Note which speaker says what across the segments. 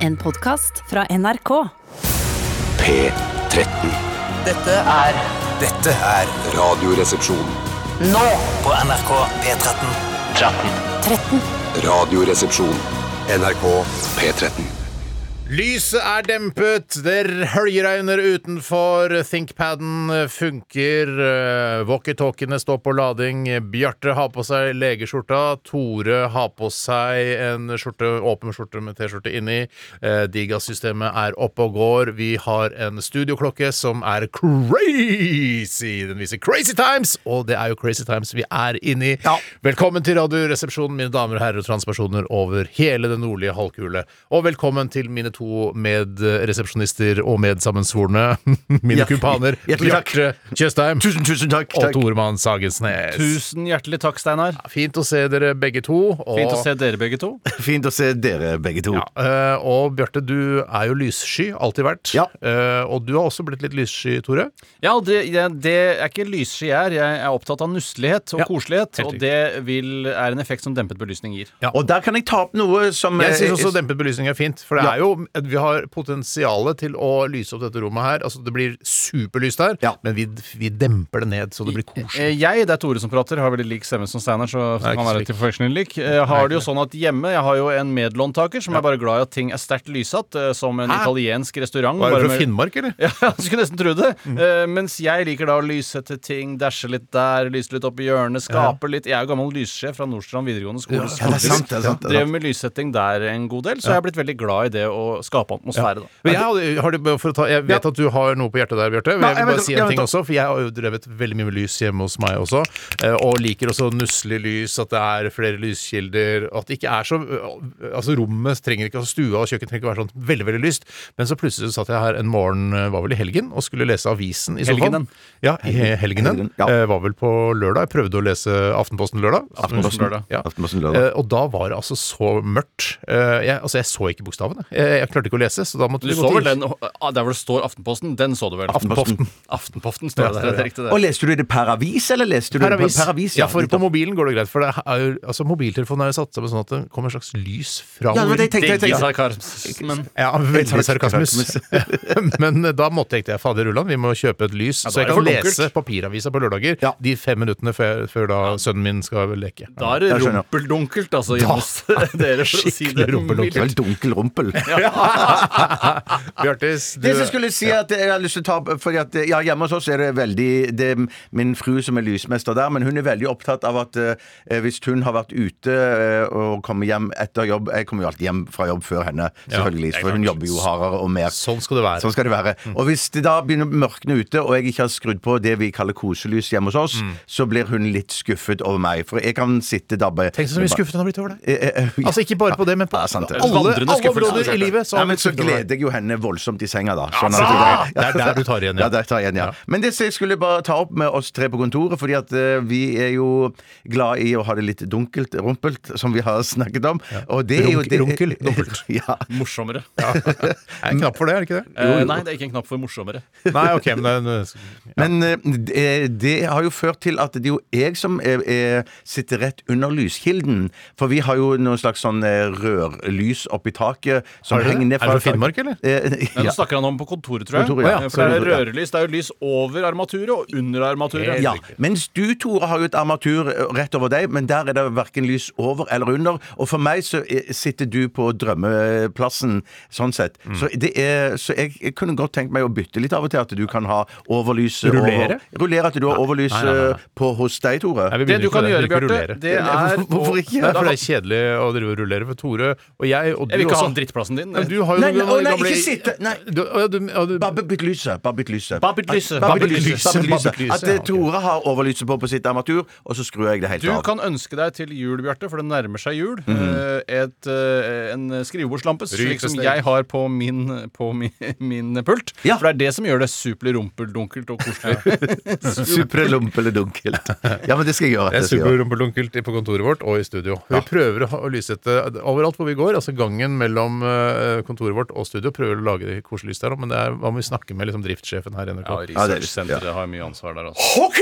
Speaker 1: En podkast fra NRK.
Speaker 2: P13.
Speaker 3: Dette er
Speaker 2: Dette er Radioresepsjon.
Speaker 3: nå på NRK P13. 13.
Speaker 2: Radioresepsjon. NRK P13.
Speaker 4: Lyset er dempet, det høljeregner utenfor, thinkpaden funker, eh, walkietalkiene står på lading, Bjarte har på seg legeskjorta, Tore har på seg en skjorte, åpen skjorte med T-skjorte inni, eh, Digasystemet er oppe og går, vi har en studioklokke som er crazy! Den viser crazy times, og det er jo crazy times vi er inni. Velkommen til Radioresepsjonen, mine damer og herrer og transpersoner over hele den nordlige halvkule. Og velkommen til mine to medresepsjonister og medsammensvorne, mine
Speaker 5: Ja.
Speaker 4: kumpaner,
Speaker 5: Hjertelig takk.
Speaker 4: Bjarte Tjøstheim
Speaker 5: Tusen, tusen takk.
Speaker 4: og Toremann Sagensnes.
Speaker 6: Tusen hjertelig takk, Steinar.
Speaker 4: Fint å se dere begge to. Og,
Speaker 6: Fint å se dere begge to.
Speaker 5: Fint å se dere begge to.
Speaker 4: eh, og Bjarte, du er jo lyssky, alltid vært.
Speaker 5: Ja.
Speaker 4: Eh, og du har også blitt litt lyssky, Tore.
Speaker 6: Ja, det, jeg- det er ikke lyssky jeg er. Jeg er opptatt av nusselighet og
Speaker 4: Ja,
Speaker 6: koselighet.
Speaker 4: helt
Speaker 6: Og
Speaker 4: riktig.
Speaker 6: det vil, er en effekt som dempet belysning gir.
Speaker 5: Og der kan jeg ta opp noe som
Speaker 4: Jeg
Speaker 5: eh,
Speaker 4: syns også
Speaker 5: eh,
Speaker 4: dempet belysning er fint, for det er jo at vi har potensialet til å lyse opp dette rommet her. Altså, det blir superlyst her,
Speaker 5: Ja.
Speaker 4: men vi, vi demper det ned så det blir
Speaker 6: Eh,
Speaker 4: koselig.
Speaker 6: Jeg, det er Tore som prater, har veldig lik stemme som Steinar, så
Speaker 4: Nei,
Speaker 6: det kan
Speaker 4: ikke
Speaker 6: være
Speaker 4: slik.
Speaker 6: til forveksling lik. Jeg har det jo sånn at hjemme, jeg har jo en medlåntaker som er bare glad i at ting er sterkt lyssatt, eh, som en italiensk restaurant.
Speaker 4: Hva er
Speaker 6: bare
Speaker 4: du fra
Speaker 6: med-
Speaker 4: Finnmark, eller?
Speaker 6: Ja, du skulle nesten tro det.
Speaker 5: Mm.
Speaker 6: Eh, mens jeg liker da å lyssette ting, dashe litt der, lyse litt opp i hjørnet, skape litt. Jeg er jo gammel lyssjef fra Nordstrand videregående skole.
Speaker 5: Ja, det er sant, det er sant, det er
Speaker 6: Drev
Speaker 5: sant.
Speaker 6: med lyssetting der en god del, så jeg er blitt veldig glad i det å skape atmosfære, da.
Speaker 4: Men jeg, hadde- har du, for å ta, jeg vet at du har noe på hjertet der, Bjarte. Men
Speaker 5: Nei,
Speaker 4: jeg vil
Speaker 5: jeg
Speaker 4: bare
Speaker 5: vet-
Speaker 4: si
Speaker 5: jeg
Speaker 4: en
Speaker 5: vet
Speaker 4: ting
Speaker 5: at-
Speaker 4: også, for jeg har jo drevet veldig mye med lys hjemme hos meg også. eh, Og liker også nusselig lys, at det er flere lyskilder. og At det ikke er så Altså rommet trenger ikke altså Stua og kjøkkenet trenger ikke å være sånn veldig veldig lyst. Men så plutselig så satt jeg her en morgen, eh, var vel i helgen, og skulle lese avisen i sofaen.
Speaker 6: Helgenen.
Speaker 4: Ja, i helgenen.
Speaker 5: Helgenen, ja.
Speaker 4: Eh, Var vel på lørdag. Jeg prøvde å lese Aftenposten lørdag.
Speaker 5: Aftenposten.
Speaker 4: Ja.
Speaker 5: Aftenposten lørdag.
Speaker 4: Eh, Og da var det altså så mørkt. Eh, Jeg, altså, jeg så ikke bokstavene. Jeg, jeg klarte ikke å lese, så da måtte
Speaker 6: Du
Speaker 4: vi gå
Speaker 6: så
Speaker 4: til
Speaker 6: vel den ah, der hvor det står Aftenposten? Den så du vel?
Speaker 5: Aftenposten.
Speaker 6: Aftenposten står det der. Det er riktig, det.
Speaker 5: Og leste du det per avis, eller leste du
Speaker 4: Per avis.
Speaker 5: det per avis?
Speaker 4: ja, for på mobilen går det greit. For det er jo, altså, mobiltelefonen er jo satt sammen sånn at det kommer et slags lys fra
Speaker 5: Ja, det var det jeg tenkte, jeg
Speaker 6: Digg
Speaker 5: tenkte.
Speaker 6: sarkasmen.
Speaker 4: Ja, veldig sarkasmus.
Speaker 5: Sarkasmus.
Speaker 4: Men eh, da måtte jeg tenke fader Ulland, vi må kjøpe et lys,
Speaker 6: da
Speaker 4: så
Speaker 6: er
Speaker 4: jeg
Speaker 6: det
Speaker 4: kan
Speaker 6: for dunkelt.
Speaker 4: lese papiravisa på lørdager
Speaker 5: Ja.
Speaker 4: de fem minuttene før, før da sønnen min skal leke.
Speaker 6: Da er det
Speaker 5: Jeg skjønner.
Speaker 6: rumpeldunkelt, altså, hjemme hos dere. for å si det
Speaker 4: skikkelig rumpeldunkel.
Speaker 5: Det var dunkel rumpel.
Speaker 4: Bjartis, du
Speaker 5: Det som jeg skulle si at jeg har lyst til å ta opp fordi at, ja, Hjemme hos oss er det veldig Det er min frue som er lysmester der, men hun er veldig opptatt av at eh, hvis hun har vært ute eh, og kommer hjem etter jobb Jeg kommer jo alltid hjem fra jobb før henne, selvfølgelig, for hun jobber jo hardere og mer.
Speaker 4: Sånn skal det være.
Speaker 5: Sånn skal det være.
Speaker 4: Mm.
Speaker 5: Og hvis det da begynner å mørkne ute, og jeg ikke har skrudd på det vi kaller koselys hjemme hos oss,
Speaker 4: Mm.
Speaker 5: så blir hun litt skuffet over meg. For jeg kan sitte dabbe
Speaker 4: Tenk så mye skuffet han har blitt over det.
Speaker 5: Eh, eh, eh, ja.
Speaker 4: Altså ikke bare på det, men på
Speaker 5: Ja, sant det.
Speaker 4: alle,
Speaker 6: Vandrende
Speaker 4: alle
Speaker 6: skuffelse.
Speaker 4: områder i livet. Så
Speaker 5: Ja,
Speaker 4: har
Speaker 5: men
Speaker 4: han
Speaker 5: så
Speaker 4: blitt skuffet over det.
Speaker 5: gleder jeg jo henne voldsomt i senga, da. Sånn
Speaker 4: Ah!
Speaker 5: at-
Speaker 4: Det er der du tar igjen, ja.
Speaker 5: ja. der tar jeg igjen, ja. Men det som jeg skulle bare ta opp med oss tre på kontoret, fordi at eh, vi er jo glad i å ha det litt dunkelt, rumpelt, som vi har snakket om. Og det er jo
Speaker 4: Runk-
Speaker 5: det,
Speaker 4: runkel, dunkelt.
Speaker 5: ja.
Speaker 6: Morsommere.
Speaker 4: Det er en knapp for det, er det ikke det?
Speaker 6: Eh, nei, det er ikke en knapp for morsommere.
Speaker 4: Nei, ok, men det er en-
Speaker 5: Men eh, det, det har jo ført til at det er jo jeg som er, er, sitter rett under lyskilden. For vi har jo noen slags sånn eh, rørlys oppi taket som
Speaker 4: Har dere det?
Speaker 5: henger ned
Speaker 4: Er det fra Finnmark, eller?
Speaker 5: Eh,
Speaker 6: Nei,
Speaker 5: ja.
Speaker 6: Nå snakker han om på kontoret, tror jeg.
Speaker 5: Kontoret, ja.
Speaker 6: Eh, For det er
Speaker 5: Kontoret, ja.
Speaker 6: rørlys. Det er jo lys over armaturet og under armaturet.
Speaker 4: Helt
Speaker 5: Ja,
Speaker 4: riktig.
Speaker 5: mens du, Tore, har jo et armatur eh, rett over deg, men der er det verken lys over eller under. Og for meg så eh, sitter du på drømmeplassen, sånn sett.
Speaker 4: Mm.
Speaker 5: Så, det er, så jeg, jeg kunne godt tenkt meg å bytte litt av og til, at du kan ha overlys over-
Speaker 4: Rullere?
Speaker 5: Rullere at du har overlys
Speaker 4: Nei, nei, nei, nei.
Speaker 5: eh, på hos deg, Tore.
Speaker 4: Nei, vi
Speaker 6: Det
Speaker 4: begynner
Speaker 6: du
Speaker 4: ikke
Speaker 6: kan
Speaker 4: med
Speaker 6: gjøre,
Speaker 4: Vi kan ikke
Speaker 6: Bjarte,
Speaker 4: rullere.
Speaker 6: det er
Speaker 5: Hvorfor ikke?
Speaker 4: Det er
Speaker 6: Da-
Speaker 4: for det er kjedelig å drive og rullere for Tore og jeg og du
Speaker 6: Jeg vil ikke ha
Speaker 4: også.
Speaker 6: den drittplassen din.
Speaker 4: Men du har jo
Speaker 5: Nei, nei,
Speaker 4: noen
Speaker 5: å, nei,
Speaker 4: gamle-
Speaker 5: ikke sitte, nei.
Speaker 4: Du, å, ja, du, ja, du,
Speaker 5: Bare bytt lyset. Bare bytt lyset.
Speaker 6: Bare bytt lyset.
Speaker 5: Bare bytt
Speaker 4: Bare bytt
Speaker 5: lyset,
Speaker 4: lyset, bare
Speaker 5: bare bytt
Speaker 4: bytt
Speaker 5: lyset.
Speaker 4: lyset,
Speaker 5: At
Speaker 4: ja,
Speaker 5: eh,
Speaker 4: ok.
Speaker 5: Tore har overlyset på på sitt armatur, og så skrur jeg det helt
Speaker 6: Du
Speaker 5: av.
Speaker 6: kan ønske deg til jul, Bjarte, for det nærmer seg jul. eh, Et, eh, en skrivebordslampe, slik som
Speaker 4: Rykesteg.
Speaker 6: jeg har på min, på min, min pult.
Speaker 5: Ja.
Speaker 6: For det er det som gjør det supelig rumpeldunkelt og koselig.
Speaker 5: Suprelompeludunkelt. Ja, men det skal jeg gjøre.
Speaker 4: det er
Speaker 5: det skal jeg gjøre.
Speaker 4: superrumpelunkelt på kontoret vårt og i studio. Vi prøver å ha- å lyssette overalt hvor vi går. altså Gangen mellom eh, kontoret vårt og studio prøver å lage koselig lys der, men det er, hva må vi snakke med liksom, driftssjefen her i NRK?
Speaker 5: Ja, det er-
Speaker 6: Researchsenteret har mye ansvar der, altså.
Speaker 5: OK!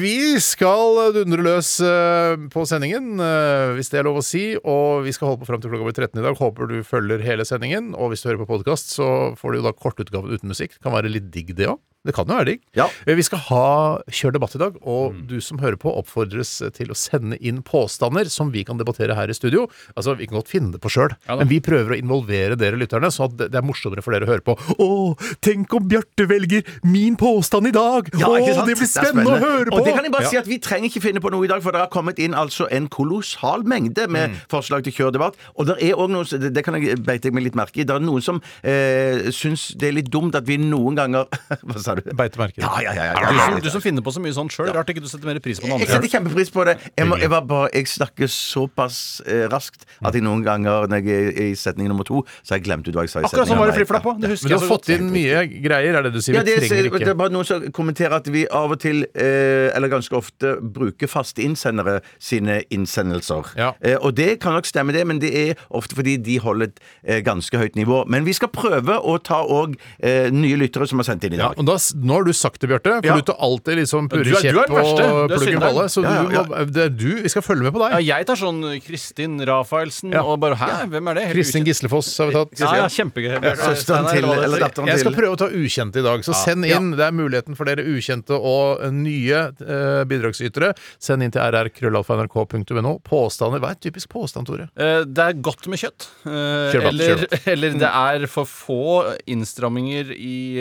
Speaker 4: Vi skal dundre løs eh, på sendingen, eh, hvis det er lov å si. Og vi skal holde på fram til klokka blir 13 i dag. Håper du følger hele sendingen. Og hvis du hører på podkast, så får du jo da kortutgaven uten musikk. Kan være litt digg, det òg. Det kan jo være digg.
Speaker 5: Ja.
Speaker 4: Eh, Vi skal ha Kjør debatt i dag, og
Speaker 6: Mm.
Speaker 4: du som hører på, oppfordres til å sende inn påstander som vi kan debattere her i studio. Altså, Vi kan godt finne det på sjøl,
Speaker 6: Ja da.
Speaker 4: men vi prøver å involvere dere lytterne, sånn at det- det er morsommere for dere å høre på. Å, tenk om Bjarte velger min påstand i dag!
Speaker 5: Ja, ikke
Speaker 4: Å,
Speaker 5: sant?
Speaker 4: det blir
Speaker 5: er
Speaker 4: spennende, å høre på!
Speaker 5: Og det kan jeg bare
Speaker 4: Ja.
Speaker 5: si at Vi trenger ikke finne på noe i dag, for det har kommet inn altså en kolossal mengde med forslag til kjørdebatt. Og det er også noen, som- det- det kan jeg beite meg litt merke i, det er noen som eh, syns det er litt dumt at vi noen ganger Hva sa du?
Speaker 4: Beitemerker.
Speaker 5: Ja, ja, ja. ja,
Speaker 6: Du
Speaker 5: ja,
Speaker 6: som, du som finner på så mye sånt sjøl. Rart ikke du setter mer pris på noe
Speaker 5: Jeg
Speaker 6: annet.
Speaker 5: setter kjempepris på det. Jeg, må, jeg, var bare, jeg snakker såpass eh, raskt at jeg noen ganger når jeg er i setning nummer to, så har jeg glemt ut hva jeg sa i
Speaker 6: Akkurat
Speaker 5: setning
Speaker 6: sånn var
Speaker 5: nummer
Speaker 6: det
Speaker 5: én.
Speaker 6: flipflappa. Det
Speaker 4: Men
Speaker 6: husker
Speaker 4: du
Speaker 6: jeg
Speaker 4: har
Speaker 6: så
Speaker 4: fått
Speaker 6: godt.
Speaker 4: inn mye greier, er det du sier?
Speaker 5: altså- Ja, det,
Speaker 4: vi trenger
Speaker 5: er, det
Speaker 4: ikke
Speaker 5: er bare noen som kommenterer at vi av og til, eh, eller ganske ofte, bruker faste innsendere sine innsendelser.
Speaker 4: Ja.
Speaker 5: Eh, og det kan nok stemme, det, men det er ofte fordi de holder et eh, ganske høyt nivå. Men vi skal prøve å ta òg eh, nye lyttere som har sendt inn i
Speaker 4: Ja,
Speaker 5: dag.
Speaker 4: og da, s- nå har du sagt det, Bjarte. For
Speaker 5: Ja.
Speaker 4: du tar alltid liksom
Speaker 6: Du er- du
Speaker 4: purre
Speaker 6: er
Speaker 4: kjepp
Speaker 6: den verste.
Speaker 4: og
Speaker 6: Du er
Speaker 4: plugger
Speaker 6: synderen.
Speaker 4: balle. Så
Speaker 5: Ja,
Speaker 4: du
Speaker 5: ja,
Speaker 4: må, det er du, vi skal følge med på
Speaker 6: Ja,
Speaker 4: deg.
Speaker 6: jeg tar sånn Kristin Rafaelsen
Speaker 4: Ja.
Speaker 6: og bare Hæ, hvem er det? Helt
Speaker 4: Kristin
Speaker 6: ukjent.
Speaker 4: Gislefoss har vi tatt.
Speaker 6: Ja, ja, kjempegøy.
Speaker 5: Søsteren til, eller datteren
Speaker 4: Jeg skal
Speaker 5: til.
Speaker 4: prøve å ta ukjente i dag. Så send inn. Det er muligheten for dere ukjente og nye eh, bidragsytere. Send inn til rrkrøllalfa.nrk.no. Påstander. Hva er en typisk påstand, Tore?
Speaker 6: Eh, Det er godt med kjøtt. eh,
Speaker 4: Kjør på,
Speaker 6: Eller,
Speaker 4: kjør
Speaker 6: eller det er for få innstramminger i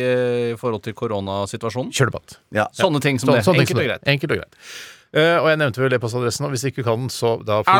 Speaker 6: eh, forhold til koronasituasjonen.
Speaker 4: Kjør debatt.
Speaker 5: Ja.
Speaker 6: Sånne ting som
Speaker 4: Sånn-
Speaker 6: det.
Speaker 4: sånn
Speaker 6: Enkelt
Speaker 4: liksom
Speaker 6: og
Speaker 4: det.
Speaker 6: greit.
Speaker 4: Enkelt og greit. Eh, og jeg nevnte vel e-postadressen, og hvis ikke du kan den, så da får du Ja.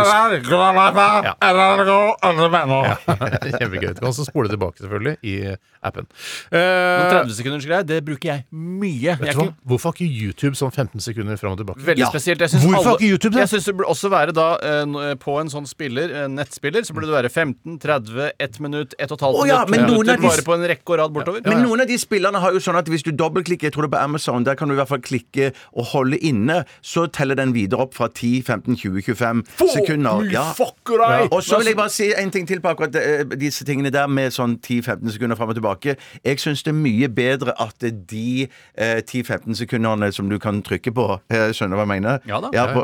Speaker 4: Kjempegøy. Du kan også spole tilbake, selvfølgelig, i appen.
Speaker 6: Noen
Speaker 4: Eh,
Speaker 6: 30 sekunders greier, det bruker jeg mye. Jeg
Speaker 4: vet
Speaker 6: er
Speaker 4: du hva?
Speaker 6: ikke
Speaker 4: Hvorfor har ikke YouTube sånn 15 sekunder fram og tilbake?
Speaker 6: Veldig
Speaker 5: Ja.
Speaker 6: spesielt. Jeg synes
Speaker 4: Hvorfor
Speaker 6: alle-
Speaker 4: ikke YouTube det?
Speaker 6: Jeg synes det burde også være da eh, n- på en sånn spiller, eh, nettspiller, så burde det være 15, 30, 1 minutt, 1 12
Speaker 5: Å ja,
Speaker 6: minutt,
Speaker 5: men
Speaker 6: to
Speaker 5: noen
Speaker 6: minutter,
Speaker 5: av de-
Speaker 6: bare på en rekke og rad bortover.
Speaker 5: Men noen av de spillerne har jo sånn at hvis du dobbeltklikker, jeg tror det er på Amazon, der kan du i hvert fall klikke og holde inne, så teller den videre opp fra 10, 15, 20, 25 sekunder. Ja.
Speaker 6: Fuckerai!
Speaker 5: Og så vil jeg bare si en ting til på akkurat eh, disse tingene der med sånn 10-15 sekunder fram og tilbake. Jeg syns det er mye bedre at de eh, 10-15 sekundene som du kan trykke på, eh, skjønner du hva jeg mener?
Speaker 6: Ja da.
Speaker 5: på,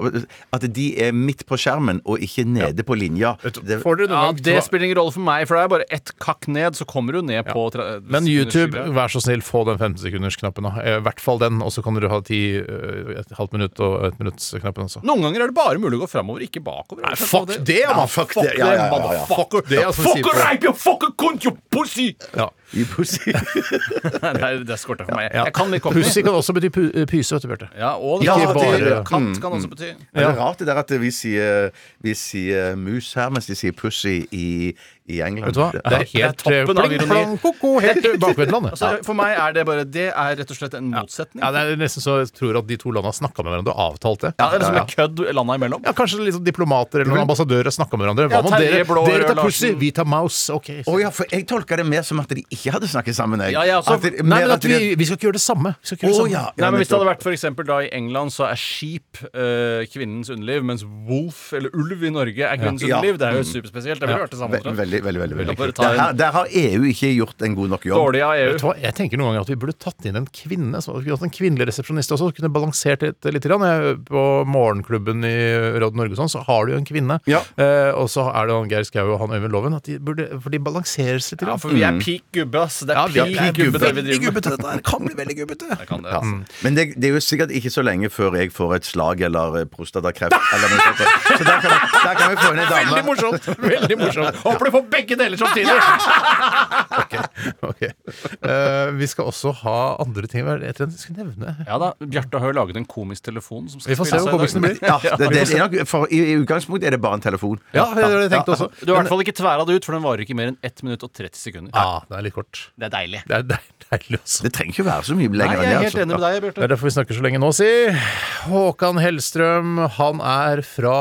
Speaker 5: at de er midt på skjermen og ikke nede på linja.
Speaker 4: Vet du,
Speaker 5: Det-
Speaker 4: Får dere
Speaker 6: Ja,
Speaker 4: noen
Speaker 6: det
Speaker 4: gang
Speaker 6: spiller ingen rolle for meg, for det er bare ett kakk ned, så kommer du ned på tre-
Speaker 4: men YouTube,
Speaker 6: sekunder.
Speaker 4: vær så snill, få den 15-sekundersknappen. da. Eh, I hvert fall den, og så kan dere ha ti, eh, et halvt minutt og et minuttsknappen også.
Speaker 6: Noen ganger er det bare mulig å gå framover, ikke bakover. Jeg skjønner
Speaker 4: Fuck
Speaker 6: hva
Speaker 4: det, man!
Speaker 5: fuck det, ja, ja, ja, ja.
Speaker 4: Fuck det, altså, vi sier på-
Speaker 6: you fucker cunt, you pussy!
Speaker 4: Ja.
Speaker 5: I pussy.
Speaker 6: Nei, det skorta for meg.
Speaker 4: Ja.
Speaker 6: Jeg kan litt cockney.
Speaker 4: Pussy kan også bety pu pyse, vet du, Bjarte.
Speaker 6: Ja, og
Speaker 5: Ja,
Speaker 6: ikke bare
Speaker 5: det- Mm,
Speaker 6: katt kan også bety
Speaker 5: Det er rart det der at vi sier, vi sier mus her, mens de sier pussy i, i
Speaker 4: Vet
Speaker 5: England.
Speaker 4: du hva? Det er
Speaker 6: Ja,
Speaker 4: helt
Speaker 6: det er toppen av
Speaker 4: eh,
Speaker 6: ironi.
Speaker 4: plang, koko, Helt eh, bakvendtland.
Speaker 6: altså, For meg er det bare Det er rett og slett en motsetning.
Speaker 4: Ja, det er nesten så jeg tror at de to landene snakka med hverandre og avtalte det.
Speaker 6: Ja, det er liksom en kødd landa imellom.
Speaker 4: Ja, Kanskje litt sånn diplomater eller noen ambassadører snakka med hverandre. Hva
Speaker 6: Ja,
Speaker 4: med
Speaker 6: Terje
Speaker 4: dere?
Speaker 6: Blå,
Speaker 4: Dere tar
Speaker 6: Rød
Speaker 4: pussy,
Speaker 6: Larsen.
Speaker 4: vi tar mouse. Ok.
Speaker 5: Å ja, for jeg tolka det mer som at de ikke hadde snakket sammen. Jeg.
Speaker 6: Ja, ja, altså, så-
Speaker 5: At det-
Speaker 4: Nei,
Speaker 5: mer
Speaker 4: men at
Speaker 5: de-
Speaker 4: vi, vi skal ikke gjøre det samme. Vi skal ikke
Speaker 5: Å
Speaker 4: gjøre det
Speaker 5: ja.
Speaker 4: samme.
Speaker 5: ja
Speaker 6: Nei, men Hvis det
Speaker 5: nettopp.
Speaker 6: hadde vært for eksempel, da i England, så er skip eh, kvinnens underliv, mens wolf eller ulv i Norge er kvinnens
Speaker 5: Ja.
Speaker 6: underliv. Det er jo superspesielt. Det ville vært det samme.
Speaker 5: Ve-
Speaker 6: omtrent.
Speaker 5: Veldig, veldig, veldig, veldig
Speaker 6: Da bare
Speaker 5: kult.
Speaker 6: ta
Speaker 5: Der,
Speaker 6: en-
Speaker 5: har- der har EU ikke gjort en god nok jobb.
Speaker 6: Dårlig av
Speaker 4: Vet du
Speaker 6: EU.
Speaker 4: hva, Jeg tenker noen ganger at vi burde tatt inn en kvinne. Så vi kunne hatt en kvinnelig resepsjonist også. Kunne balansert litt. litt grann. Jeg- På Morgenklubben i Radio Norge og sånn, så har du jo en kvinne.
Speaker 5: Ja.
Speaker 4: Eh, og så er det han Geir Skau og han Øyvind Loven. At de burde, for de balanseres litt.
Speaker 6: Ja,
Speaker 4: grann.
Speaker 6: for vi er peak gubbe, ass. Det er
Speaker 4: Ja, vi er
Speaker 6: peak
Speaker 4: peak
Speaker 6: gubbe det vi
Speaker 4: Veldig
Speaker 6: driver med.
Speaker 4: gubbete, dette her. Kan bli veldig gubbete.
Speaker 6: Jeg kan det, altså.
Speaker 5: Men det, det er jo sikkert ikke så lenge før jeg får et slag eller eh, prostatakreft. Eller noe sånt. Så der kan, der kan vi få inn en
Speaker 4: Veldig
Speaker 5: dame.
Speaker 4: morsomt! Veldig morsomt.
Speaker 6: Håper du får begge deler samtidig!
Speaker 4: Ok. Eh, vi skal også ha andre ting. Hva er det jeg tror jeg skulle nevne?
Speaker 6: Ja da, Bjarte har jo laget en komisk telefon. Som skal
Speaker 4: Vi får se
Speaker 6: spilles
Speaker 4: hvor
Speaker 6: her i dag.
Speaker 4: komiksen blir.
Speaker 5: Ja, det, det, er nok, for i, I utgangspunktet er det bare en telefon.
Speaker 4: Ja, det var det jeg tenkte også.
Speaker 6: Du har i hvert fall ikke tværa det ut, for den varer ikke mer enn 1 minutt og 30 sekunder.
Speaker 4: Ja, Ah, det er litt kort.
Speaker 6: Det er deilig.
Speaker 4: Det er deil- deilig også.
Speaker 5: Det trenger ikke være så mye
Speaker 6: Nei,
Speaker 5: lenger
Speaker 6: jeg
Speaker 5: enn det.
Speaker 6: er helt
Speaker 5: Altså.
Speaker 6: enig med deg,
Speaker 4: Det er
Speaker 6: Bjarte.
Speaker 4: derfor vi snakker så lenge nå, si. Håkan Hellstrøm, han er fra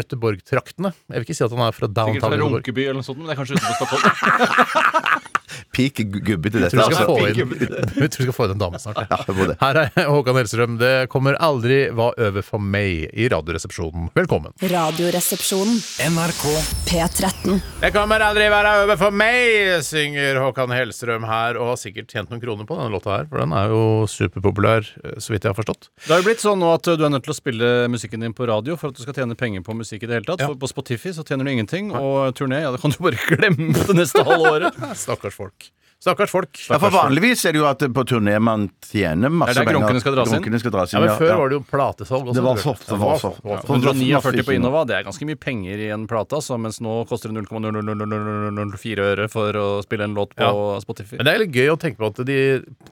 Speaker 4: Gøteborg-traktene. Jeg vil ikke si at han er fra
Speaker 6: Sikkert
Speaker 4: downtown
Speaker 6: fra
Speaker 4: Gøteborg.
Speaker 6: Runkeby eller noe sånt, men det er kanskje utenfor Stockholm.
Speaker 5: Peak gubbe til dette.
Speaker 4: tror vi skal
Speaker 5: altså.
Speaker 4: få inn, jeg tror vi skal få inn en dame snart.
Speaker 5: Ja, det må det.
Speaker 4: Her er Håkan Hellstrøm. Det kommer aldri hva over for meg i Radioresepsjonen. Velkommen.
Speaker 1: Radioresepsjonen.
Speaker 3: NRK
Speaker 1: P13.
Speaker 4: Det kommer aldri være over for meg, synger Håkan Hellstrøm her, og har sikkert tjent noen kroner på denne låta her, for den er jo superpopulær, eh, så vidt jeg har forstått.
Speaker 6: Det har jo blitt sånn nå at du er nødt til å spille musikken din på radio for at du skal tjene penger på musikk i det hele tatt. For på Spotify så tjener du ingenting, og turné ja, det kan du bare glemme det neste halve året.
Speaker 4: Stakkars folk. Stakkars folk.
Speaker 5: Ja, for vanligvis er det jo at på turné man tjener masse
Speaker 6: Det er der
Speaker 5: penger.
Speaker 6: grunkene skal dras inn.
Speaker 5: Grunkene skal dras
Speaker 4: Ja,
Speaker 5: inn,
Speaker 4: men
Speaker 5: ja,
Speaker 4: Før
Speaker 5: ja.
Speaker 4: var det jo platesalg også.
Speaker 5: Det var
Speaker 4: tror jeg.
Speaker 5: soft, det var
Speaker 4: soft.
Speaker 5: soft.
Speaker 4: Det var soft.
Speaker 6: 149 på Innova, det er ganske mye penger i en plate, altså, mens nå koster det 0,0004 øre for å spille en låt på Spotify.
Speaker 4: Men det er litt gøy å tenke på at de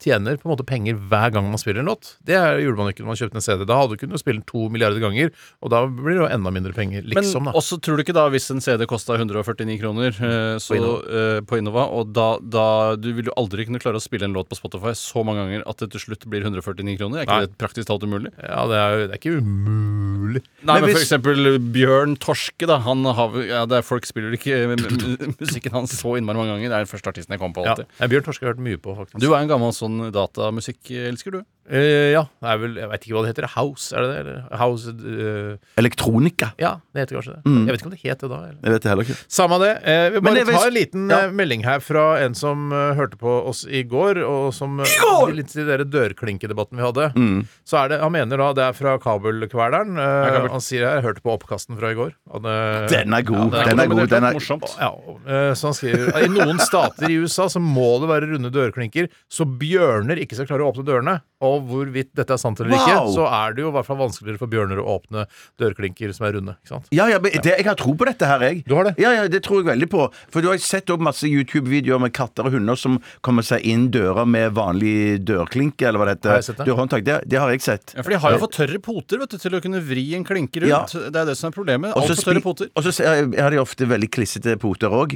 Speaker 4: tjener på en måte penger hver gang man spiller en låt. Det er- gjorde man ikke når man kjøpte en CD. Da hadde du kunnet spille den to milliarder ganger, og da blir det jo enda mindre penger,
Speaker 6: Men
Speaker 4: liksom. da.
Speaker 6: også tror du ikke da hvis en CD kosta 149 kroner eh, så, eh, på Innova, og da, da du vil jo aldri kunne klare å spille en låt på Spotify så mange ganger at det til slutt blir 149 kroner? Er ikke
Speaker 4: Nei.
Speaker 6: det praktisk talt umulig?
Speaker 4: Ja, det er, jo- det er ikke umulig.
Speaker 5: Men
Speaker 6: Nei, men, for
Speaker 5: hvis-
Speaker 6: eksempel Bjørn Torske, da. Han har, ja, det er, folk spiller ikke eh, m- m- musikken hans så innmari mange ganger. Det er den første artisten jeg kom på
Speaker 4: Ja.
Speaker 6: alltid.
Speaker 4: Nei, Bjørn Torske har jeg hørt mye på, faktisk.
Speaker 6: Du er en gammel sånn datamusikkelsker, du.
Speaker 4: Eh, ja, det er vel Jeg vet ikke hva det heter. House, er det det? Eller House eh,
Speaker 5: Elektronika.
Speaker 4: Ja, det heter kanskje det. Jeg vet ikke om det het det da. Eller?
Speaker 5: Jeg vet det heller ikke.
Speaker 4: Samme det. Eh, vi
Speaker 5: Men
Speaker 4: bare
Speaker 5: jeg vil-
Speaker 4: tar en liten
Speaker 5: Ja.
Speaker 4: eh, melding her fra en som eh, hørte på oss i går, og som I går! Litt til dere dørklinkedebatten vi hadde. Så er det, Han mener da det er fra Kabelkveleren. Eh,
Speaker 6: Ja, kabel.
Speaker 4: han sier her, jeg hørte på oppkasten fra i går. Han, eh,
Speaker 5: Den er god.
Speaker 4: Ja,
Speaker 5: den er god.
Speaker 6: Men det
Speaker 5: Den
Speaker 6: er
Speaker 5: er...
Speaker 6: morsomt.
Speaker 4: ja, eh, så han skriver I noen stater i USA så må det være runde dørklinker, så bjørner ikke skal klare å åpne dørene. Og hvorvidt dette er sant eller ikke,
Speaker 5: Wow!
Speaker 4: så er det jo i hvert fall vanskeligere for bjørner å åpne dørklinker som er runde. ikke sant?
Speaker 5: Ja, ja, men det, jeg har tro på dette her, jeg.
Speaker 4: Du har det?
Speaker 5: Ja, ja, det tror jeg veldig på. For du har sett opp masse YouTube-videoer med katter og hunder som kommer seg inn døra med vanlig dørklinke, eller hva
Speaker 4: Har
Speaker 5: det heter.
Speaker 4: jeg sett det?
Speaker 5: Dørhåndtak. Det, det har jeg sett.
Speaker 6: Ja, for de har jo for tørre poter vet du, til å kunne vri en klinke
Speaker 5: Ja.
Speaker 6: rundt. Det er det som er problemet.
Speaker 5: Og så
Speaker 6: Altfor tørre
Speaker 5: spi-
Speaker 6: poter.
Speaker 5: Og så ser jeg- jeg har de ofte veldig klissete poter eh, òg.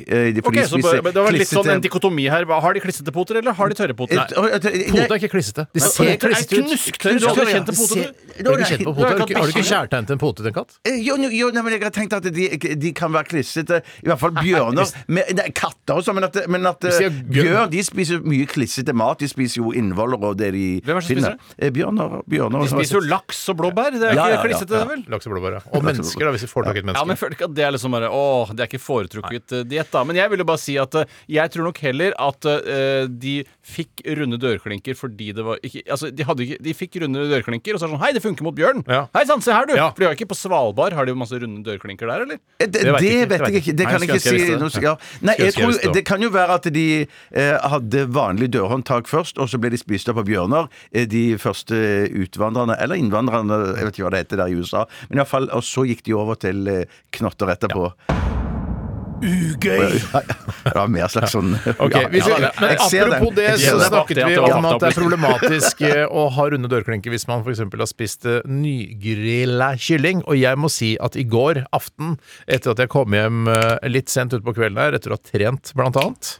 Speaker 6: Ok, så bare, men Det var litt sånn en dikotomi her. Hva- Har de klissete poter, eller har de tørre poter? Nei.
Speaker 4: Poter er ikke klissete. De ser
Speaker 6: poter er
Speaker 4: klissete ut.
Speaker 6: knusktørre. Du har aldri kjent en pote, du?
Speaker 4: Du har ikke kjent på poter? Har du ikke- Har du ikke
Speaker 5: kjært
Speaker 4: kjærtegn til en pote til en katt?
Speaker 5: Eh, Jo, jo, jo nei, men jeg har tenkt at de, de kan være klissete. I hvert fall bjørner. Med, nei, katter også, men at, men at
Speaker 4: Hvis de er
Speaker 5: eh,
Speaker 4: bjørn-
Speaker 5: bjørn de spiser mye klissete mat. De spiser jo innvoller og det de
Speaker 6: Hvem er det som
Speaker 5: finner.
Speaker 6: spiser
Speaker 5: Eh, Bjørner. bjørner
Speaker 6: De spiser jo laks og blåbær. Det er
Speaker 5: Altså, Ja, ja,
Speaker 6: ikke
Speaker 5: ja,
Speaker 6: klissete,
Speaker 5: ja.
Speaker 6: det, vel?
Speaker 4: Laks og blåbær, ja. Og
Speaker 5: Laks og
Speaker 4: mennesker, da, hvis vi får tak i et
Speaker 6: Ja, men
Speaker 4: menneske.
Speaker 6: jeg føler ikke at det er liksom bare Åh, det er ikke foretrukket uh, diett, da. Men jeg vil jo bare si at eh, jeg tror nok heller at eh, de fikk runde dørklinker fordi det var ikke Altså, de, hadde ikke, de fikk runde dørklinker, og så er det sånn Hei, det funker mot bjørn!
Speaker 4: Ja.
Speaker 6: Hei sann, se her, du!
Speaker 4: Ja.
Speaker 6: For de har jo ikke på Svalbard Har de jo masse runde dørklinker der, eller?
Speaker 5: Eh,
Speaker 4: vet
Speaker 5: Det, det
Speaker 4: jeg ikke,
Speaker 5: vet jeg ikke. Det
Speaker 4: Nei, skulle
Speaker 5: kan jeg
Speaker 4: ønske
Speaker 5: ikke
Speaker 4: jeg
Speaker 5: si
Speaker 4: visste
Speaker 5: noe
Speaker 4: det.
Speaker 5: ja. Nei,
Speaker 4: Skulle
Speaker 5: jeg
Speaker 4: ønske jeg
Speaker 5: tror,
Speaker 4: visste det.
Speaker 5: Det kan jo være at de eh, hadde vanlig dørhåndtak først, og så ble de spist opp av bjørner, eh, de første utvandrerne, eller innvandrerne, jeg vet ikke hva det heter der i USA, men i hvert fall, og så gikk de over til eh, knotter etterpå.
Speaker 3: Ugøy
Speaker 5: Det var mer slags sånn
Speaker 4: Ok,
Speaker 5: Ja,
Speaker 4: vi
Speaker 5: ja,
Speaker 4: skal,
Speaker 5: ja,
Speaker 4: men
Speaker 5: jeg ser
Speaker 4: Apropos det,
Speaker 5: Jeg ser
Speaker 4: så
Speaker 6: det.
Speaker 4: snakket
Speaker 6: Bak det at
Speaker 4: vi
Speaker 6: det var
Speaker 4: om at det er
Speaker 6: oppdappelig.
Speaker 4: problematisk eh, å ha runde dørklinker hvis man f.eks. har spist eh, nygrilla kylling. Og jeg må si at i går aften, etter at jeg kom hjem eh, litt sent utpå kvelden her, etter å ha trent blant annet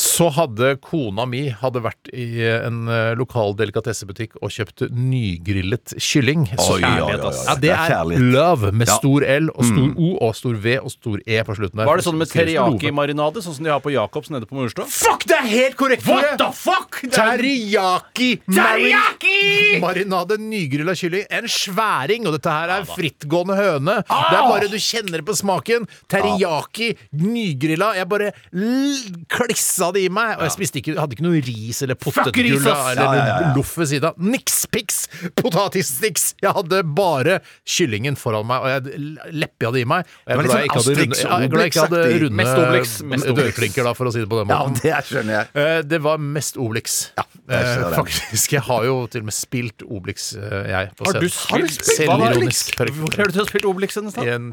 Speaker 4: så hadde kona mi hadde vært i en eh, lokal delikatessebutikk og kjøpt nygrillet kylling. Så
Speaker 5: Oi, oi, oi, oi.
Speaker 4: Ja, det
Speaker 5: Det er
Speaker 4: er
Speaker 5: kjærlighet. Mm.
Speaker 4: love med stor L og stor O og stor V og stor E på slutten der.
Speaker 6: Var det sånn med
Speaker 4: Seriøst, love.
Speaker 6: teriyaki-marinade, sånn som de har på Jacobs nede på Majorstua?
Speaker 4: Fuck, det er helt korrekt! What the fuck? Teriyaki! Teriyaki! Marinade nygrilla kylling. En sværing, og dette her er frittgående høne. Det er bare du kjenner på smaken. Teriyaki, nygrilla. Jeg bare l klissa det i meg. Og jeg spiste ikke, hadde ikke noe ris eller
Speaker 6: ris,
Speaker 4: potetgull
Speaker 6: ass!
Speaker 4: eller
Speaker 5: Ja, ja, ja, ja.
Speaker 4: loff ved siden av. Niks piks! Potatissticks! Jeg hadde bare kyllingen foran meg, og jeg leppa det i meg. Og jeg
Speaker 5: Det
Speaker 4: er
Speaker 5: var
Speaker 4: glad jeg
Speaker 5: litt
Speaker 4: ikke hadde runde,
Speaker 5: sånn Asterix
Speaker 4: ja, jeg er glad jeg ikke hadde
Speaker 5: Obelix-aktig.
Speaker 4: runde
Speaker 6: Mest Obelix, mest Obelix.
Speaker 4: dørklinker, da, for å si det på den
Speaker 5: Ja,
Speaker 4: måten.
Speaker 5: det skjønner jeg.
Speaker 4: Eh, Det var mest Obelix.
Speaker 5: Ja, jeg ser
Speaker 4: Eh,
Speaker 5: den.
Speaker 4: Faktisk. Jeg har jo til og med spilt Obelix, eh, jeg. På
Speaker 6: Har du
Speaker 4: scenen.
Speaker 6: spilt Hva var
Speaker 4: Selvironisk.
Speaker 6: Obelix? Hvor har du til å ha spilt Obelix denne
Speaker 4: I en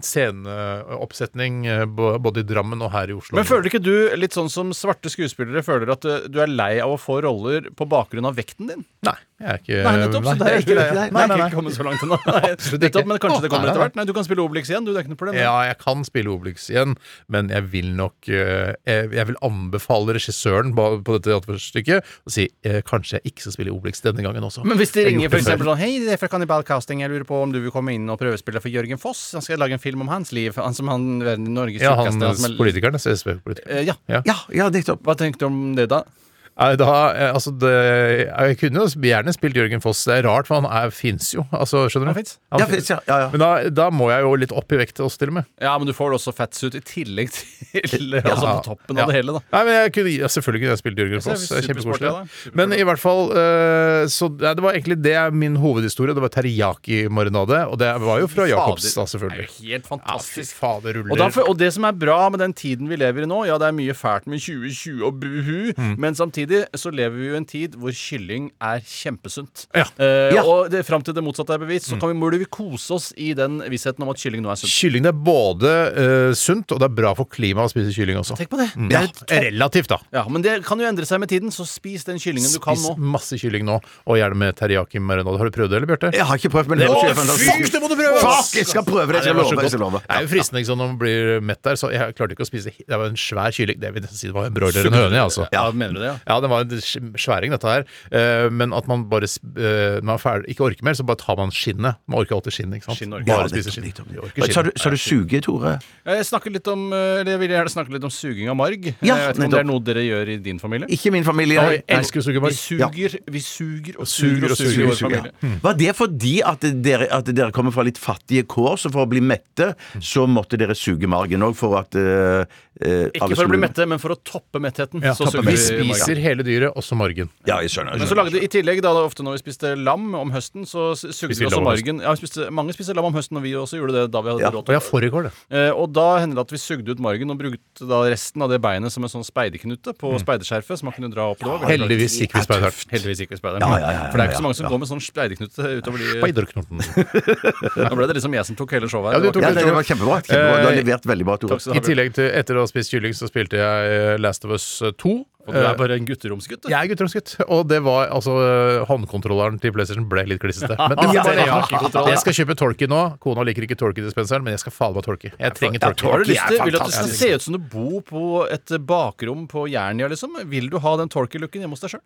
Speaker 4: sceneoppsetning eh, bo- både i Drammen og her i Oslo.
Speaker 6: Men føler ikke du, litt sånn som svarte skuespillere, føler at eh, du er lei av å få roller på bakgrunn av vekten din?
Speaker 4: Nei, jeg er ikke
Speaker 6: Nei, nettopp. Så det er ikke
Speaker 5: nei,
Speaker 6: lei. Nei,
Speaker 5: nei, nei,
Speaker 6: jeg
Speaker 5: nei.
Speaker 6: har ikke kommet så langt ennå. Nei,
Speaker 4: Absolutt ikke.
Speaker 6: Nettopp, men kanskje det kommer
Speaker 4: Nei,
Speaker 6: etter
Speaker 4: nei.
Speaker 6: hvert. Nei, du kan spille Obelix igjen, du. Det er ikke noe problem.
Speaker 4: Ja, jeg kan spille Obelix igjen, men jeg vil nok eh, Jeg jeg vil anbefale regissøren ba- på dette teaterstykket å si eh, kanskje jeg ikke skal spille Obelix denne gangen også.
Speaker 6: Men hvis de
Speaker 4: Jeg har
Speaker 6: ringer
Speaker 4: gjort det
Speaker 6: for
Speaker 4: før.
Speaker 6: eksempel sånn Hei, det er fra Kannibal Casting. Jeg lurer på om du vil komme inn og prøvespille for Jørgen Foss. Han skal lage en film om hans liv. Han som han Norges
Speaker 4: Ja,
Speaker 6: tjukkeste,
Speaker 4: han altså,
Speaker 6: som er-
Speaker 4: politikeren. SSB-politikeren.
Speaker 6: Eh, Ja.
Speaker 5: Ja, ja, nettopp.
Speaker 6: Hva tenkte du om det, da?
Speaker 4: Nei, Da, eh, altså det, jeg kunne jo gjerne spilt Jørgen Foss. Det er rart, for han fins jo. Altså, skjønner du?
Speaker 6: Han finnes.
Speaker 5: Ja, finnes, ja, ja, ja.
Speaker 4: Men da, da må jeg jo litt opp i vekt til oss, til og med.
Speaker 6: Ja, men du får også fatsuit i tillegg til Altså på toppen av
Speaker 4: Ja.
Speaker 6: det hele, da.
Speaker 4: Nei, men jeg kunne, ja, Selvfølgelig kunne jeg spilt Jørgen
Speaker 6: ser
Speaker 4: Foss. Det er
Speaker 6: supersport,
Speaker 4: Kjempekoselig.
Speaker 6: ja, da.
Speaker 4: da. Men i hvert fall eh, Så ja, det var egentlig det er min hovedhistorie. Det var teriyaki-marinade, og det var jo fra Jacobs, da, selvfølgelig.
Speaker 6: Det er jo helt
Speaker 4: Ja, fy
Speaker 6: fantastisk.
Speaker 4: fader, ruller.
Speaker 6: Og, derfor, og det som er bra med den tiden vi lever i nå Ja, det er mye fælt med 2020 og buhu,
Speaker 4: Mm.
Speaker 6: men samtidig så lever vi jo i en tid hvor kylling er kjempesunt.
Speaker 4: Ja. Mm.
Speaker 6: Eh,
Speaker 5: Ja.
Speaker 6: Og det, fram til det motsatte er bevist, så kan vi, burde vi kose oss i den vissheten om at kylling nå er sunt.
Speaker 4: Kylling det er både eh, sunt, og det er bra for klimaet å spise kylling også.
Speaker 6: Tenk på det.
Speaker 4: Ja,
Speaker 6: det er et topp.
Speaker 4: relativt, da.
Speaker 6: Mm. ja, men det kan jo endre seg med tiden, så spis den kyllingen du kan
Speaker 4: Spis
Speaker 6: nå.
Speaker 4: masse kylling nå, og gjerne med teriyaki-marinade. Har du prøvd det, eller, Bjarte?
Speaker 5: Jeg har ikke prøvd, men det
Speaker 4: Å,
Speaker 5: låter
Speaker 4: fy, det må du prøve!
Speaker 5: Fuck, jeg skal prøve det. Jeg
Speaker 4: Nei,
Speaker 5: skal
Speaker 4: var så godt.
Speaker 5: love. Jeg skal love.
Speaker 4: Det er jo fristende ikke sant, når man blir mett der, så jeg klarte ikke å spise he- Det var en svær kylling. Det vil jeg si det var en broiler og en høne, jeg, altså.
Speaker 6: Ja, mener du det, ja?
Speaker 4: Ja, den var en sj- sværing, dette her. Eh, Men at man bare sp- eh, når man er ferdig, ikke orker mer, så bare tar man skinnet. Man orker alltid skinnet, ikke sant?
Speaker 6: Skinn orker.
Speaker 5: Ja,
Speaker 4: Bare
Speaker 5: nettopp,
Speaker 4: spiser skinn.
Speaker 5: nettopp.
Speaker 4: Vi orker
Speaker 5: Hva Sa du,
Speaker 4: skinnet.
Speaker 5: sa du suge, Tore?
Speaker 6: Ja, Jeg, snakker litt om, eh, eller jeg vil gjerne snakke litt om suging av marg.
Speaker 5: Ja,
Speaker 6: jeg vet ikke om det
Speaker 5: nettopp.
Speaker 6: er noe dere gjør i din familie?
Speaker 5: Ikke min familie.
Speaker 4: Nei,
Speaker 5: Nei.
Speaker 4: jeg elsker å suge
Speaker 6: Vi
Speaker 4: marg.
Speaker 6: suger, vi suger og
Speaker 4: Suger
Speaker 6: suger
Speaker 4: og
Speaker 6: og suger i
Speaker 4: suger,
Speaker 6: vår
Speaker 4: suger,
Speaker 6: familie.
Speaker 5: Var det fordi at dere, at dere kommer fra litt fattige kår, så for å bli mette, så måtte dere suge margen òg for at eh, eh,
Speaker 6: Ikke
Speaker 5: alle
Speaker 6: for å bli
Speaker 5: skulle-
Speaker 6: mette, men for å toppe mettheten.
Speaker 4: Ja,
Speaker 6: så suger
Speaker 4: vi
Speaker 6: vi marg.
Speaker 4: spiser hele dyret, også margen.
Speaker 5: Ja, jeg skjønner.
Speaker 6: Men
Speaker 5: Jeg
Speaker 6: så lagde
Speaker 5: skjønner.
Speaker 6: I tillegg, da, da ofte når vi spiste lam om høsten, så s- sugde
Speaker 4: Spiste vi
Speaker 6: vi også
Speaker 4: lam om
Speaker 6: margen. Ja, vi spiste, mange spiste lam om høsten, og vi også gjorde det da vi hadde
Speaker 5: Ja,
Speaker 6: råd
Speaker 4: Og
Speaker 6: til
Speaker 4: jeg får i går, det.
Speaker 6: Eh, Og da hender det at vi sugde ut margen og brukte da resten av det beinet som en sånn speiderknute på speiderskjerfet, som man kunne dra opp. Det var veldig praktisk.
Speaker 4: Heldigvis gikk vi speideren.
Speaker 6: Heldigvis ikke speideren.
Speaker 5: Ja, ja, ja, ja,
Speaker 6: For det er ikke
Speaker 5: ja,
Speaker 6: så mange som
Speaker 5: ja.
Speaker 6: går med sånn speiderknute utover de
Speaker 4: Speiderknoten.
Speaker 6: Nå ble det liksom jeg som tok hele showet
Speaker 4: Ja,
Speaker 6: her.
Speaker 4: du
Speaker 6: Det var
Speaker 4: tok
Speaker 5: Ja,
Speaker 6: ikke-
Speaker 5: det, det var kjempebra. kjempebra. Du har levert veldig bra, Tore.
Speaker 6: Takk skal
Speaker 4: I
Speaker 6: du ha.
Speaker 4: tillegg til, etter å ha spist kylling, så spilte jeg eh, Last of Us 2.
Speaker 6: Og Du
Speaker 4: Eh,
Speaker 6: er bare en gutteromsgutt, du.
Speaker 4: Jeg er gutteromsgutt, og det var altså eh, Håndkontrolleren til PlayStation ble litt klissete. Men det var
Speaker 6: Ja,
Speaker 4: bare
Speaker 6: det har ikke kontroll.
Speaker 4: jeg. Jeg skal kjøpe Torky nå. Kona liker ikke Torky-dispenseren, men jeg skal faen meg Torky. Jeg trenger
Speaker 6: Ja,
Speaker 4: Torky.
Speaker 6: har du lyst til, vil du at det
Speaker 4: fantastisk.
Speaker 6: skal se ut som du bor på et eh, bakrom på Jernia, liksom? Vil du ha den Torky-looken hjemme hos deg sjøl?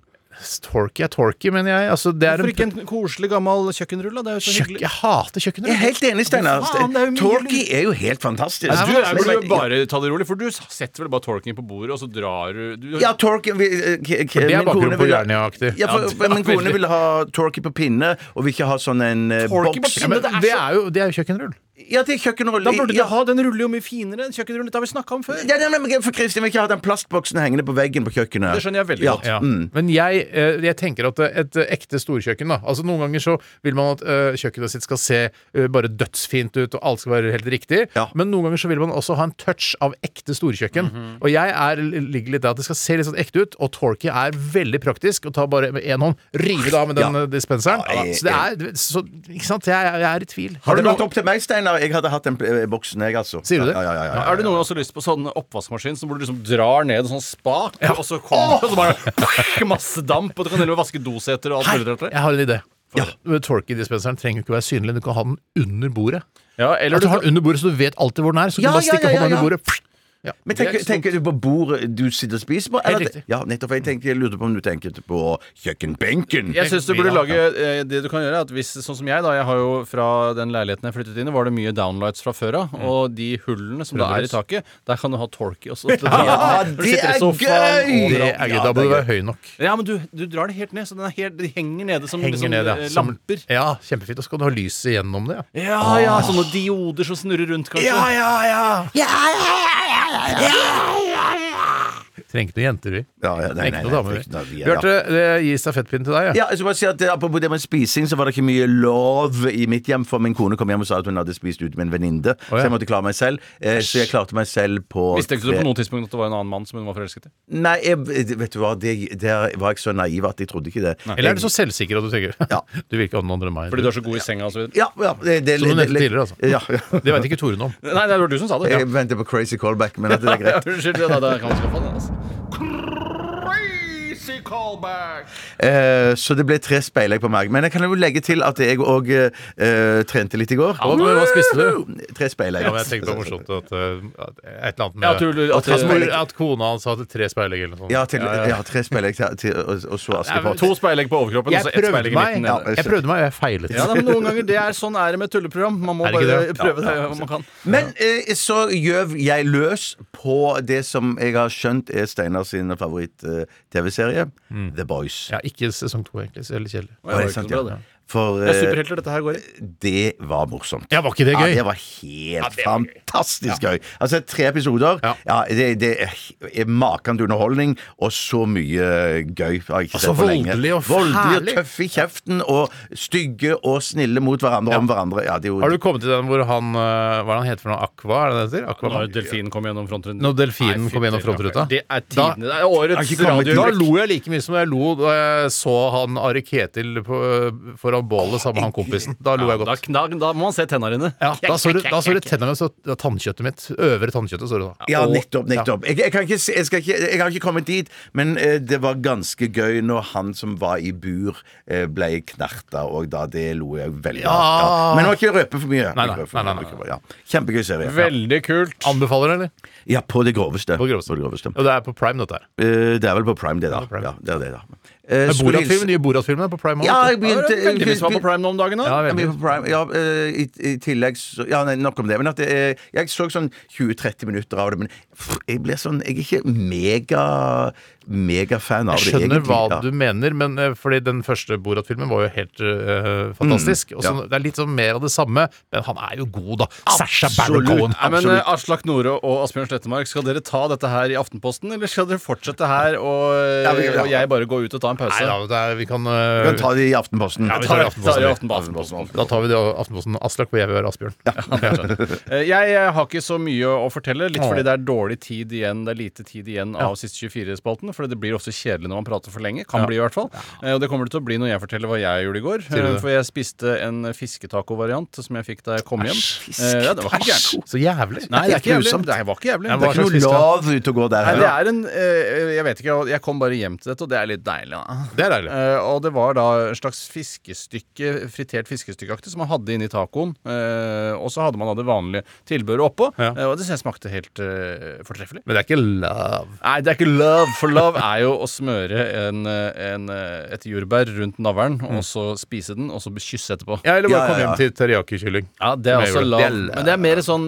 Speaker 4: Torky er Torky, mener jeg. Altså, det er
Speaker 6: Hvorfor ikke
Speaker 4: en
Speaker 6: en koselig, gammel kjøkkenrulle? Det er jo så
Speaker 4: Kjøkken,
Speaker 6: hyggelig.
Speaker 4: jeg hater
Speaker 5: Jeg er
Speaker 4: kjøkkenrull.
Speaker 5: helt enig, Steinar.
Speaker 6: Faen, det er jo mye Altså,
Speaker 5: Torky er jo helt fantastisk.
Speaker 6: Du
Speaker 5: Men-
Speaker 6: burde jo
Speaker 5: men-
Speaker 6: bare ta det rolig, for du setter vel bare Torken på bordet, og så drar du, du
Speaker 5: Ja, Torky vi- eh, k- k-
Speaker 4: Det er
Speaker 5: min kone
Speaker 4: bakgrunnen på
Speaker 5: vil ha-
Speaker 4: Jernia-aktig.
Speaker 5: Ja,
Speaker 6: Ja,
Speaker 5: for
Speaker 6: det er
Speaker 5: min kone
Speaker 6: veldig-
Speaker 5: vil ha Torky på pinne, og vil ikke ha sånn en eh,
Speaker 6: Torky på
Speaker 5: boks.
Speaker 6: pinne?
Speaker 4: Ja, men
Speaker 6: det er
Speaker 4: det
Speaker 6: så-
Speaker 4: er jo, det er jo kjøkkenrull.
Speaker 5: Ja, til kjøkkenrulle.
Speaker 6: Da burde du
Speaker 5: Ja.
Speaker 6: ha den rulle jo mye finere enn kjøkkenrulle. Det har vi snakka om før.
Speaker 5: Ja, nei, men for Kristin vil ikke ha den plastboksen hengende på veggen på kjøkkenet.
Speaker 6: Det skjønner jeg veldig
Speaker 5: ja.
Speaker 6: godt.
Speaker 4: Ja.
Speaker 5: Mm.
Speaker 4: Men jeg, eh, jeg tenker at et eh, ekte storkjøkken da, altså Noen ganger så vil man at eh, kjøkkenet sitt skal se eh, bare dødsfint ut, og alt skal være helt riktig.
Speaker 5: Ja.
Speaker 4: Men noen ganger så vil man også ha en touch av ekte storkjøkken.
Speaker 5: Mhm.
Speaker 4: Og jeg er, ligger litt der at det skal se litt sånn ekte ut, og Torky er veldig praktisk. Og tar bare med én hånd, river det av med den
Speaker 5: Ja.
Speaker 4: eh, dispenseren.
Speaker 5: Ja, jeg-
Speaker 4: så det er så, Ikke sant? Jeg, jeg er i tvil.
Speaker 5: Har det
Speaker 4: du
Speaker 5: vært
Speaker 4: noe-
Speaker 5: opp til meg, Steinar? Jeg hadde hatt den eh, boksen, jeg, altså.
Speaker 4: Sier du det?
Speaker 5: Ja, ja, ja, ja,
Speaker 6: Ja,
Speaker 5: ja.
Speaker 6: Er det noen også lyst på sånn oppvaskmaskin som hvor du liksom drar ned en sånn spak, og så kommer det og så bare masse damp, og du kan heller vaske doseter og alt mulig rart? der?
Speaker 4: Jeg har en idé. Men Torky-dispenseren trenger jo ikke være synlig. Du kan ha den under bordet.
Speaker 6: Ja, eller
Speaker 4: At du
Speaker 6: Altså, du
Speaker 4: har den under bordet, så du vet alltid hvor den er. Så du
Speaker 5: Ja,
Speaker 4: bare
Speaker 5: ja,
Speaker 4: stikker
Speaker 5: ja, ja,
Speaker 4: hånda under
Speaker 5: ja.
Speaker 4: bordet. pff,
Speaker 5: Men
Speaker 6: Det er
Speaker 5: tenker,
Speaker 6: ikke
Speaker 5: tenker du på bordet du sitter og spiser på? eller-
Speaker 4: riktig.
Speaker 5: Ja, nettopp. Jeg, tenker, jeg lurte på om du tenker på kjøkkenbenken.
Speaker 6: Jeg syns du burde
Speaker 4: Ja.
Speaker 6: lage eh, Det du kan gjøre, er at hvis Sånn som jeg, da. Jeg har jo fra den leiligheten jeg flyttet inn i, var det mye downlights fra før av. Og de hullene som da er i taket, der kan du ha torky også.
Speaker 5: Ja,
Speaker 6: Du
Speaker 5: det
Speaker 6: sitter i
Speaker 5: er
Speaker 6: sofaen,
Speaker 5: gøy!
Speaker 6: overalt.
Speaker 4: Det er gøy. Da bør du være høy nok.
Speaker 6: Ja, men du, du drar det helt ned, så den er helt, de henger nede som
Speaker 4: Henger
Speaker 6: liksom,
Speaker 4: ned, ja.
Speaker 6: eh,
Speaker 4: Som-
Speaker 6: lamper.
Speaker 4: Ja, kjempefint. Og så kan du ha lyset gjennom det. Ja.
Speaker 6: Ja, ja, sånne dioder som snurrer rundt, kanskje.
Speaker 5: Ja, ja, ja.
Speaker 4: Trenger ikke noen jenter, vi.
Speaker 5: Ja, ja, nei,
Speaker 4: Trenger
Speaker 5: nei,
Speaker 4: ikke
Speaker 5: nei,
Speaker 4: noen damer,
Speaker 5: trenger ikke noen-
Speaker 4: vi.
Speaker 5: vi er-
Speaker 4: Bjarte, det gir stafettpinnen til deg. Ja.
Speaker 5: Ja, jeg skal bare si at eh, Apropos det med spising, så var det ikke mye lov i mitt hjem. For min kone kom hjem og sa at hun hadde spist ute med en venninne.
Speaker 4: ja.
Speaker 5: Så jeg måtte klare meg selv. Eh, Så jeg klarte meg selv på
Speaker 6: Visste ikke du
Speaker 5: tre-
Speaker 6: på noe tidspunkt at det var en annen mann som hun var forelsket i?
Speaker 5: Nei, jeg, eh, vet du hva, det, der var jeg så naiv at jeg trodde ikke det.
Speaker 4: Eller er du så selvsikker at du tenker
Speaker 5: Ja.
Speaker 4: Du virker annerledes enn meg.
Speaker 6: Fordi du er så god i senga og så videre.
Speaker 5: Ja, ja. Det, det,
Speaker 4: Som du
Speaker 5: det-
Speaker 4: nevnte tidligere, altså.
Speaker 5: Ja, ja.
Speaker 4: Det veit ikke Tore noe om.
Speaker 6: Nei, det var du som sa det. Ja.
Speaker 5: Jeg venter på crazy callback, men at det er greit.
Speaker 6: Unnskyld, det, det kan man skaffe det, altså.
Speaker 5: Eh, så det ble tre speilegg på magen. Men jeg kan jo legge til at jeg òg eh, trente litt i går.
Speaker 4: Hva- hva spiste du?
Speaker 5: Tre speilegg.
Speaker 4: Ja, men jeg tenkte det var morsomt at, uh, at et eller annet med
Speaker 6: Ja, at du- at-
Speaker 4: at, mor- at kona hans hadde tre speilegg eller noe sånt.
Speaker 5: Ja, til, ja, tre speilegg til, til, og, og så Askepott.
Speaker 6: To speilegg på overkroppen og
Speaker 4: Jeg
Speaker 6: så ett
Speaker 4: prøvde
Speaker 6: speilegg i midten.
Speaker 4: meg,
Speaker 5: ja.
Speaker 6: nede.
Speaker 4: jeg prøvde meg, og jeg feilet.
Speaker 6: Ja, da, men Noen ganger det er sånn er det med tulleprogram. Man må
Speaker 4: Er det
Speaker 6: bare
Speaker 4: ikke det?
Speaker 6: prøve det om man kan.
Speaker 5: Men eh, så gjøv jeg løs på det som jeg har skjønt er Steinar sin favoritt-TV-serie, eh, The Boys.
Speaker 4: Ja, ikke sesong to, egentlig. Så veldig kjedelig.
Speaker 5: Å, er det sant, ja? For
Speaker 6: Det er
Speaker 5: eh,
Speaker 6: superhelter dette her går i.
Speaker 5: det var morsomt.
Speaker 4: Ja, var ikke det gøy?
Speaker 5: Ja, det var helt fantastisk gøy. Altså, tre episoder.
Speaker 4: Ja.
Speaker 5: Ja. det, det er maken til underholdning, og så mye gøy. har jeg
Speaker 4: Og
Speaker 5: ikke
Speaker 4: så
Speaker 5: sett på lenge.
Speaker 4: voldelig og
Speaker 5: Voldelig og
Speaker 4: herlig.
Speaker 5: tøff i kjeften, og stygge og snille mot hverandre om hverandre. Ja, det er jo
Speaker 4: Har du kommet til den hvor han uh, Hva er det han heter for noe? Aqua? Er det det heter? Aqua?
Speaker 6: Når delfinen kom gjennom frontrunden.
Speaker 4: Når delfinen kom gjennom frontruta?
Speaker 6: Det er
Speaker 4: Da-
Speaker 6: tidene. Det er årets
Speaker 4: Da
Speaker 6: radioøyeblikk.
Speaker 4: lo jeg like mye som jeg lo da jeg så han Are Ketil på, eh, foran bålet sammen med han kompisen. Da lo jeg
Speaker 6: Da,
Speaker 4: godt.
Speaker 6: da, da må man se tenna dine.
Speaker 4: Ja, da så du, da så du tennene så ja, tannkjøttet mitt. Øvre tannkjøttet, så du da.
Speaker 5: Ja,
Speaker 4: Og-
Speaker 5: nettopp. nettopp. Jeg, jeg, kan ikke, si- jeg, skal ikke, jeg har ikke kommet dit, men eh, det var ganske gøy når han som var i bur, eh, ble knerta, og da det lo jeg veldig
Speaker 4: Ja.
Speaker 5: av. Ja. Men jeg må ikke røpe for mye.
Speaker 4: Nei, nei,
Speaker 5: Ikke røpe for
Speaker 4: nei, nei,
Speaker 5: mye,
Speaker 4: nei.
Speaker 5: ikke røpe- Ja. Kjempegøy serie. Ja.
Speaker 6: Veldig kult.
Speaker 4: Anbefaler, eller?
Speaker 5: ja, på det groveste.
Speaker 4: På groveste.
Speaker 5: På det, groveste.
Speaker 4: Og det er på Prime, dette her.
Speaker 5: Eh, det er vel på Prime, det, da.
Speaker 4: på Prime.
Speaker 5: Ja, det er det, da. Eh,
Speaker 4: Det er
Speaker 5: skulle
Speaker 4: Borat-film,
Speaker 5: hilse-
Speaker 4: nye Borat-filmen er på Prime. også.
Speaker 5: Ja, jeg begynte
Speaker 6: Det er veldig mye som er på Prime nå om dagen.
Speaker 4: Ja,
Speaker 6: Da.
Speaker 5: Jeg
Speaker 4: veldig.
Speaker 5: begynte på Prime. Ja, eh, i, I tillegg så Ja, nei, nok om det. Men at det, er- jeg så sånn 20-30 minutter av det, men pff, jeg blir sånn Jeg er ikke mega megafan av
Speaker 4: Jeg
Speaker 5: det,
Speaker 4: skjønner
Speaker 5: egentlig.
Speaker 4: hva
Speaker 5: ja.
Speaker 4: du mener, men eh, fordi den første Borat-filmen var jo helt eh, fantastisk. Og så,
Speaker 5: Mm, ja.
Speaker 4: Det er litt sånn mer av det samme, men han er jo god, da. Sasha Baron
Speaker 5: Absolutt.
Speaker 4: Cohen.
Speaker 6: Nei, men
Speaker 5: Absolutt.
Speaker 6: eh, Aslak Nore og Asbjørn Slettemark, skal dere ta dette her i Aftenposten, eller skal dere fortsette her og, eh,
Speaker 5: Ja, vi- ja.
Speaker 6: og jeg bare gå ut og ta en pause?
Speaker 4: Nei da, det er, vi kan,
Speaker 5: Vi
Speaker 4: eh,
Speaker 5: kan ta det i Aftenposten.
Speaker 4: Ja, vi
Speaker 6: Ta
Speaker 4: tar
Speaker 6: det
Speaker 4: i Aftenposten.
Speaker 6: i Aftenposten.
Speaker 4: Da tar vi det i Aftenposten. Aslak og jeg vil være Asbjørn.
Speaker 6: Eh, Jeg eh, har ikke så mye å fortelle, litt
Speaker 4: Åh.
Speaker 6: fordi det er dårlig tid igjen. Det er lite tid igjen av siste 24-spalten, for det blir ofte kjedelig når man prater for lenge. Kan bli, i hvert fall. Eh, Og det kommer det til å bli når jeg forteller hva jeg gjorde i går.
Speaker 4: du
Speaker 6: eh,
Speaker 4: det?
Speaker 6: For jeg spiste en fisketaco-variant som jeg fikk da jeg kom hjem.
Speaker 5: fisk-
Speaker 6: Eh, Ja, det var ikke gærent.
Speaker 4: Så jævlig.
Speaker 6: Nei, det er ikke jævlig.
Speaker 5: grusomt.
Speaker 6: Det var ikke jævlig.
Speaker 4: Nei,
Speaker 5: Det
Speaker 4: hva
Speaker 5: er ikke
Speaker 4: slags
Speaker 5: noe
Speaker 4: fisk, da?
Speaker 5: lav ute og gå der.
Speaker 6: Nei,
Speaker 5: her.
Speaker 6: det er en eh, Jeg vet ikke, jeg kom bare hjem til dette, og det er litt deilig. Da.
Speaker 4: Det er deilig.
Speaker 6: Eh, og det var da et slags fiskestykke, fritert fiskestykkeaktig, som man hadde inni tacoen. Eh, og så hadde man da det vanlige tilbehøret oppå,
Speaker 4: Ja.
Speaker 6: eh, og det synes jeg smakte helt eh, fortreffelig.
Speaker 4: Men det er ikke love.
Speaker 6: Nei, det er ikke love, for love er jo å smøre en, eh, en, eh, et jordbær rundt navlen, og så spise den, og så kysse etterpå.
Speaker 4: Ja, eller bare
Speaker 5: Ja, ja,
Speaker 4: komme
Speaker 5: ja.
Speaker 4: hjem til teriyaki-kylling.
Speaker 6: Ja, det
Speaker 4: Som
Speaker 6: er
Speaker 4: jeg
Speaker 6: også
Speaker 4: gjorde.
Speaker 6: love.
Speaker 4: Det er love.
Speaker 6: Men det er mer sånn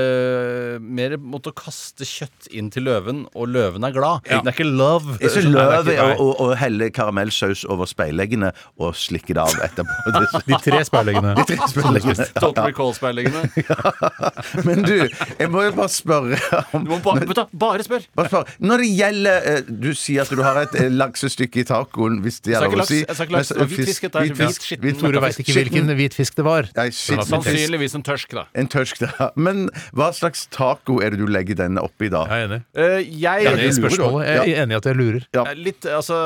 Speaker 6: eh, Mer mot å kaste kjøtt inn til løven, og løven er glad. Det er ikke love.
Speaker 5: Jeg syns
Speaker 6: Nei, det er
Speaker 5: løv
Speaker 6: ikke
Speaker 5: er å,
Speaker 6: love.
Speaker 5: å, å helle karamellsaus over speileggene og slikke det av etterpå.
Speaker 4: De tre speileggene.
Speaker 5: De tre speileggene.
Speaker 6: Total
Speaker 5: Ja,
Speaker 6: recall-speilingene.
Speaker 5: ja. Men du, jeg må jo bare spørre om
Speaker 6: Du må bare, vet du hva, bare spør!
Speaker 5: bare spørre. Når det gjelder eh, Du sier at du har et eh, laksestykke i tacoen, hvis det
Speaker 6: Jeg sa
Speaker 5: gjelder
Speaker 6: ikke
Speaker 5: å si.
Speaker 6: laks, jeg sa ikke laks, det var hvit fisk, dette er hvit skitten.
Speaker 4: Tore veit ikke hvilken hvit fisk det var.
Speaker 5: Nei,
Speaker 4: Den var
Speaker 5: shit, shit.
Speaker 4: fantastisk.
Speaker 6: Sannsynligvis en tørsk, da.
Speaker 5: En tørsk, da. Men hva slags taco er det du legger denne oppi da?
Speaker 4: Jeg er enig.
Speaker 6: Eh, jeg
Speaker 4: Jeg er enig i spørsmålet. Jeg er enig i at jeg lurer.
Speaker 5: Ja.
Speaker 6: Eh, Litt, altså,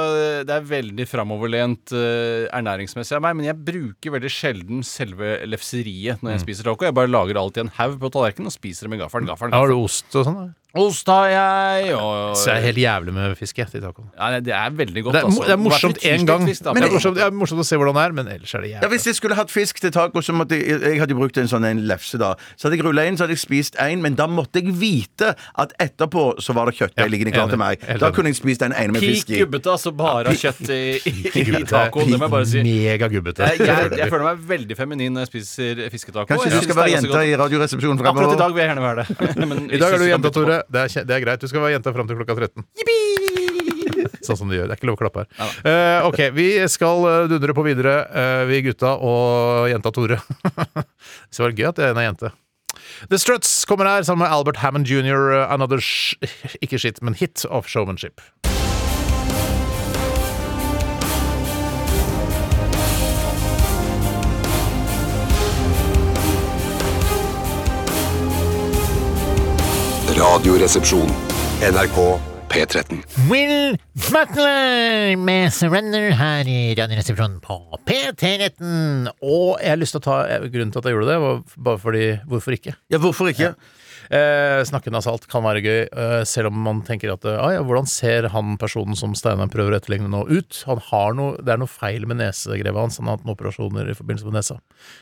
Speaker 6: det er veldig framoverlent eh, ernæringsmessig av meg, men jeg bruker veldig sjelden selve lefseriet
Speaker 4: Mm.
Speaker 6: når jeg spiser taco. Jeg bare lager alt i en haug på tallerkenen og spiser det med gaffelen. gaffelen,
Speaker 4: Har
Speaker 6: gaffelen.
Speaker 4: du ost og sånn? da?
Speaker 6: Ost har jeg, og
Speaker 4: Så jeg er helt jævlig med fisk jeg, til tacoen.
Speaker 6: ja, nei, Det er veldig godt,
Speaker 4: Det er, mo-
Speaker 6: altså.
Speaker 4: det er morsomt
Speaker 6: Hvert litt
Speaker 4: én gang.
Speaker 6: tirsdagsvis, da.
Speaker 4: Det er morsomt, det er morsomt å se hvordan det er, men ellers er det
Speaker 5: Ja,
Speaker 4: jævlig.
Speaker 5: Hvis jeg skulle hatt fisk til taco, så måtte jeg, jeg hadde jo brukt en sånn en lefse. da Så hadde jeg rulla inn, så hadde jeg spist én, men da måtte jeg vite at etterpå så var det kjøttdeig
Speaker 4: Ja,
Speaker 5: liggende klar
Speaker 4: enig.
Speaker 5: til meg.
Speaker 4: Helt
Speaker 5: Da
Speaker 4: enig.
Speaker 5: kunne jeg spist den ene med
Speaker 6: Peak
Speaker 5: fisk i.
Speaker 6: gubbete, altså bare av kjøtt i, i, i tacoen. Det må jeg bare si.
Speaker 4: Megagubbete.
Speaker 6: Jeg, jeg, jeg føler meg veldig feminin når jeg spiser fisketaco.
Speaker 5: Kanskje
Speaker 6: Jeg
Speaker 5: du
Speaker 6: synes
Speaker 5: skal
Speaker 6: det er
Speaker 5: være
Speaker 6: ganske
Speaker 5: jenta
Speaker 6: godt.
Speaker 5: i Radioresepsjonen
Speaker 6: Akkurat i dag
Speaker 5: fremover?
Speaker 6: vil jeg gjerne være det. Men
Speaker 4: I dag er du
Speaker 6: hvis
Speaker 4: jenta,
Speaker 6: ikke, så kan
Speaker 4: Tore. Det er, kje- det er greit. Du skal være jenta fram til klokka 13. sånn som de gjør. Det er ikke lov å klappe her. Eh, ok, Vi skal eh, dundre på videre, eh, vi gutta og jenta Tore. Så var det gøy at det er en er jente. The Struts kommer her sammen med Albert Hammond jr. eh, Another sh ikke shit, men hit of showmanship.
Speaker 2: Radioresepsjon. NRK P13.
Speaker 7: Will Butler med Surrender her i Radioresepsjonen på P13.
Speaker 4: eh, Og jeg har lyst til å ta Grunnen til at jeg gjorde det, var bare fordi Hvorfor ikke?
Speaker 5: Ja, hvorfor ikke?
Speaker 4: Eh, snakke nasalt kan være gøy, eh, selv om man tenker at eh, ah, ja, hvordan ser han personen som Steinar prøver å etterligne nå, ut? Han har noe, det er noe feil med nesegrevet hans. Han har hatt noen operasjoner i forbindelse med nesa.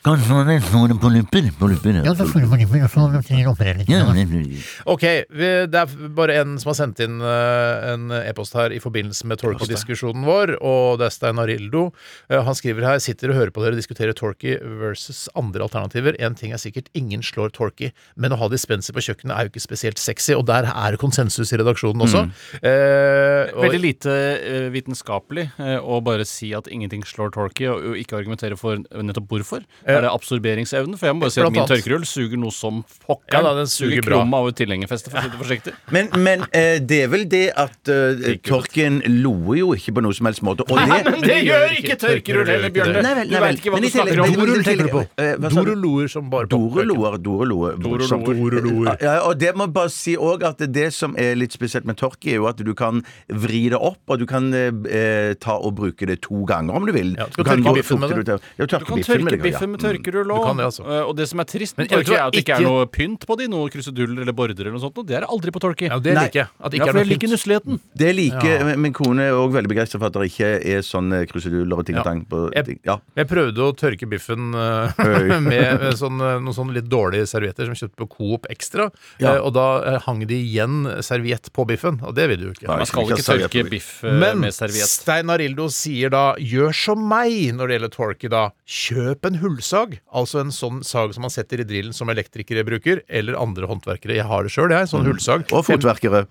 Speaker 8: Kanskje man vil få det på lupper? På lupper,
Speaker 7: Ja, da får du bare begynne å operere litt.
Speaker 8: Ja,
Speaker 7: da.
Speaker 8: det blir-
Speaker 4: Ok, vi, det er bare en som har sendt inn eh, en e-post her i forbindelse med Torky-diskusjonen vår, og det er Steinar Rildo. Eh, han skriver her sitter og hører på dere diskutere Torky versus andre alternativer. Én ting er sikkert, ingen slår Torky, men å ha dispenser på kjøkkenet er jo ikke spesielt sexy, og der er konsensus i redaksjonen også. Eh, og-
Speaker 6: Veldig lite eh, vitenskapelig eh, å bare si at ingenting slår Torky, og og ikke argumentere for nettopp hvorfor. Er det absorberingsevnen? For jeg må bare si at
Speaker 4: Blant
Speaker 6: min
Speaker 4: annet.
Speaker 6: tørkerull suger noe som
Speaker 4: Ja
Speaker 6: pokker.
Speaker 4: da, den suger bra.
Speaker 6: krum av et tilhengerfeste, for å si det forsiktig.
Speaker 5: Men, men eh, det er vel det at eh, Torken loer jo ikke på noe som helst måte. Og det
Speaker 6: Men det gjør ikke tørkerull heller, Bjørne.
Speaker 5: Nei vel,
Speaker 6: Du
Speaker 5: nei vel.
Speaker 6: veit ikke hva
Speaker 5: Men
Speaker 6: du
Speaker 5: i tillegg-
Speaker 6: snakker om.
Speaker 5: men-
Speaker 4: Dorull tenker du på.
Speaker 5: Eh, hva sa du?
Speaker 4: Dorulloer som bare påpeker.
Speaker 5: Doreloer, doreloer.
Speaker 6: Doreloer.
Speaker 4: Doreloer.
Speaker 5: Ja, og det må jeg bare si også at det som er litt spesielt med Torki, er jo at du kan vri det opp, og du kan eh, ta og bruke det to ganger om du vil.
Speaker 4: Ja, du kan
Speaker 5: kan
Speaker 4: tørke
Speaker 5: gå-
Speaker 4: biffen med
Speaker 5: fukte
Speaker 4: det.
Speaker 5: ut- Ja,
Speaker 6: Du kan tørke
Speaker 5: ja.
Speaker 6: biffen med tørkerull
Speaker 4: Du kan
Speaker 6: òg.
Speaker 4: det, altså.
Speaker 6: Eh, Og det som er trist
Speaker 4: Men
Speaker 6: med
Speaker 4: jeg
Speaker 6: Torky,
Speaker 4: tror
Speaker 6: er at det ikke er
Speaker 4: ikke-
Speaker 6: noe pynt på de, noe kruseduller eller borderer eller noe sånt. Og det er det aldri på Torky.
Speaker 4: Ja, det
Speaker 5: Nei.
Speaker 4: liker jeg. At det
Speaker 6: Ja,
Speaker 4: ikke
Speaker 6: for
Speaker 4: er
Speaker 6: jeg
Speaker 4: noe
Speaker 6: liker
Speaker 4: pynt.
Speaker 6: nusseligheten.
Speaker 5: Det liker men Min kone er også veldig begeistra for at det ikke er sånn eh, kruseduller og ting og
Speaker 4: Ja.
Speaker 5: tang på
Speaker 4: Jeg-
Speaker 5: ting. Ja.
Speaker 4: Jeg prøvde å tørke biffen eh,
Speaker 5: Oi.
Speaker 4: med eh, sånn, eh, noen sånne litt dårlige servietter som jeg kjøpte på Coop Extra,
Speaker 5: Ja.
Speaker 4: eh, og da eh, hang det igjen serviett på biffen, og det vil du jo ikke.
Speaker 5: Nei.
Speaker 6: Man skal ikke
Speaker 5: Ikke
Speaker 6: tørke
Speaker 5: serviett.
Speaker 6: biff eh,
Speaker 4: Men
Speaker 6: med serviett.
Speaker 4: Stein Arildo sier da 'gjør som meg' når det gjelder torky, da. Kjøp en hullsag, altså en sånn sag som man setter i drillen som elektrikere bruker, eller andre håndverkere. Jeg har det sjøl, jeg. Sånn hullsag.
Speaker 5: Mm. Og fotverkere.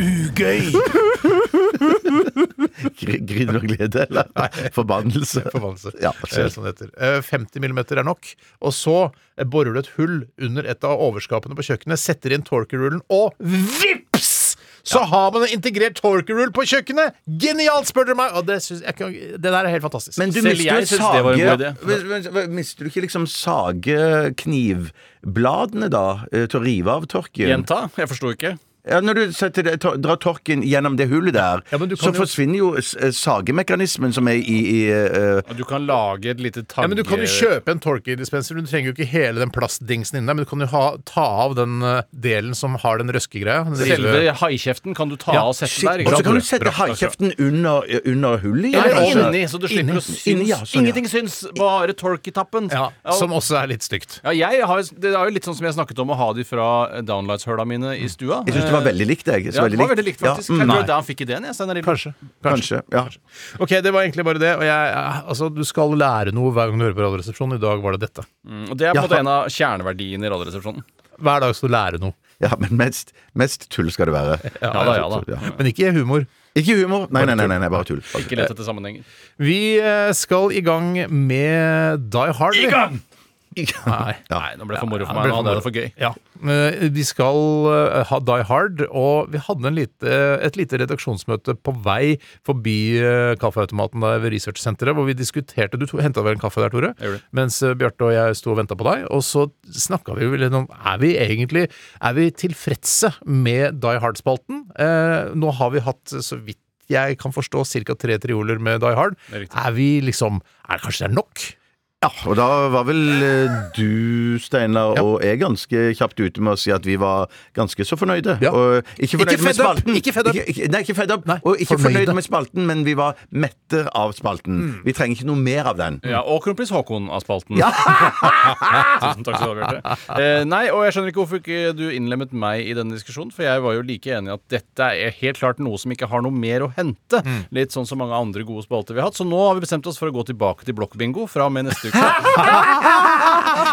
Speaker 3: Ugøy!
Speaker 5: Gr- Griner du av glede, eller? Forbannelse.
Speaker 4: Forbannelse.
Speaker 5: Ja,
Speaker 4: Eh, sånn det heter. Eh, 50 millimeter er nok. Og så eh, borer du et hull under et av overskapene på kjøkkenet, setter inn torkerullen, og vips! Så har man en integrert torkerull på kjøkkenet! Genialt, spør dere meg! Og det, syns jeg, kan- det der er helt fantastisk.
Speaker 5: Men du
Speaker 6: Selv
Speaker 5: mister jo
Speaker 6: jeg synes det var en god
Speaker 5: sage Men- men- Mister du ikke liksom sageknivbladene, da, eh, til å rive av torken?
Speaker 6: Gjenta? Jeg forsto ikke.
Speaker 5: Ja, når du setter det, tor- drar torken gjennom det hullet der,
Speaker 4: Ja, men du
Speaker 5: så
Speaker 4: kan jo-
Speaker 5: forsvinner jo s- eh, sagemekanismen som er i, i eh,
Speaker 6: Du kan lage et lite
Speaker 4: ja,
Speaker 6: tagge...
Speaker 4: men Du kan jo kjøpe en torkedispenser. Du trenger jo ikke hele den plastdingsen inni der, men du kan jo ha, ta av den eh, delen som har den røskegreia. den rive-
Speaker 6: Selve haikjeften kan du ta av og sette der.
Speaker 5: Og så kan du
Speaker 6: sant?
Speaker 5: sette
Speaker 4: altså.
Speaker 5: haikjeften under, eh, under hullet igjen. altså.
Speaker 6: Eller
Speaker 5: kanskje.
Speaker 6: inni, så du slipper å synes.
Speaker 5: Inni, ja, sånn, ja.
Speaker 6: Ingenting syns, bare torky-tappen.
Speaker 4: Ja, som også er litt stygt.
Speaker 6: Ja, jeg har, det er jo litt sånn som jeg snakket om å ha de fra downlights-høla mine i stua. Eh,
Speaker 5: Jeg syns det var veldig likt, jeg. Så
Speaker 6: Ja, det var veldig likt, faktisk.
Speaker 5: Ja,
Speaker 6: jeg
Speaker 5: mm,
Speaker 6: tror det er der han fikk ideen, jeg, Steinar Iversen.
Speaker 4: Kanskje.
Speaker 5: kanskje. Ja.
Speaker 4: Ok, det var egentlig bare det. Og jeg, altså, du skal lære noe hver gang du hører på Radioresepsjonen. I dag var det dette.
Speaker 6: Mm, Og det er på en
Speaker 5: Ja.
Speaker 6: måte en av kjerneverdiene i Radioresepsjonen.
Speaker 4: Hver dag skal du lære noe.
Speaker 5: ja, men mest, mest tull skal det være.
Speaker 6: Ja da, ja da.
Speaker 4: Men ikke humor.
Speaker 5: Ikke humor. Nei, nei, nei, nei, nei bare tull. Bare tull.
Speaker 6: Ikke lett etter sammenhenger.
Speaker 4: Vi eh, skal i gang med Die Hard. vi. Nei.
Speaker 6: Nei, nå ble det for moro
Speaker 4: Ja,
Speaker 6: for
Speaker 4: det
Speaker 6: meg.
Speaker 4: ble for
Speaker 6: Nå det
Speaker 4: moro.
Speaker 6: er det for gøy.
Speaker 4: Ja. Eh, Vi skal eh, ha Die Hard, og vi hadde en lite, et lite redaksjonsmøte på vei forbi eh, kaffeautomaten der ved researchsenteret, hvor vi diskuterte Du henta vel en kaffe der, Tore?
Speaker 6: Jeg gjorde det.
Speaker 4: Mens eh, Bjarte og jeg sto og venta på deg. Og så snakka vi jo litt om Er vi egentlig er vi tilfredse med Die Hard-spalten? Eh, nå har vi hatt, eh, så vidt jeg kan forstå, ca. tre trioler med Die Hard.
Speaker 6: Det er riktig.
Speaker 4: Er vi liksom er, Kanskje det er nok?
Speaker 5: Ja, og da var vel eh, du, Steinar, og jeg ganske kjapt ute med å si at vi var ganske så fornøyde.
Speaker 4: Ja.
Speaker 5: Og ikke fornøyde
Speaker 4: Ikke
Speaker 5: med
Speaker 4: fed up,
Speaker 5: spalten.
Speaker 4: ikke fed up.
Speaker 5: Ikke- nei, ikke fed up.
Speaker 4: Nei,
Speaker 5: og ikke
Speaker 4: fornøyde. Mm.
Speaker 5: fornøyde med spalten, men vi var mette av spalten. Vi trenger ikke noe mer av den.
Speaker 6: Ja, og kronprins Haakon av spalten. Tusen takk skal du ha, Bjarte. Eh, nei, og jeg skjønner ikke hvorfor ikke du innlemmet meg i denne diskusjonen, for jeg var jo like enig i at dette er helt klart noe som ikke har noe mer å hente.
Speaker 4: Mm.
Speaker 6: Litt sånn som mange andre gode spalter vi har hatt. Så nå har vi bestemt oss for å gå tilbake til blokkbingo fra og med neste uke.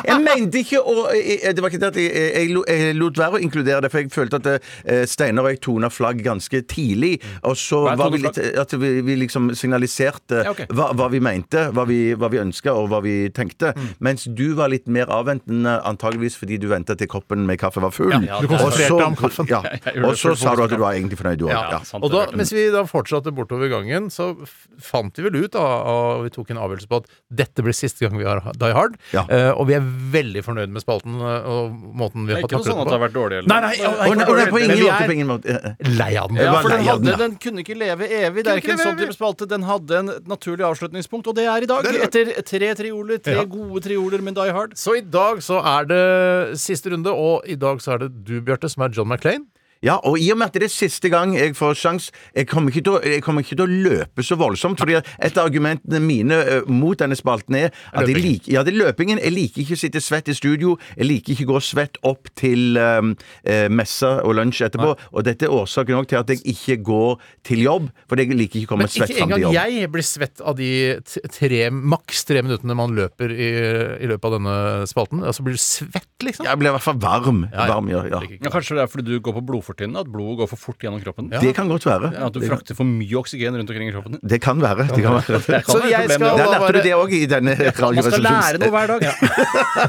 Speaker 5: Jeg mente ikke å jeg- Det var ikke det at jeg, jeg, lo- jeg lot være å inkludere det, for jeg følte at eh, Steinar og jeg tona flagg ganske tidlig. Og så
Speaker 6: Hva er
Speaker 5: var vi
Speaker 6: tonet
Speaker 5: litt At vi, vi liksom signaliserte
Speaker 6: Ja, ok.
Speaker 5: hva, hva vi mente, hva vi, hva vi ønska, og hva vi tenkte.
Speaker 6: Mm.
Speaker 5: Mens du var litt mer avventende, antageligvis fordi du venta til koppen med kaffe var full.
Speaker 6: Ja, du
Speaker 5: Og
Speaker 4: konsentrerte
Speaker 5: så-
Speaker 4: deg om kaffen.
Speaker 5: Ja.
Speaker 6: Jeg gjorde
Speaker 5: Og
Speaker 6: det
Speaker 5: så
Speaker 6: for-
Speaker 5: sa du at du var egentlig fornøyd, du òg.
Speaker 6: Ja,
Speaker 5: Ja.
Speaker 6: sant.
Speaker 4: Og da,
Speaker 6: det er
Speaker 4: mens vi da fortsatte bortover gangen, så f- fant vi vel ut da, og vi tok en avgjørelse på at dette blir siste siste gang vi har Die Hard.
Speaker 5: Ja.
Speaker 4: Eh, og vi er veldig fornøyd med spalten eh, og måten vi har
Speaker 6: Det er
Speaker 4: fått
Speaker 6: ikke noe sånn at det har
Speaker 4: taklet
Speaker 6: vært dårlig. eller
Speaker 4: Nei,
Speaker 6: noe.
Speaker 4: nei, ja,
Speaker 5: Å, nei, å, nei, på
Speaker 4: Men
Speaker 5: ingen
Speaker 4: vi
Speaker 5: måte,
Speaker 4: er-
Speaker 5: på ingen måte. Eh, eh.
Speaker 4: Lei av den.
Speaker 6: Ja,
Speaker 5: var
Speaker 6: for den,
Speaker 5: lei av den,
Speaker 6: hadde,
Speaker 5: ja.
Speaker 6: den kunne ikke leve evig. Det er ikke en sånn type spalte. Den hadde en naturlig avslutningspunkt, og det er i dag. Etter tre trioler, tre
Speaker 4: Ja.
Speaker 6: gode trioler med Die Hard.
Speaker 4: Så i dag så er det siste runde, og i dag så er det du, Bjarte, som er John McClain.
Speaker 5: Ja, og i og med at det er siste gang jeg får sjans Jeg kommer ikke til å, jeg kommer ikke til å løpe så voldsomt. Fordi at et av argumentene mine ø, mot denne spalten er at jeg
Speaker 4: Løpingen.
Speaker 5: liker, ja, det er løpingen. Jeg liker ikke å sitte svett i studio. Jeg liker ikke å gå svett opp til ø, ø, messa og lunsj etterpå. Og dette er årsaken òg til at jeg ikke går til jobb. For jeg liker ikke å
Speaker 4: Men
Speaker 5: komme
Speaker 4: ikke
Speaker 5: svett fram
Speaker 4: engang
Speaker 5: til jobb.
Speaker 4: jeg blir svett av de t- tre, maks tre minuttene man løper i, i løpet av denne spalten. Altså blir du svett, liksom.
Speaker 5: Jeg blir i hvert fall varm.
Speaker 4: Ja, ja.
Speaker 5: varm ja, ja.
Speaker 6: Ja, kanskje det er fordi du går på blodfortynnende, at blodet går for fort gjennom kroppen?
Speaker 5: Det kan godt være.
Speaker 6: Ja, at du
Speaker 5: Det-
Speaker 6: frakter for mye oksogen rundt omkring i kroppen?
Speaker 5: Det kan være. Det kan være.
Speaker 4: Så
Speaker 6: være
Speaker 4: jeg
Speaker 6: et problem,
Speaker 4: skal
Speaker 6: det
Speaker 5: Der
Speaker 4: da
Speaker 5: lærte du det
Speaker 4: være
Speaker 5: òg i denne
Speaker 6: Man skal lære
Speaker 5: radioresepsjonen.
Speaker 6: noe hver dag.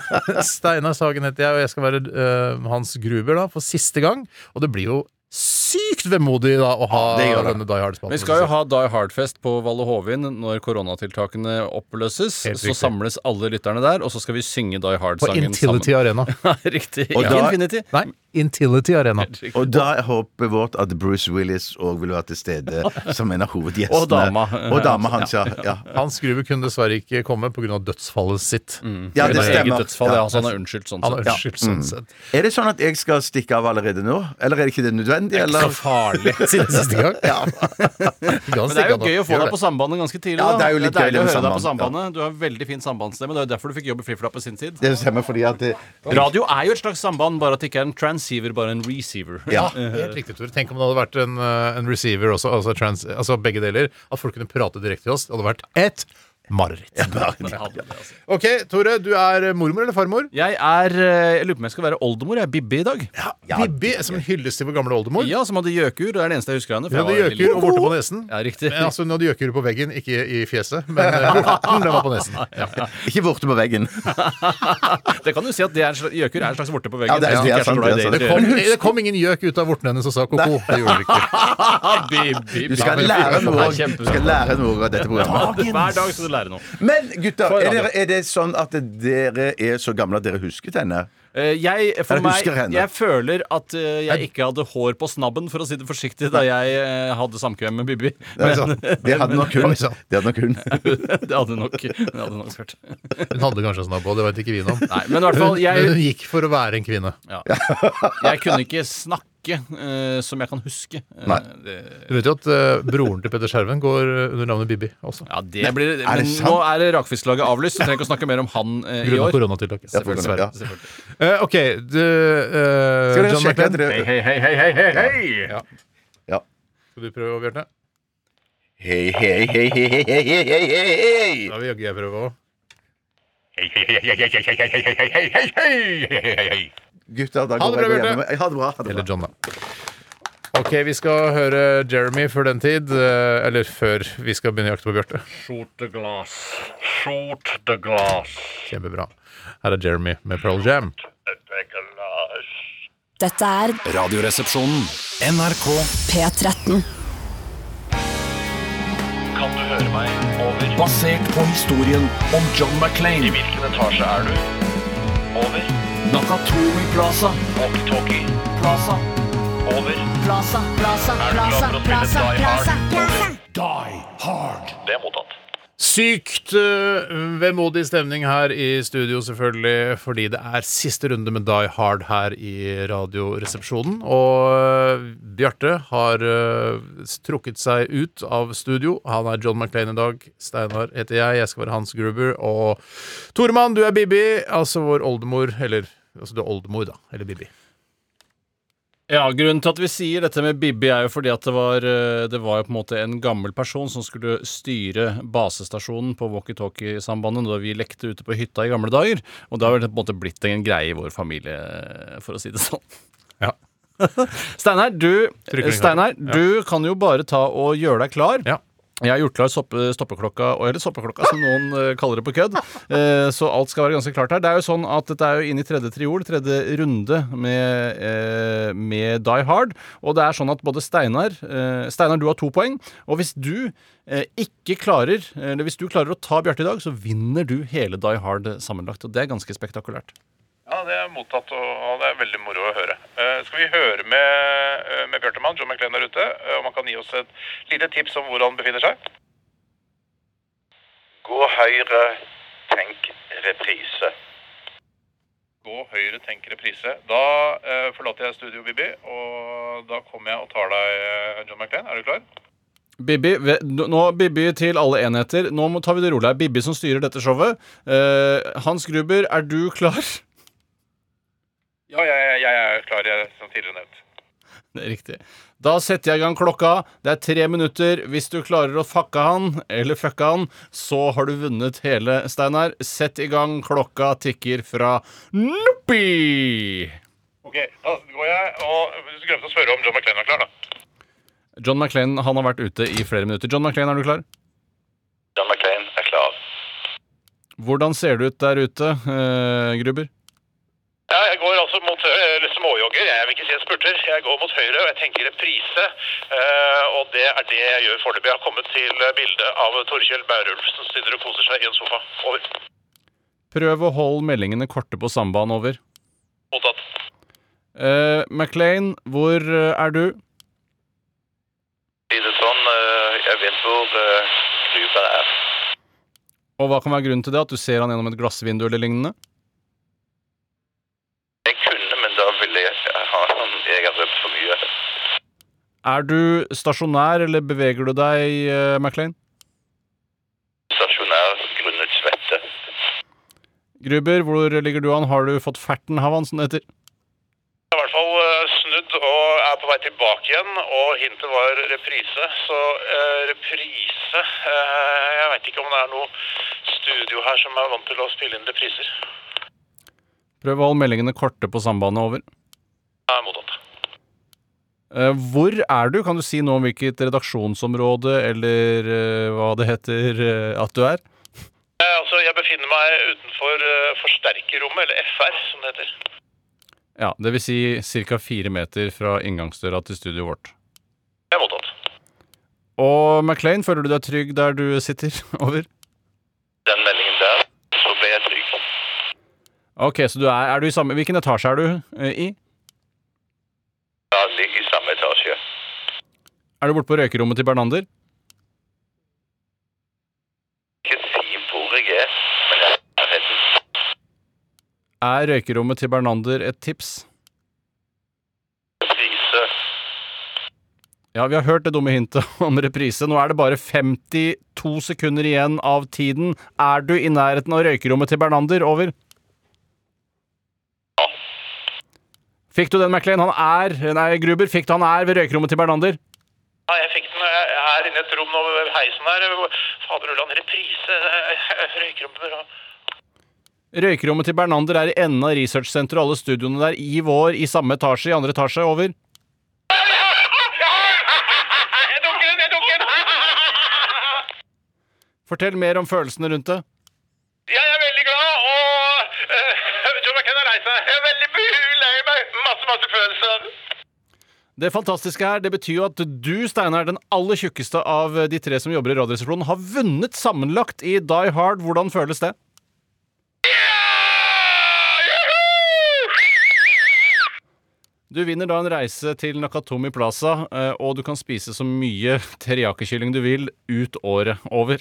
Speaker 4: Steinar Sagen heter jeg, og jeg skal være eh, Hans Gruber da, for siste gang. Og det blir jo sykt vemodig da å ha
Speaker 5: det gjør det.
Speaker 4: denne Die Hard-spalten.
Speaker 6: Vi skal jo ha Die Hard-fest på Valle Hovin når koronatiltakene oppløses.
Speaker 4: Helt
Speaker 6: Så
Speaker 4: riktig.
Speaker 6: samles alle lytterne der, og så skal vi synge Die
Speaker 4: på
Speaker 6: Hard-sangen
Speaker 4: Intility Arena.
Speaker 6: sammen. Riktig.
Speaker 5: Og
Speaker 6: Ikke
Speaker 5: da-
Speaker 6: Infinity.
Speaker 4: Nei, Intility Arena.
Speaker 5: Og da er håpet vårt at Bruce Willis òg vil være til stede som en av hovedgjestene.
Speaker 6: Og dama.
Speaker 5: Og dama hans, ja. ja.
Speaker 4: Hans Gruber kunne dessverre ikke komme pga. dødsfallet sitt.
Speaker 5: Ja, det
Speaker 6: Eget
Speaker 5: stemmer.
Speaker 6: Dødsfall, ja.
Speaker 5: Ja.
Speaker 6: altså, han er unnskyldt sånn
Speaker 4: Han
Speaker 6: sett.
Speaker 4: er unnskyldt sånn sett.
Speaker 5: Er det sånn at jeg skal stikke av allerede nå? Eller er det ikke det nødvendig? Eller?
Speaker 6: farlig.
Speaker 4: Siden siste gang.
Speaker 5: Ja.
Speaker 6: Men det er jo gøy å få deg på sambandet ganske tidlig.
Speaker 5: Ja,
Speaker 6: da.
Speaker 5: det er jo litt
Speaker 6: deilig
Speaker 5: gøy
Speaker 6: å
Speaker 5: med
Speaker 6: høre deg på
Speaker 5: samband,
Speaker 6: sambandet. Du har en veldig fin sambandsstemme. Det er jo derfor du fikk jobb i Fliflapp på sin tid.
Speaker 5: Det stemmer fordi at det,
Speaker 6: Radio er jo et slags samband, bare at det ikke er en transceiver, bare en receiver.
Speaker 5: ja.
Speaker 4: Helt riktig, Tore. Tenk om det hadde vært en, eh, en receiver også, altså, trans, altså begge deler. At folk kunne prate direkte til oss. Det hadde vært et mareritt.
Speaker 6: altså-
Speaker 4: OK, Tore. Du er mormor eller farmor?
Speaker 6: Jeg er eh, Jeg lurer på om jeg skal være oldemor. Jeg er Bibbi i dag.
Speaker 4: Bibbi, som en hyllest til vår gamle oldemor.
Speaker 6: Ja, som hadde gjøkur. Det er det eneste jeg husker henne.
Speaker 4: Hun hadde gjøkur og vorte på nesen.
Speaker 6: Ja, riktig.
Speaker 4: Men, altså, hun hadde gjøkur på veggen, ikke i fjeset. Men eh, vorten, den var på nesen. Ja.
Speaker 5: Ikke borte på veggen.
Speaker 6: Det kan du si at det er en slags, gjøkur er en slags vorte på veggen.
Speaker 5: Ja, det er-
Speaker 6: Jeg
Speaker 5: det er
Speaker 6: ikke så
Speaker 5: sant,
Speaker 6: glad i
Speaker 5: det er
Speaker 6: det
Speaker 4: Det, kom, det kom ingen gjøk ut av vorten hennes og sa ko-ko. Det gjorde det ikke.
Speaker 6: Bibbi.
Speaker 5: Du skal
Speaker 6: Ja,
Speaker 5: lære
Speaker 6: men-
Speaker 5: noe,
Speaker 6: Det er
Speaker 5: du
Speaker 6: kjempebra.
Speaker 5: skal lære noe av dette programmet.
Speaker 6: Hver dag skal du lære noe.
Speaker 5: Men gutter,
Speaker 6: For
Speaker 5: er,
Speaker 6: radio.
Speaker 5: dere, er det sånn at dere er så gamle at dere husket henne?
Speaker 6: Eh, Jeg, for
Speaker 5: Jeg
Speaker 6: meg,
Speaker 5: husker henne.
Speaker 6: jeg føler at eh, jeg ikke hadde hår på snabben, for å si det forsiktig, da jeg eh, hadde samkvem med Bibi.
Speaker 5: Det er sant. Det hadde nok hun.
Speaker 4: Oi, sant.
Speaker 5: Det hadde nok hun.
Speaker 6: det hadde nok, det hadde nok vært.
Speaker 4: Hun hadde kanskje en snabb òg, det vet ikke vi noe om.
Speaker 6: Nei, men i hvert fall,
Speaker 4: Hun, men hun
Speaker 6: jeg,
Speaker 4: gikk for å være en kvinne.
Speaker 6: ja. jeg kunne ikke snakke eh, som jeg kan huske. Eh,
Speaker 5: Nei.
Speaker 6: det-
Speaker 4: Du vet jo at eh, broren til Petter Skjerven går eh, under navnet Bibi også.
Speaker 6: Ja, det blir,
Speaker 5: er
Speaker 6: men
Speaker 5: det sant?
Speaker 6: nå er det Rakfisklaget avlyst, så trenger ikke å snakke mer om han eh, i
Speaker 4: Grunnet
Speaker 6: år.
Speaker 4: koronatiltaket.
Speaker 5: Ja, for grunn av- ja.
Speaker 4: Eh, OK, du eh,
Speaker 5: Skal dere
Speaker 4: John
Speaker 5: sjekke at
Speaker 4: McClain.
Speaker 5: dere
Speaker 6: Hei, hei, hei, hei, hei, hei!
Speaker 5: ja.
Speaker 4: Skal du prøve, Bjarte?
Speaker 5: Hei, hei, hei, hei, hei, hei, hei, hei, hei, hei.
Speaker 4: Da vil jaggu jeg prøve òg.
Speaker 5: Gutter, da
Speaker 4: Ha
Speaker 5: går
Speaker 4: det bra,
Speaker 5: jeg og
Speaker 4: Bjarte.
Speaker 5: gjennom. Ha det bra. Ha det
Speaker 4: Eller
Speaker 5: bra.
Speaker 4: John, da. OK, vi skal høre Jeremy før den tid. eh, Eller før vi skal begynne jakten på Bjarte. Kjempebra. Her er Jeremy med Pearl Jam.
Speaker 1: Dette er
Speaker 2: Radioresepsjonen. NRK
Speaker 1: P13.
Speaker 2: basert på historien om John McClain. I hvilken etasje er du? Over. Nakatomi Plaza. Plaza.
Speaker 9: Plaza, plaza, plaza, plaza, plaza, plaza.
Speaker 2: Die Hard.
Speaker 4: Sykt eh, vemodig stemning her i studio, selvfølgelig, fordi det er siste runde med Die Hard her i Radioresepsjonen. Og eh, Bjarte har eh, trukket seg ut av studio. Han er John McClain i dag. Steinar heter jeg. Jeg skal være Hans Gruber. Og Toremann, du er Bibi. Altså vår oldemor. Eller altså du er oldemor, da. Eller Bibi.
Speaker 6: Ja, Grunnen til at vi sier dette med Bibi, er jo fordi at det var, eh, det var jo på en måte en gammel person som skulle styre basestasjonen på walkietalkie-sambandet da vi lekte ute på hytta i gamle dager. Og det har vel på en måte blitt en greie i vår familie, for å si det sånn.
Speaker 4: Ja.
Speaker 6: Steinar, du,
Speaker 4: Trykker den
Speaker 6: Steinar, du kan jo bare ta og gjøre deg klar.
Speaker 4: Ja.
Speaker 6: Jeg har gjort klar soppe, stoppeklokka, og- eller stoppeklokka som noen eh, kaller det på kødd. Eh, så alt skal være ganske klart her. Det er jo sånn at Dette er jo inn i tredje triol, tredje runde med, eh, med Die Hard. Og det er sånn at både Steinar eh, Steinar, du har to poeng. Og hvis du eh, ikke klarer Eller hvis du klarer å ta Bjarte i dag, så vinner du hele Die Hard sammenlagt. Og det er ganske spektakulært.
Speaker 10: Ja, det er mottatt, og og det er veldig moro å høre. Eh, skal vi høre med, eh, med Bjørtemann, John McLean der ute, eh, om han kan gi oss et lite tips om hvor han befinner seg? Gå høyre, tenk reprise. Gå høyre, tenk reprise. Da eh, forlater jeg studio, Bibi, og da kommer jeg og tar deg, eh, John McLean. Er du klar?
Speaker 6: Bibi, ve- nå nå- Bibi til alle enheter. Nå må- tar vi det rolig her. Bibi som styrer dette showet. Eh, Hans Gruber, er du klar?
Speaker 10: Ja, jeg, jeg er klar, jeg, som tidligere nevnt.
Speaker 6: Det er riktig. Da setter jeg i gang klokka. Det er tre minutter. Hvis du klarer å fucke han, eller fucke han, så har du vunnet hele, Steinar. Sett i gang. Klokka tikker fra Noppi!
Speaker 10: Ok, da går jeg, og du glemte å spørre om John McLean var klar, da.
Speaker 6: John McClain, han har vært ute i flere minutter. John McClain, er du klar?
Speaker 10: John McLean er klar.
Speaker 6: Hvordan ser det ut der ute, eh, Gruber?
Speaker 10: Ja, jeg går altså mot eller småjogger. Jeg vil ikke si en spurter. Jeg går mot høyre, og jeg tenker reprise. Eh, og det er det jeg gjør foreløpig. Jeg har kommet til eh, bildet av Torkjell Bærulf som sitter og koser seg i en sofa. Over.
Speaker 6: Prøv å holde meldingene korte på samband. Over.
Speaker 10: Mottatt.
Speaker 6: Uh, McLean, hvor eh, er du?
Speaker 10: Si det sånn, jeg vet hvor uh, er.
Speaker 6: Og hva kan være grunnen til det? At du ser han gjennom et glassvindu eller lignende?
Speaker 10: Jeg kunne, men da ville jeg ha sånn Jeg har røpt for mye.
Speaker 6: Er du stasjonær, eller beveger du deg, eh, McLean?
Speaker 10: Stasjonær grunnet svette.
Speaker 6: Gruber, hvor ligger du an? Har du fått ferten, Havan, som det heter?
Speaker 10: Jeg er i hvert fall eh, snudd og er på vei tilbake igjen, og hintet var reprise. Så eh, reprise eh, Jeg veit ikke om det er noe studio her som er vant til å spille inn repriser.
Speaker 6: Prøv å holde meldingene korte på sambandet, over.
Speaker 10: Jeg er mottatt.
Speaker 6: Eh, hvor er du? Kan du si noe om hvilket redaksjonsområde, eller eh, hva det heter, eh, at du er?
Speaker 10: Eh, altså, jeg befinner meg utenfor eh, forsterkerrommet, eller FR, som det heter.
Speaker 6: Ja, det vil si ca. fire meter fra inngangsdøra til studioet vårt.
Speaker 10: Jeg er mottatt.
Speaker 6: Og McLean, føler du deg trygg der du sitter? Over.
Speaker 10: Den meldingen der, så ble jeg trygg.
Speaker 6: Ok, så du er, er du i samme Hvilken etasje er du eh, i?
Speaker 10: Jeg ligger i samme etasje.
Speaker 6: Er du borte på røykerommet til Bernander?
Speaker 10: Ikke si hvor jeg er, men jeg er nærheten.
Speaker 6: Er røykerommet til Bernander et tips?
Speaker 10: Reprise.
Speaker 6: Ja, vi har hørt det dumme hintet om reprise. Nå er det bare 52 sekunder igjen av tiden. Er du i nærheten av røykerommet til Bernander? Over. Fikk du den, McLean? Han er Nei, Gruber. Fikk du han er ved røykerommet til Bernander?
Speaker 10: Ja, jeg fikk den eh, her inne i et rom nå ved heisen her. Fader Ulland, reprise. eh, Røykeromper og
Speaker 6: Røykerommet til Bernander er i enden av researchsenteret og alle studioene der i vår i samme etasje, i andre etasje. Over.
Speaker 10: Jeg dunker den, jeg dunker den!
Speaker 6: Fortell mer om følelsene rundt det.
Speaker 10: Jeg er veldig glad, og eh, John McCann har reist seg. Jeg er veldig bu- lei meg. Masse, masse følelser.
Speaker 6: Det fantastiske her, det betyr jo at du, Steinar, den aller tjukkeste av de tre som jobber i Radioresepsjonen, har vunnet sammenlagt i Die Hard. Hvordan føles det? Du vinner da en reise til Nakatomi Plaza, eh, og du kan spise så mye teriyakikylling du vil ut året over.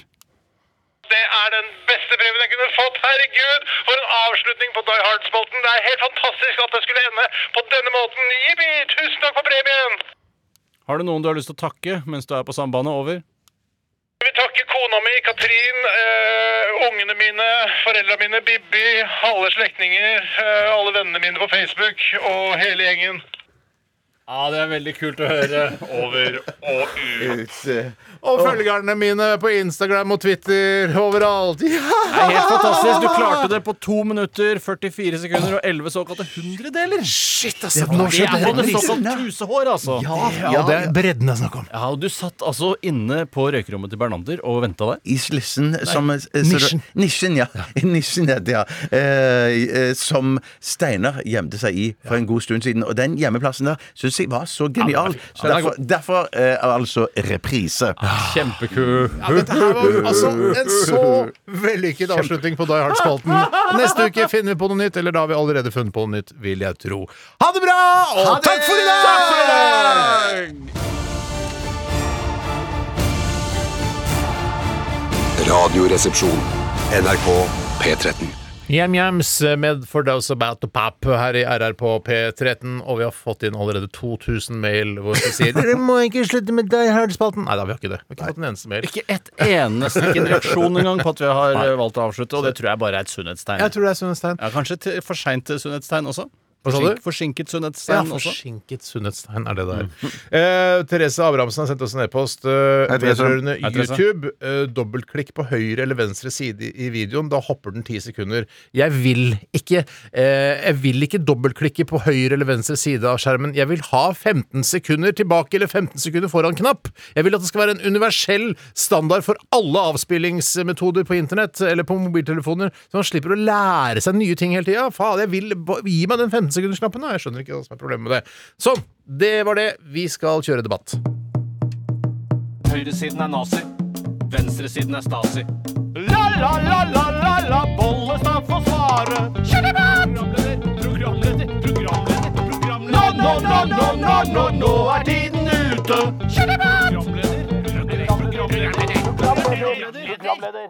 Speaker 10: Det er den beste premien jeg kunne fått. Herregud, for en avslutning på Die Hard-spalten. Det er helt fantastisk at det skulle ende på denne måten. Jippi, tusen takk for premien.
Speaker 6: Har du noen du har lyst til å takke mens du er på sambandet? Over.
Speaker 10: Jeg vil takke kona mi, Katrin, eh, ungene mine, foreldrene mine, Bibi, alle slektninger, eh, alle vennene mine på Facebook og hele gjengen.
Speaker 6: Ja, det er veldig kult å høre.
Speaker 10: Over og ut.
Speaker 5: eh,
Speaker 4: Og følgerne mine på Instagram og Twitter overalt.
Speaker 6: Det er helt fantastisk. Du klarte det på 2 minutter, 44 sekunder og 11 såkalte hundredeler.
Speaker 4: Shit,
Speaker 6: Det
Speaker 4: altså! Nå
Speaker 6: er
Speaker 4: skjedde
Speaker 6: både
Speaker 4: det.
Speaker 6: såkalt trusehår, altså.
Speaker 4: Ja, og det er bredden jeg snakker om.
Speaker 6: Ja, og Du satt altså inne på røykerommet til Bernander og venta der.
Speaker 5: I slissen som eh, så-
Speaker 4: nisjen.
Speaker 5: Nisjen, ja. Nisjen, ja, det, ja. Eh, eh, som Steinar gjemte seg i for en god stund siden. Og den gjemmeplassen der syns jeg var så genial. Så
Speaker 6: Den er
Speaker 5: derfor derfor eh, altså reprise.
Speaker 6: Kjempekul.
Speaker 4: Ja, dette her var altså en så vellykket avslutning på Die Hard-spalten. Neste uke finner vi på noe nytt, eller da har vi allerede funnet på noe nytt, vil jeg tro. Ha det bra, og takk for i dag!
Speaker 11: Radioresepsjon. NRK P13.
Speaker 4: Yam-yams med For Those About To Pap her i RR på P13. Og vi har fått inn allerede 2000 mail hvor vi sier Dere må ikke slutte med Die Hard-spalten. Nei da, vi har ikke det. Vi har ikke fått en eneste mail.
Speaker 6: Ikke et eneste, ikke en reaksjon engang på at vi har eh, valgt å avslutte, og det tror jeg bare er et sunnhetstegn.
Speaker 4: Jeg tror det er Sunnhetstegn.
Speaker 6: Ja, Kanskje til, for seint sunnhetstegn også?
Speaker 4: Hva sa du?
Speaker 6: Forsinket
Speaker 4: Ja,
Speaker 6: sunnhetstegn også.
Speaker 4: forsinket sunnhetstegn er det der. Eh, Therese Abrahamsen har sendt oss en e-post eh,
Speaker 5: Hei, Therese.
Speaker 4: vedrørende
Speaker 6: Hei, Therese.
Speaker 4: YouTube. Eh, dobbeltklikk på høyre eller venstre side i videoen. Da hopper den ti sekunder. Jeg vil ikke eh, Jeg vil ikke dobbeltklikke på høyre eller venstre side av skjermen. Jeg vil ha 15 sekunder tilbake eller 15 sekunder foran knapp. Jeg vil at det skal være en universell standard for alle avspillingsmetoder på internett eller på mobiltelefoner, så man slipper å lære seg nye ting hele tida. Faen, jeg vil ba- Gi meg den 15-sekundersknappen, da! Jeg skjønner ikke hva som er problemet med det. Sånn! Det var det. Vi skal kjøre debatt.
Speaker 2: Høyresiden er nazi. Venstresiden er stasi. La, la, la, la, la, la, Bollestad får svare. Kjør debatt! Programleder, programleder, programleder. Nå, nå, nå, nå, nå, nå, nå er tiden ute. Kjør debatt! Programleder.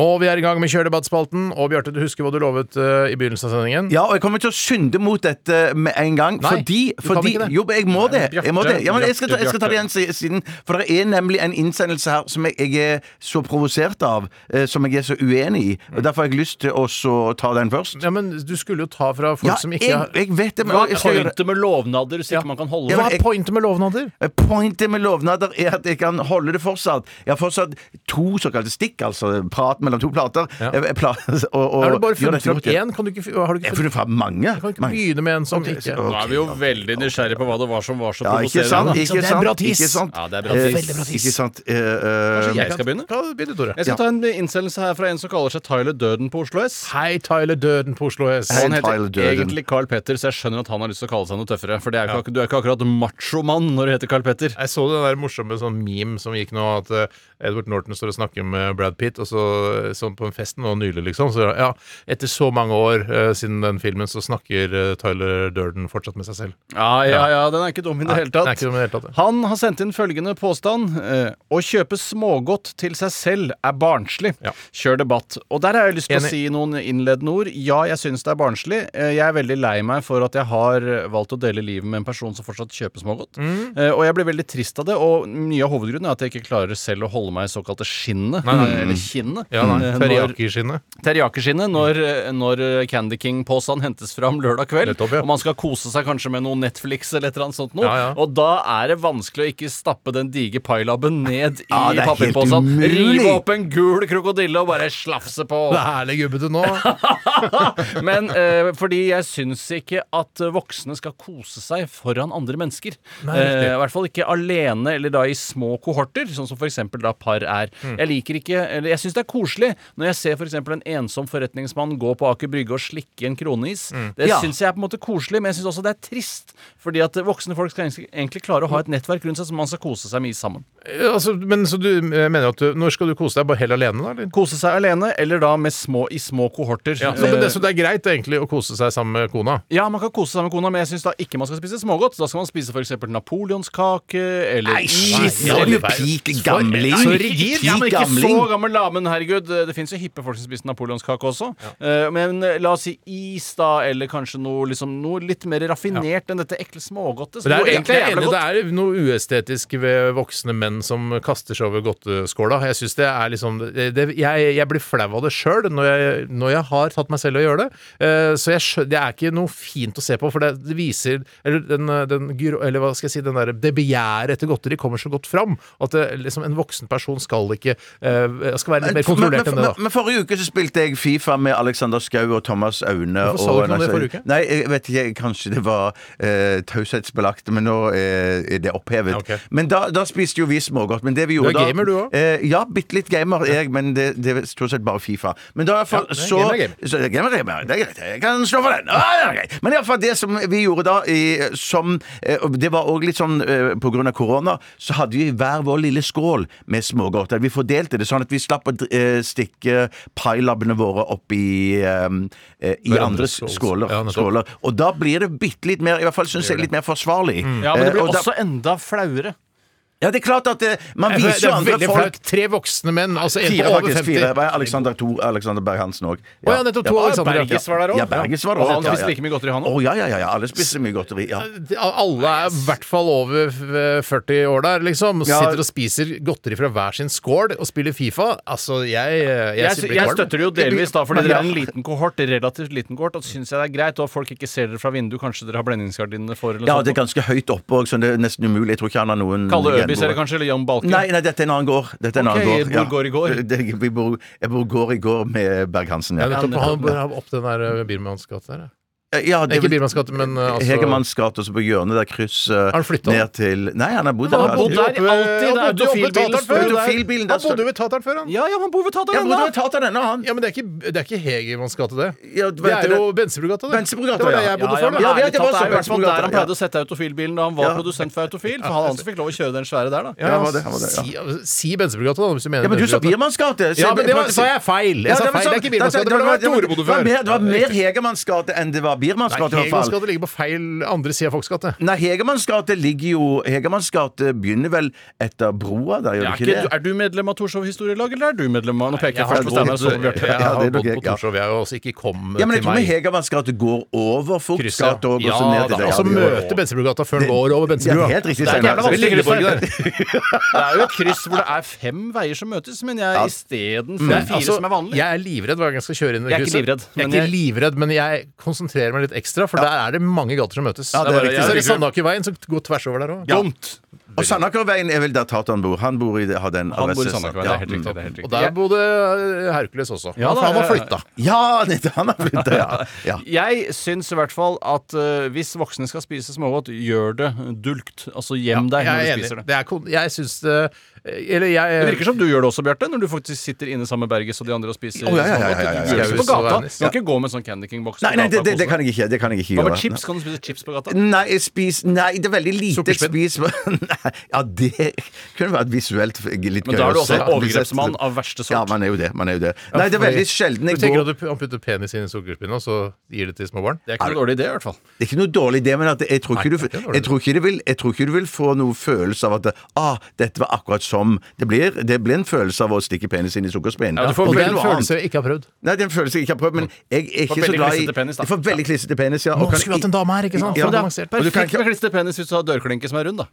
Speaker 4: Og vi er i gang med Kjørdebattspalten. Og Bjarte, du husker hva du lovet eh, i begynnelsen av sendingen?
Speaker 5: Ja, og jeg kommer til å synde mot dette med en gang.
Speaker 4: Nei,
Speaker 5: fordi,
Speaker 4: du kan
Speaker 5: fordi
Speaker 4: ikke det.
Speaker 5: Jo, men jeg må det. Jeg, må
Speaker 6: Bjarte,
Speaker 5: det. Ja, men jeg, skal ta, jeg skal ta det
Speaker 6: Bjarte.
Speaker 5: igjen si- siden. For det er nemlig en innsendelse her som jeg, jeg er så provosert av, eh, som jeg er så uenig i.
Speaker 4: Mm.
Speaker 5: Og Derfor har jeg lyst til å så ta den først.
Speaker 4: Ja, men du skulle jo ta fra folk
Speaker 5: Ja,
Speaker 4: som ikke
Speaker 5: jeg,
Speaker 4: har
Speaker 5: jeg vet det, men
Speaker 6: Hva
Speaker 5: jeg
Speaker 6: er
Speaker 5: skal gjøre
Speaker 6: pointet med lovnader hvis ikke man kan holde
Speaker 5: Ja,
Speaker 4: Hva
Speaker 5: men
Speaker 6: det?
Speaker 4: er
Speaker 5: jeg-
Speaker 4: pointet med lovnader?
Speaker 5: Pointet med lovnader er at jeg kan holde det fortsatt. Jeg har fortsatt to såkalte stikk, altså prat mellom to plater.
Speaker 4: Ja.
Speaker 5: Eh, pla- og, og,
Speaker 4: Har du bare
Speaker 5: gjør
Speaker 4: funnet
Speaker 5: dette
Speaker 4: fram
Speaker 5: godt, ja.
Speaker 4: én? Kan du ikke, fi- har du ikke
Speaker 5: Jeg
Speaker 4: funnet,
Speaker 5: har funnet fram mange.
Speaker 4: kan du ikke
Speaker 5: mange.
Speaker 4: begynne med en sånn? som
Speaker 5: Ok,
Speaker 4: ikke
Speaker 5: så-
Speaker 6: Nå er vi jo veldig nysgjerrige på hva det var som var så
Speaker 5: Ja, ikke sant?
Speaker 6: provoserende.
Speaker 5: Ikke sant?
Speaker 4: Det er bra tis.
Speaker 5: Ikke sant?
Speaker 6: Ja, det er bra tis.
Speaker 5: Eh,
Speaker 6: Veldig bra
Speaker 5: Ikke sant? Eh, eh,
Speaker 6: Kanskje jeg skal begynne?
Speaker 4: Ja, begynn du, Tore.
Speaker 6: Jeg skal ta en innsendelse her fra en som kaller seg Tyler Døden på Oslo S.
Speaker 4: Hei, Tyler Døden på Oslo S.
Speaker 5: Hei.
Speaker 6: Han heter
Speaker 5: Tyler Durden.
Speaker 6: egentlig Carl Petter, så jeg skjønner at han har lyst til å kalle seg noe tøffere. For det er jo ikke, ak- du er ikke akkurat machomann når du heter Carl Petter.
Speaker 4: Jeg så den der morsomme sånn meme som gikk nå, at eh, Edward Norton står og snakker med Brad Pitt, og så eh, sånn på en fest nå nylig, liksom. Så ja, etter så mange år eh, siden den filmen, så snakker eh, Tyler Durden fortsatt med seg selv.
Speaker 6: Ja, ja, ja, den er ikke dum i det hele
Speaker 4: den er
Speaker 6: tatt.
Speaker 4: ikke dum i det hele tatt, ja.
Speaker 6: Han har sendt inn følgende påstand. eh, Å kjøpe smågodt til seg selv er barnslig.
Speaker 4: Ja.
Speaker 6: Kjør debatt. Og der har jeg lyst til
Speaker 4: Enig.
Speaker 6: å si noen innledende ord. Ja, jeg syns det er barnslig. Eh, Jeg er veldig lei meg for at jeg har valgt å dele livet med en person som fortsatt kjøper smågodt.
Speaker 4: Mm.
Speaker 6: Eh, Og jeg blir veldig trist av det. Og mye av hovedgrunnen er at jeg ikke klarer selv å holde meg i såkalte skinnet. eh, Eller kinnet.
Speaker 4: Ja, nei,
Speaker 6: eh, når-
Speaker 4: Teriyaki-skinnet.
Speaker 6: teriyakiskinnet når, når Candy King-posen hentes fram lørdag kveld.
Speaker 4: Nettopp, ja.
Speaker 6: Og man skal kose seg kanskje med noe Netflix eller et eller annet sånt noe.
Speaker 4: Ja, ja.
Speaker 6: Og da er det vanskelig å ikke stappe den digre pailabben ned i
Speaker 5: Ja, det er helt
Speaker 6: papirposen.
Speaker 5: umulig.
Speaker 6: Rive opp en gul krokodille og bare slafse på.
Speaker 4: Det er det gubbete nå.
Speaker 6: Men eh, fordi jeg syns ikke at voksne skal kose seg foran andre mennesker.
Speaker 4: Nei, riktig.
Speaker 6: eh, I hvert fall ikke alene eller da i små kohorter, sånn som f.eks. da par er.
Speaker 4: Mm.
Speaker 6: Jeg liker ikke, eller jeg syns det er koselig når jeg ser f.eks. en ensom forretningsmann gå på Aker Brygge og slikke en kroneis.
Speaker 4: Mm.
Speaker 6: Det
Speaker 5: Ja.
Speaker 6: synes syns jeg er på en måte koselig, men jeg syns også det er trist. Fordi at voksne folk skal egentlig klare å ha et nettverk rundt seg som man skal kose seg mye sammen.
Speaker 4: Ja, Altså, men så du eh, mener at du Når skal du kose deg? Bare helt alene, da? Eller?
Speaker 6: Kose seg alene, eller da med små, i små kohorter.
Speaker 4: Så,
Speaker 6: Eh,
Speaker 4: men det, så det er greit egentlig å kose seg sammen med kona?
Speaker 6: Ja, man kan kose seg med kona, men jeg syns da ikke man skal spise smågodt. Da skal man spise f.eks. napoleonskake eller
Speaker 5: Nei, shit!
Speaker 6: Nei,
Speaker 5: Nå er du pik gamling.
Speaker 6: Så rigid! Ja, men ikke så
Speaker 5: Gamling.
Speaker 6: gammel, da, men herregud. napoleonsbrød. Det fins jo hippe folk som spiser napoleonskake også. Eh, Men eh, la oss si is, da, eller kanskje noe, liksom, noe litt mer raffinert enn dette ekle smågodtet. som
Speaker 4: Men det er
Speaker 6: jo
Speaker 4: jo egentlig jeg er
Speaker 6: jævla
Speaker 4: enig,
Speaker 6: godt.
Speaker 4: det er jo noe uestetisk ved voksne menn som kaster seg over godteskåla. Jeg synes det er liksom det, jeg, jeg blir flau av det sjøl når, jeg- når jeg har tatt meg selv i å gjøre det. Eh, så jeg, skjø- det er ikke noe fint å se på, for det, det viser Eller, den, eh, den, gyro- eller hva skal jeg si, den der, det begjæret etter godteri kommer så godt fram. At det, liksom, en voksen person skal ikke eh, skal være litt mer kontrollert enn det, da.
Speaker 5: men, men forrige uke så spilte jeg Fifa med Alexander Skau og Thomas Aune.
Speaker 4: Hvorfor sa du
Speaker 5: og-
Speaker 4: ikke noe om det forrige uke?
Speaker 5: Nei, jeg vet ikke, kanskje det var eh, taushetsbelagt, men nå eh, er det opphevet.
Speaker 4: Ok.
Speaker 5: Men da, da spiste jo vi smågodt. Men det vi
Speaker 4: Du er
Speaker 5: gjorde da
Speaker 4: gamer, du også?
Speaker 5: Eh, ja, bitte litt gamer er jeg, men det, det er stort sett bare Fifa. Men da for,
Speaker 4: Ja, det er
Speaker 5: så,
Speaker 4: gamer, gamer.
Speaker 5: så gamer, gamer, Det er greit, jeg kan slå for den. Ah, det er greit. Men iallfall det som vi gjorde da, i, som eh, og Det var òg litt sånn eh, på grunn av korona, så hadde vi hver vår lille skål med smågodt. Vi fordelte det sånn at vi slapp å dr- eh, stikke pailabbene våre opp i, eh, eh, i
Speaker 4: Hverandres
Speaker 5: andres
Speaker 4: skål.
Speaker 5: skåler,
Speaker 4: Ja, nettopp.
Speaker 5: skåler. Og da blir det bitte litt mer, i hvert fall syns jeg, litt mer forsvarlig.
Speaker 4: Mm.
Speaker 6: Ja, men det
Speaker 5: Eh,
Speaker 6: blir
Speaker 5: og da-
Speaker 6: også enda flauere.
Speaker 5: ja, det er klart at eh, man
Speaker 4: Det
Speaker 5: viser
Speaker 4: er
Speaker 5: jo andre
Speaker 4: veldig
Speaker 5: folk
Speaker 4: flaut. Tre voksne menn, altså en
Speaker 5: Fire,
Speaker 4: på over
Speaker 5: faktisk.
Speaker 4: 50.
Speaker 5: Fire. Det var Alexander, to, Alexander Berg-Hansen
Speaker 4: Å
Speaker 5: òg.
Speaker 4: ja, nettopp to Alexander Berg.
Speaker 6: Berges var der
Speaker 5: Ja,
Speaker 6: òg.
Speaker 5: Berges var det
Speaker 6: Og han
Speaker 5: også, ja,
Speaker 6: spiste
Speaker 5: ja.
Speaker 6: like mye godteri, han
Speaker 5: Å
Speaker 6: òg.
Speaker 5: ja, ja, ja, ja. Alle spiser mye godteri. Ja.
Speaker 4: Alle er i hvert fall over eh, 40 år der, liksom.
Speaker 5: Ja.
Speaker 4: Sitter og spiser godteri fra hver sin skål og spiller Fifa. Altså, jeg eh, Jeg,
Speaker 6: Jeg,
Speaker 4: sitter
Speaker 6: jeg
Speaker 4: kvalm.
Speaker 6: støtter det jo delvis, da, fordi
Speaker 5: Men
Speaker 6: dere
Speaker 5: ja.
Speaker 6: er en liten kohort. Relativt liten kohort. Og syns jeg det er greit, og at folk ikke ser dere fra vinduet. Kanskje dere har blendingsgardinene for, eller
Speaker 5: ja,
Speaker 6: noe
Speaker 5: det er
Speaker 6: sånt.
Speaker 5: ganske høyt oppe òg, så det er nesten umulig. Jeg tror ikke han har noen
Speaker 6: Kalle Øbis,
Speaker 5: gjenboere.
Speaker 6: eller kanskje, eller Jan Balke.
Speaker 5: Nei, nei, dette er en annen gård. Dette er en
Speaker 6: Ok,
Speaker 5: annen gård.
Speaker 6: hvor går i går?
Speaker 5: Det, det- vi bor, jeg bor gård i gård med Berg-Hansen.
Speaker 4: Ja,
Speaker 5: Ja.
Speaker 4: nettopp. Han bør ha opp den der eh, Birmans gate der. ja.
Speaker 5: Ja,
Speaker 4: Nei,
Speaker 5: det,
Speaker 4: Ikke Birmans gate, men eh, altså
Speaker 5: Hegermanns gate, og så på hjørnet der kryss eh,
Speaker 4: han flyttet,
Speaker 5: ned til Nei, han har bodd der.
Speaker 6: Han har bodd der. alltid, det er
Speaker 4: Han bodde jo oppe ved
Speaker 6: autofilbilen.
Speaker 4: Tataren før. Det er-
Speaker 5: Autofilbilen, det er
Speaker 4: Han bodde
Speaker 5: så-
Speaker 4: jo ved Tataren før, han.
Speaker 6: Ja, ja, man bor ved
Speaker 5: Ja,
Speaker 6: Tataren,
Speaker 5: men du
Speaker 6: da!
Speaker 5: har tatt av denne, han.
Speaker 4: Ja, men det er ikke, det er ikke Hegermanns gate, det.
Speaker 5: Ja,
Speaker 4: Det er jo Bensebrugata, det.
Speaker 5: Bensebrugata,
Speaker 4: det var der
Speaker 5: ja.
Speaker 4: jeg
Speaker 6: Ja,
Speaker 4: bodde
Speaker 6: ja,
Speaker 4: før. da.
Speaker 6: men
Speaker 5: Ja, det var
Speaker 6: ærlig talt, det er jo i hvert fall
Speaker 5: Sørbergsbugata,
Speaker 6: der han
Speaker 5: ja.
Speaker 6: pleide å sette autofilbilen da han var
Speaker 5: Ja.
Speaker 6: produsent for Autofil. For han altså fikk lov å kjøre den svære der, da.
Speaker 5: Ja, han var det, han var det, ja.
Speaker 4: Si, si Bensebrugata, da, hvis du mener
Speaker 5: Ja, men du sa
Speaker 4: Bensebrugata.
Speaker 5: Biermanns gate. så
Speaker 4: Ja, men det var- sa jeg feil. Jeg sa
Speaker 5: det var
Speaker 4: feil. Det er
Speaker 5: sånn-
Speaker 4: ikke Biermanns gate,
Speaker 5: det sånn-
Speaker 4: men
Speaker 5: var-
Speaker 4: det var Torebode
Speaker 5: det var
Speaker 4: før.
Speaker 5: mer- Det var mer Hegermanns gate enn det var Biermanns
Speaker 4: Nei,
Speaker 5: gate, i hvert
Speaker 4: Hegermanns
Speaker 5: fall.
Speaker 4: gate ligger på feil andre side av Folks gate.
Speaker 5: Nei, Hegermanns gate ligger jo Hegermanns gate begynner vel etter broa der, gjør
Speaker 6: Er,
Speaker 5: det
Speaker 6: ikke,
Speaker 5: ikke det?
Speaker 6: er du medlem av Torshov historielag, eller er du medlem av Nå peker jeg
Speaker 4: Jeg har
Speaker 6: først på Steinar
Speaker 4: bodd-
Speaker 6: og så på Bjarte.
Speaker 4: Jeg
Speaker 5: Ja, det
Speaker 4: har
Speaker 5: er nok
Speaker 4: bodd på
Speaker 5: jeg, ja.
Speaker 4: Torshov, jeg har også ikke kom
Speaker 5: Ja, men
Speaker 4: til
Speaker 5: jeg tror
Speaker 4: meg.
Speaker 5: Hegermanns gate går over Fugts
Speaker 4: Krysset,
Speaker 5: gate og går så
Speaker 4: ja,
Speaker 5: ned til
Speaker 4: da, altså
Speaker 5: det.
Speaker 4: og så
Speaker 5: det gjør det.
Speaker 4: møter Bensebrugata før den går over
Speaker 5: Ja,
Speaker 4: Bensebrua.
Speaker 5: helt riktig,
Speaker 6: Det er
Speaker 5: Steinar.
Speaker 6: jævla
Speaker 5: Så vi
Speaker 6: vanskelig
Speaker 5: ligger
Speaker 6: kryss
Speaker 5: for-
Speaker 6: der. Det er jo et kryss hvor det er fem veier som møtes, men jeg istedenfor fire
Speaker 4: Altså,
Speaker 6: som er vanlig.
Speaker 4: Jeg er livredd hver gang jeg skal kjøre inn i
Speaker 6: Jeg er ikke
Speaker 4: krysset.
Speaker 6: livredd,
Speaker 4: jeg
Speaker 6: men
Speaker 4: er ikke
Speaker 6: jeg-
Speaker 4: livredd, men jeg konsentrerer meg litt ekstra, for der er det mange gater som møtes.
Speaker 5: Ja, det er
Speaker 4: bare-
Speaker 5: riktig.
Speaker 4: Så er det Sandakerveien som går tvers over der òg.
Speaker 6: Dumt!
Speaker 5: Og Sandakerveien er vel der Tatan bor. Han bor i det, har den
Speaker 6: Han bor i
Speaker 5: adressen.
Speaker 6: Sandaker, det er helt riktig. Det er helt
Speaker 4: Og
Speaker 6: riktig.
Speaker 4: der bodde eh, Hercules også.
Speaker 6: Ja, da,
Speaker 4: for han har
Speaker 6: ja, ja.
Speaker 4: flytta.
Speaker 5: Ja, nettopp, han har flytta, ja. ja.
Speaker 6: Jeg syns i hvert fall at eh, hvis voksne skal spise smågodt, gjør det dulgt. Altså gjem deg når
Speaker 4: Jeg
Speaker 6: du
Speaker 4: er
Speaker 6: spiser
Speaker 4: enig.
Speaker 6: det.
Speaker 4: Det er, kon- jeg syns det Eller jeg
Speaker 6: Det
Speaker 5: Eh,
Speaker 6: virker som du gjør det også, Bjarte, når du faktisk sitter inne sammen med Berges og de andre og spiser
Speaker 5: Å, ja, ja, ja, ja, ja, ja.
Speaker 6: smågodt. Du gjør det ikke på
Speaker 4: Skaus og
Speaker 6: gata.
Speaker 4: Venice,
Speaker 6: Du kan ikke gå med en sånn Candy King-boks.
Speaker 5: Nei, nei, det, det, det kan jeg ikke, det kan jeg ikke
Speaker 6: Hva med
Speaker 5: gjøre.
Speaker 6: sånn. chips? Kan du spise chips på gata?
Speaker 5: Nei, jeg spiser Nei, det er veldig lite jeg
Speaker 4: Sukkerspinn?
Speaker 5: spiser Nei, Ja, det kunne vært visuelt f- litt gøy.
Speaker 6: Men da er
Speaker 5: å
Speaker 6: du
Speaker 5: se.
Speaker 6: også en overgrepsmann av
Speaker 5: Ja,
Speaker 6: verste sort.
Speaker 5: man er jo det. Man er jo det. Nei, det er veldig sjelden
Speaker 4: Du
Speaker 5: jeg
Speaker 4: tenker
Speaker 5: går
Speaker 4: at du, han putter penis inn i sukkerspinnet, og så gir det til små barn?
Speaker 6: Det er ikke noe dårlig idé, i hvert fall.
Speaker 5: Det er ikke noe dårlig idé, men at jeg tror ikke,
Speaker 4: Nei,
Speaker 5: du,
Speaker 4: det er ikke noe
Speaker 5: jeg tror ikke, du, vil, jeg tror ikke du vil få noen følelse av at ah, dette var akkurat som Det blir, det blir en følelse av å stikke penis inn i sukkerspinn.
Speaker 6: Ja, du får
Speaker 5: Og
Speaker 4: Og det
Speaker 5: det
Speaker 4: er
Speaker 5: er
Speaker 4: en
Speaker 5: noe annet.
Speaker 4: følelse jeg ikke har prøvd.
Speaker 5: Nei, det er en følelse jeg ikke har prøvd, men jeg er
Speaker 6: Får
Speaker 5: ikke så
Speaker 6: veldig
Speaker 5: glad i
Speaker 6: klissete penis, da.
Speaker 5: Jeg får veldig klissete penis, ja. og kan
Speaker 4: skulle vi hatt en dame her, ikke sant?
Speaker 5: Ja.
Speaker 4: For det er avansert.
Speaker 5: Og du kan
Speaker 6: Perfekt
Speaker 5: ikke-
Speaker 6: med klistret penis hvis du har dørklinke som er rund, da.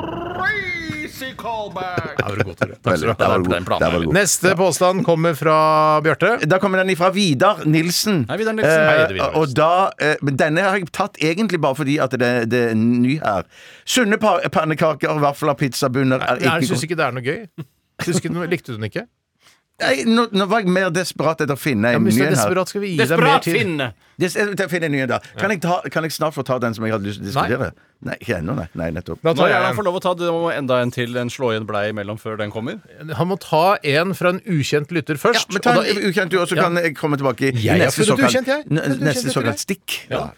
Speaker 2: Crazy callback!
Speaker 4: Ja, det var godt, Tore. Takk skal du
Speaker 5: Veldig,
Speaker 4: ha.
Speaker 5: der var du god.
Speaker 6: Den planen
Speaker 5: Der var
Speaker 6: er
Speaker 5: du
Speaker 6: litt-
Speaker 5: god.
Speaker 4: Neste påstand kommer fra Bjarte.
Speaker 5: Da kommer den ifra Vidar Nilsen.
Speaker 6: Hei, Vidar Nilsen.
Speaker 5: Eh,
Speaker 6: Hei,
Speaker 4: Vidar Nilsen.
Speaker 5: og da, eh, men denne har jeg tatt egentlig bare fordi at det, det er ny her. Sunne pa- pannekaker, vafler, pizzabunner er
Speaker 4: Jeg
Speaker 5: ikke
Speaker 4: syns ikke det er noe gøy. Synes ikke den- Likte du den ikke?
Speaker 5: Nei, nå, nå var jeg mer desperat etter å finne
Speaker 4: Ja,
Speaker 5: en
Speaker 4: men hvis du
Speaker 5: ny
Speaker 4: er
Speaker 5: en her.
Speaker 4: desperat, skal vi gi deg mer
Speaker 6: Desperat
Speaker 4: tid.
Speaker 6: finne!
Speaker 5: Des- eh, til å finne en ny en da. Kan, jeg ta, kan jeg snart få ta den som jeg hadde lyst til
Speaker 4: Nei.
Speaker 5: å diskutere? Nei, ikke ennå, nei. nei. Nettopp.
Speaker 4: Da tar jeg
Speaker 6: Når er det han
Speaker 4: en.
Speaker 6: får lov å ta det? må enda en til, en slå igjen blei imellom før den kommer?
Speaker 4: Han må ta en fra en ukjent lytter først.
Speaker 5: Men ta
Speaker 4: og da-
Speaker 5: en ukjent du, og så kan jeg komme tilbake i
Speaker 4: Jeg har
Speaker 5: neste
Speaker 4: funnet
Speaker 5: såkalt,
Speaker 4: ukjent, jeg.
Speaker 5: n-
Speaker 4: Funnet
Speaker 5: neste
Speaker 4: ukjent etter
Speaker 5: såkalt stikk. Ja.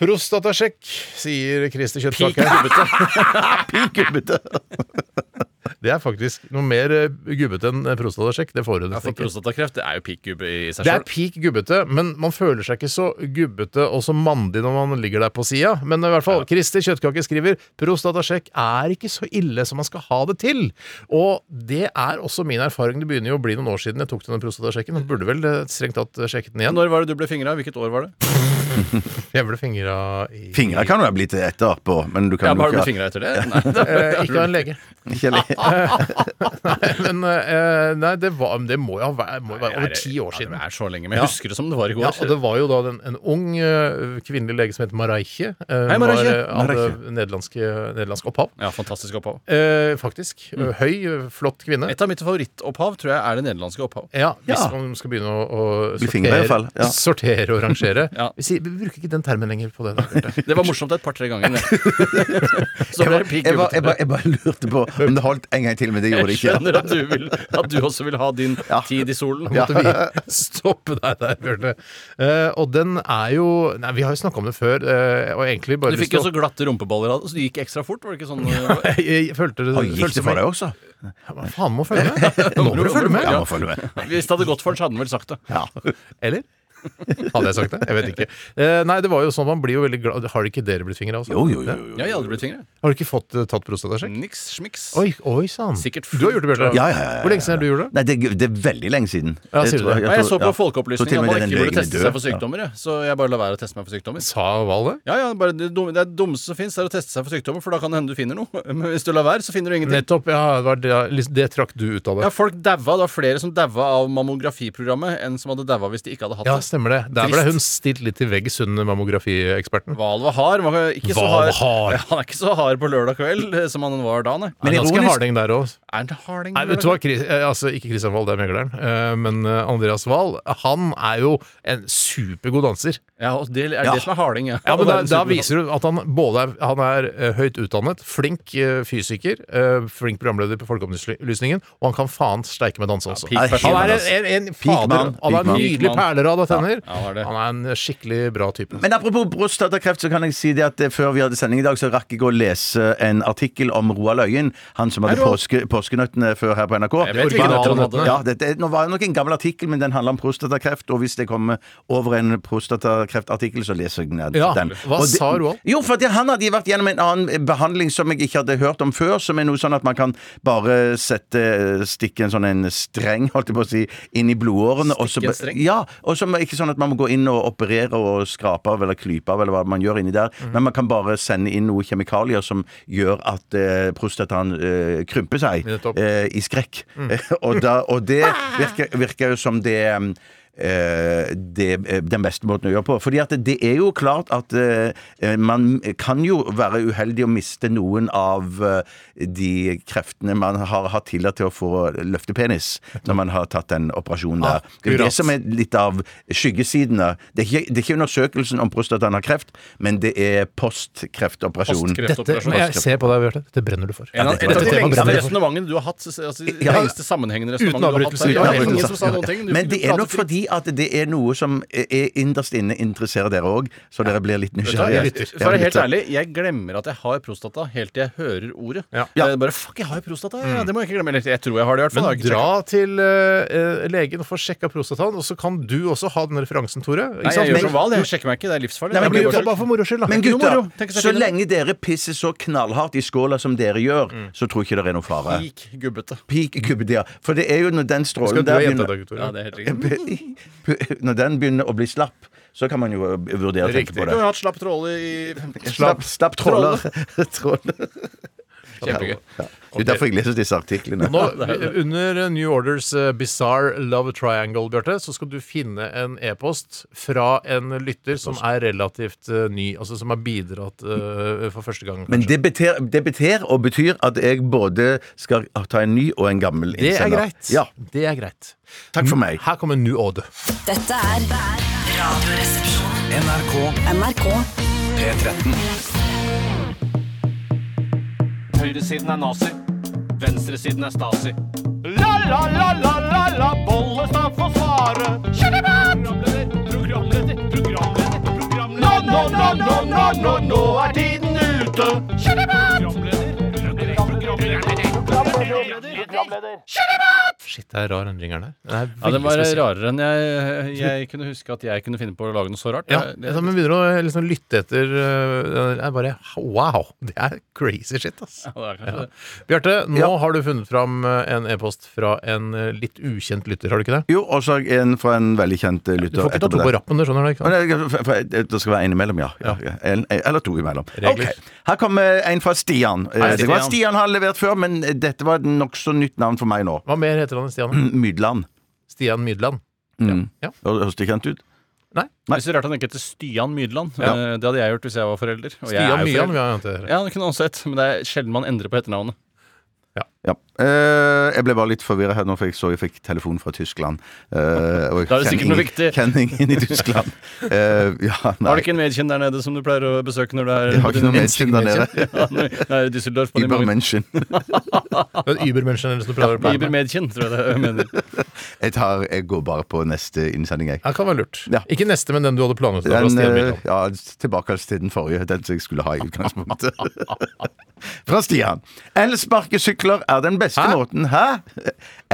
Speaker 4: Prostatasjekk, sier Christer
Speaker 6: Pik
Speaker 4: Kjøttbakk.
Speaker 6: gubbete.
Speaker 5: Gubbete.
Speaker 4: Det er faktisk noe mer eh, gubbete enn eh, prostatasjekk. Det får du
Speaker 6: Ja,
Speaker 4: nesten
Speaker 6: for
Speaker 4: ikke.
Speaker 6: prostatakreft det er jo pikk-gubbe i seg
Speaker 4: Det er
Speaker 6: sjøl.
Speaker 4: peak gubbete, men man føler seg ikke så gubbete og så mandig når man ligger der på sida. Men i hvert fall, Kristi Kjøttkake skriver prostatasjekk er ikke så ille som man skal ha det til. Og det er også min erfaring. Det begynner jo å bli noen år siden jeg tok denne prostatasjekken. Jeg Burde vel eh, strengt tatt eh, sjekket den igjen.
Speaker 6: Når var det du ble fingra? Hvilket år var det?
Speaker 4: Jeg ble fingra i
Speaker 5: Fingre kan du ha blitt etterpå, men du
Speaker 6: Ja,
Speaker 5: kan
Speaker 6: Har du
Speaker 5: jo
Speaker 6: blitt fingra etter det? Nei, det
Speaker 4: Eh, Ikke av en lege.
Speaker 5: ikke le-
Speaker 4: Nei, men eh, nei, det, var, det må jo ha vært, må jo være over ti år
Speaker 6: Ja,
Speaker 4: siden.
Speaker 6: det er så lenge, men jeg
Speaker 4: Ja.
Speaker 6: husker det som det var i går.
Speaker 4: Ja, og det var jo da den, en ung eh, kvinnelig lege som het Mareiche. eh,
Speaker 6: Hei, Mareiche.
Speaker 4: Var, eh, hadde
Speaker 5: Mareiche.
Speaker 4: nederlandsk nederlandsk opphav.
Speaker 6: Ja, fantastisk opphav.
Speaker 4: Eh, faktisk. Høy, eh, flott kvinne.
Speaker 6: Et av mitt favorittopphav tror jeg er det nederlandske opphav.
Speaker 4: Ja, Hvis
Speaker 5: Ja.
Speaker 4: man skal begynne å, å
Speaker 5: Bli fingret i hvert fall, ja.
Speaker 4: sortere og rangere.
Speaker 6: Ja.
Speaker 4: vi, sier, vi bruker ikke den termen lenger på det. Da, Bjarte.
Speaker 6: Det var morsomt et par-tre ganger. det. Så ble det pikk
Speaker 5: Jeg bare, jeg,
Speaker 6: gubbete.
Speaker 5: bare, jeg bare lurte på om det holdt en gang til, men det gjorde det
Speaker 6: Jeg
Speaker 5: ikke.
Speaker 6: skjønner at du, vil, at du også vil ha din
Speaker 5: Ja.
Speaker 6: tid i solen.
Speaker 4: Måtte vi stoppe deg der, Bjarte. Eh, og den er jo Nei, vi har jo snakka om det før, eh, og egentlig bare
Speaker 6: Du fikk jo så glatte rumpeballer av det, så du gikk ekstra fort. Var det ikke sånn? eh,
Speaker 4: jeg, jeg følte det
Speaker 5: Oi, gikk det for deg også?
Speaker 4: Ja, men faen må følge med? Nå må du følge med.
Speaker 5: Ja, må følge med.
Speaker 6: Hvis det hadde gått for den, så hadde han vel sagt det.
Speaker 4: Eller? Hadde jeg sagt det? Jeg vet ikke. Eh, nei, det var jo sånn man blir jo veldig glad Har ikke dere blitt fingra også?
Speaker 5: Jo, jo, jo. jo.
Speaker 6: Ja, jeg hadde blitt fingra.
Speaker 4: Har du ikke fått eh, tatt prostatasjekk?
Speaker 6: Niks smiks.
Speaker 4: Oi, oi sann.
Speaker 6: Sikkert
Speaker 4: Du har gjort det, Bjarte.
Speaker 5: Ja, ja, ja, ja, ja.
Speaker 4: Hvor lenge siden har du gjort det?
Speaker 5: Nei, det, er- det er veldig lenge siden.
Speaker 4: Ja, sier du
Speaker 5: tror-
Speaker 4: det?
Speaker 6: Ja, jeg
Speaker 5: ja. Så
Speaker 6: så på
Speaker 5: til og
Speaker 6: Folkeopplysningen at
Speaker 5: med
Speaker 6: man
Speaker 5: den
Speaker 6: ikke burde
Speaker 5: legen er
Speaker 6: teste
Speaker 5: død.
Speaker 6: seg for
Speaker 5: Ja.
Speaker 6: sykdommer, jeg. så jeg bare lar være å teste meg for sykdommer.
Speaker 4: Sa Val det?
Speaker 6: Ja, ja, bare det, dumme, det er det dummeste som fins, er å teste seg for sykdommer, for da kan det hende du finner noe. Men hvis du lar være, så finner du ingenting.
Speaker 4: Nettopp. Ja, det, var det, liksom, det trakk du ut av
Speaker 6: Ja,
Speaker 4: det.
Speaker 6: Folk daua. Det var flere som daua av mammografiprogrammet, enn som hadde daua hvis de ikke hadde hatt
Speaker 4: Ja,
Speaker 6: det.
Speaker 4: stemmer det. Der ble
Speaker 6: Trist.
Speaker 4: hun stilt litt til veggs, hun mammografieksperten.
Speaker 6: Val var hard. Han var ikke så
Speaker 4: Val
Speaker 6: hard.
Speaker 4: var hard.
Speaker 6: Ja, han er ikke så hard på lørdag kveld eh, som han var da, nei.
Speaker 4: Men ganske
Speaker 5: ironisk-
Speaker 4: harding der òg.
Speaker 6: Er han harding?
Speaker 4: Nei, vet du hva, Chris, eh, altså, ikke Christian Wahl, det er megleren, eh, men eh, Andreas Wahl, han er jo en supergod danser.
Speaker 6: Ja, og det er
Speaker 5: Ja.
Speaker 6: det som er harding, ja.
Speaker 4: Ja, men da,
Speaker 6: Å være en
Speaker 4: da
Speaker 6: supermann.
Speaker 4: viser du at han både er, han er eh, høyt utdannet, flink eh, fysiker, eh, flink programleder på Folkeopplysningen, og han kan faen steike med danse også.
Speaker 6: peak
Speaker 4: han
Speaker 6: person,
Speaker 4: er en,
Speaker 5: altså.
Speaker 4: en, en
Speaker 5: Peak
Speaker 4: fader.
Speaker 5: man,
Speaker 4: Han
Speaker 5: peak
Speaker 4: har
Speaker 5: man.
Speaker 4: nydelige
Speaker 6: Peak man.
Speaker 4: perler av tenner.
Speaker 6: Ja, han har det.
Speaker 4: Han er en skikkelig bra type.
Speaker 5: Men apropos prostatakreft, så kan jeg si det at eh, før vi hadde sending i dag, så rakk jeg å lese eh, en artikkel om Roald Øyen, han som hadde
Speaker 6: Hei, Roald.
Speaker 5: påske, påskenøttene før her på NRK.
Speaker 6: Jeg vet hvilken
Speaker 5: Original-
Speaker 6: nøtter han hadde.
Speaker 5: Ja, dette, er- nå var det nok en gammel artikkel, men den handler om prostatakreft, og hvis det kommer over en prostatakreftartikkel, så leser jeg ned
Speaker 4: Ja,
Speaker 5: den.
Speaker 4: hva
Speaker 5: Og det-
Speaker 4: sa Roald?
Speaker 5: Jo, for at han hadde vært gjennom en annen behandling som jeg ikke hadde hørt om før, som er noe sånn at man kan bare sette, stikke en sånn en streng, holdt jeg på å si, inn i blodårene. og så
Speaker 6: Stikke en
Speaker 5: ba-
Speaker 6: streng?
Speaker 5: ja, og som er ikke sånn at man må gå inn og operere og skrape av eller klype av eller hva man gjør inni der,
Speaker 6: Mhm.
Speaker 5: men man kan bare sende inn noen kjemikalier som gjør at eh, prostataen eh, krymper seg
Speaker 4: Nettopp.
Speaker 5: eh, i skrekk. og, da, og det virker, virker jo som det mm, eh, det, eh, den beste måten å gjøre på. Fordi at det er jo klart at eh, eh, man kan jo være uheldig og miste noen av eh, de kreftene man har hatt tillatt til å få løftepenis når man har tatt den operasjonen der. Det er jo
Speaker 4: Akkurat.
Speaker 5: det som er litt av skyggesidene. Det er ikke, det er ikke undersøkelsen om prostataen har kreft, men det er postkreftoperasjonen.
Speaker 6: Postkreft.
Speaker 4: Dette,
Speaker 6: Kreftoperasjon.
Speaker 4: jeg ser på deg, Bjarte. Dette brenner du for.
Speaker 6: En av, et av
Speaker 4: Dette
Speaker 6: de
Speaker 4: temaet
Speaker 6: lengste
Speaker 4: brenner du for.
Speaker 6: resonnementene du har hatt. Altså, det
Speaker 5: Ja.
Speaker 6: lengste sammenhengende resonnementet du har hatt.
Speaker 4: avbrytelse,
Speaker 6: her.
Speaker 4: uten
Speaker 6: Ja,
Speaker 4: avbrytelse.
Speaker 6: ingen som sa noen ting. Du-
Speaker 5: Men
Speaker 6: du
Speaker 5: det er nok
Speaker 6: pratet fritt.
Speaker 5: fordi at det er noe som er innerst inne interesserer dere òg, så dere blir litt nysgjerrige.
Speaker 4: jeg lytter.
Speaker 6: For å være helt ærlig, jeg glemmer at jeg har prostata helt til jeg hører ordet.
Speaker 4: Ja. Mm.
Speaker 6: Jeg bare fuck, jeg har jo prostata! Ja, det må jeg ikke glemme. Eller, jeg tror jeg har det, i hvert fall.
Speaker 4: Men
Speaker 6: Jeg
Speaker 4: dra
Speaker 6: har ikke sjekket.
Speaker 4: til eh, eh, legen og få sjekka prostataen, og så kan du også ha den referansen, Tore. Ikke
Speaker 6: Nei,
Speaker 4: sant?
Speaker 6: jeg
Speaker 4: Sånn,
Speaker 6: gjør
Speaker 4: Men-
Speaker 6: som Val, jeg sjekker meg ikke. Det er livsfarlig.
Speaker 5: Nei, men
Speaker 6: Jeg
Speaker 5: du-
Speaker 6: blir bare-
Speaker 4: Bare for moro skyld, da.
Speaker 5: Men
Speaker 6: Ikke noe
Speaker 5: gutter,
Speaker 6: moro. Tenk å sette
Speaker 5: så
Speaker 6: inn i det.
Speaker 5: lenge dere pisser så knallhardt i skåla som dere gjør,
Speaker 6: Mm.
Speaker 5: så tror jeg ikke det er noe fare.
Speaker 6: Gikk gubbete.
Speaker 5: Peak gubbedea. For det er jo når den
Speaker 4: Skal
Speaker 5: strålen
Speaker 4: du
Speaker 5: der
Speaker 4: ha jenta
Speaker 5: begynner
Speaker 4: deg, Tore?
Speaker 6: Ja, det er helt riktig.
Speaker 5: Når den begynner å bli slapp, så kan man jo eh, vurdere å tenke
Speaker 4: Riktig.
Speaker 5: på
Speaker 6: Du
Speaker 5: det.
Speaker 6: har hatt slapp tråle i
Speaker 5: Slapp, slapp tråler. Tråler.
Speaker 6: Kjempegøy.
Speaker 5: Det er derfor jeg leser disse artiklene.
Speaker 4: Nå, under New Orders eh, Bizarre Love Triangle, Bjarte, så skal du finne en e-post fra en lytter som er relativt eh, ny, altså som har bidratt eh, for første gang.
Speaker 5: Men det beter, det beter og betyr at jeg både skal ta en ny og en gammel
Speaker 4: Det er
Speaker 5: innsender.
Speaker 4: greit.
Speaker 5: Ja,
Speaker 4: Det er greit.
Speaker 5: takk for meg.
Speaker 4: Her kommer New Order.
Speaker 1: Dette er Radioresepsjonen.
Speaker 3: NRK
Speaker 1: NRK.
Speaker 3: P13.
Speaker 2: Høyresiden er nazi. Venstresiden er stasi. La, la, la, la, la, la, Bollestad får svare. Kjønnemann! Programleder, programleder, programleder. Nå, nå, nå, nå, nå, nå, nå er tiden ute. Kjønnemann! Programleder, programleder, programleder. Programleder.
Speaker 4: Shit, det er rar den ringeren der. Den er
Speaker 6: Ja, den
Speaker 4: veldig
Speaker 6: var
Speaker 4: spesiell.
Speaker 6: rarere enn jeg, jeg kunne huske at jeg kunne finne på å lage noe så rart.
Speaker 4: Ja,
Speaker 6: Det-
Speaker 4: altså, man begynner å liksom lytte etter øh, Det er bare wow! Det er crazy shit, ass.
Speaker 6: Ja, det er kanskje det.
Speaker 4: Bjarte, nå
Speaker 5: Ja.
Speaker 4: har du funnet fram øh, en e-post fra en øh, litt ukjent lytter, har du ikke det?
Speaker 5: Jo, og så en fra en veldig kjent eh,
Speaker 4: Du
Speaker 5: lytter.
Speaker 4: får ikke ta to på rappen, du skjønner det? ikke sant?
Speaker 5: rappen? Det skal være en imellom, ja. ja. ja. En, en- eller to imellom.
Speaker 4: Regler.
Speaker 5: Ok. Her kommer en fra Stian. Eh,
Speaker 6: Hei,
Speaker 5: Det var
Speaker 6: Stian.
Speaker 5: Stian har levert før, men dette var et nokså nytt navn for meg nå.
Speaker 4: Hva mer heter han enn
Speaker 6: Mm.
Speaker 4: Stian?
Speaker 5: Mydland.
Speaker 4: Stian Mydland.
Speaker 5: Mm.
Speaker 4: Ja.
Speaker 5: Høres det kjent ut?
Speaker 6: Det er så rart han ikke heter Stian Mydland.
Speaker 5: Ja.
Speaker 6: Eh, Det hadde jeg gjort hvis jeg var forelder. Og jeg
Speaker 4: Stian
Speaker 6: er
Speaker 4: Myan,
Speaker 6: jo forelder.
Speaker 4: vi har jo hatt det.
Speaker 6: Ja, det kunne også hett, men det er sjelden man endrer på etternavnet.
Speaker 5: Ja. Eh, jeg ble bare litt forvirra her nå, for jeg så jeg fikk telefon fra Tyskland. Eh, og jeg
Speaker 6: Da er
Speaker 5: kjenner
Speaker 6: det sikkert noe
Speaker 5: ingen-
Speaker 6: viktig.
Speaker 5: Kjenner ingen i Tyskland. Eh, ja, nei.
Speaker 6: Har du ikke en medkjenn der nede som du pleier å besøke når du er
Speaker 5: Jeg har ikke noe medkjenn der nede.
Speaker 6: Ja, nei, i Düsseldorf på de mange-
Speaker 5: Übermenschen.
Speaker 4: Det er Ubermenschen eller noe som du pleier å pleie med.
Speaker 6: Ibermedkjenn, tror jeg det mener.
Speaker 5: Jeg, tar, jeg går bare på neste innsending, jeg.
Speaker 4: Ja, kan være lurt.
Speaker 5: Ja.
Speaker 4: Ikke neste, men den du hadde planlagt. da, fra
Speaker 5: Den,
Speaker 4: Stian
Speaker 5: eh,
Speaker 4: Mydland.
Speaker 5: ja, tilbake til den forrige, den som jeg skulle ha i utgangspunktet. Fra Stian. El-sparkesykler er den beste
Speaker 4: Hæ?
Speaker 5: måten Hæ?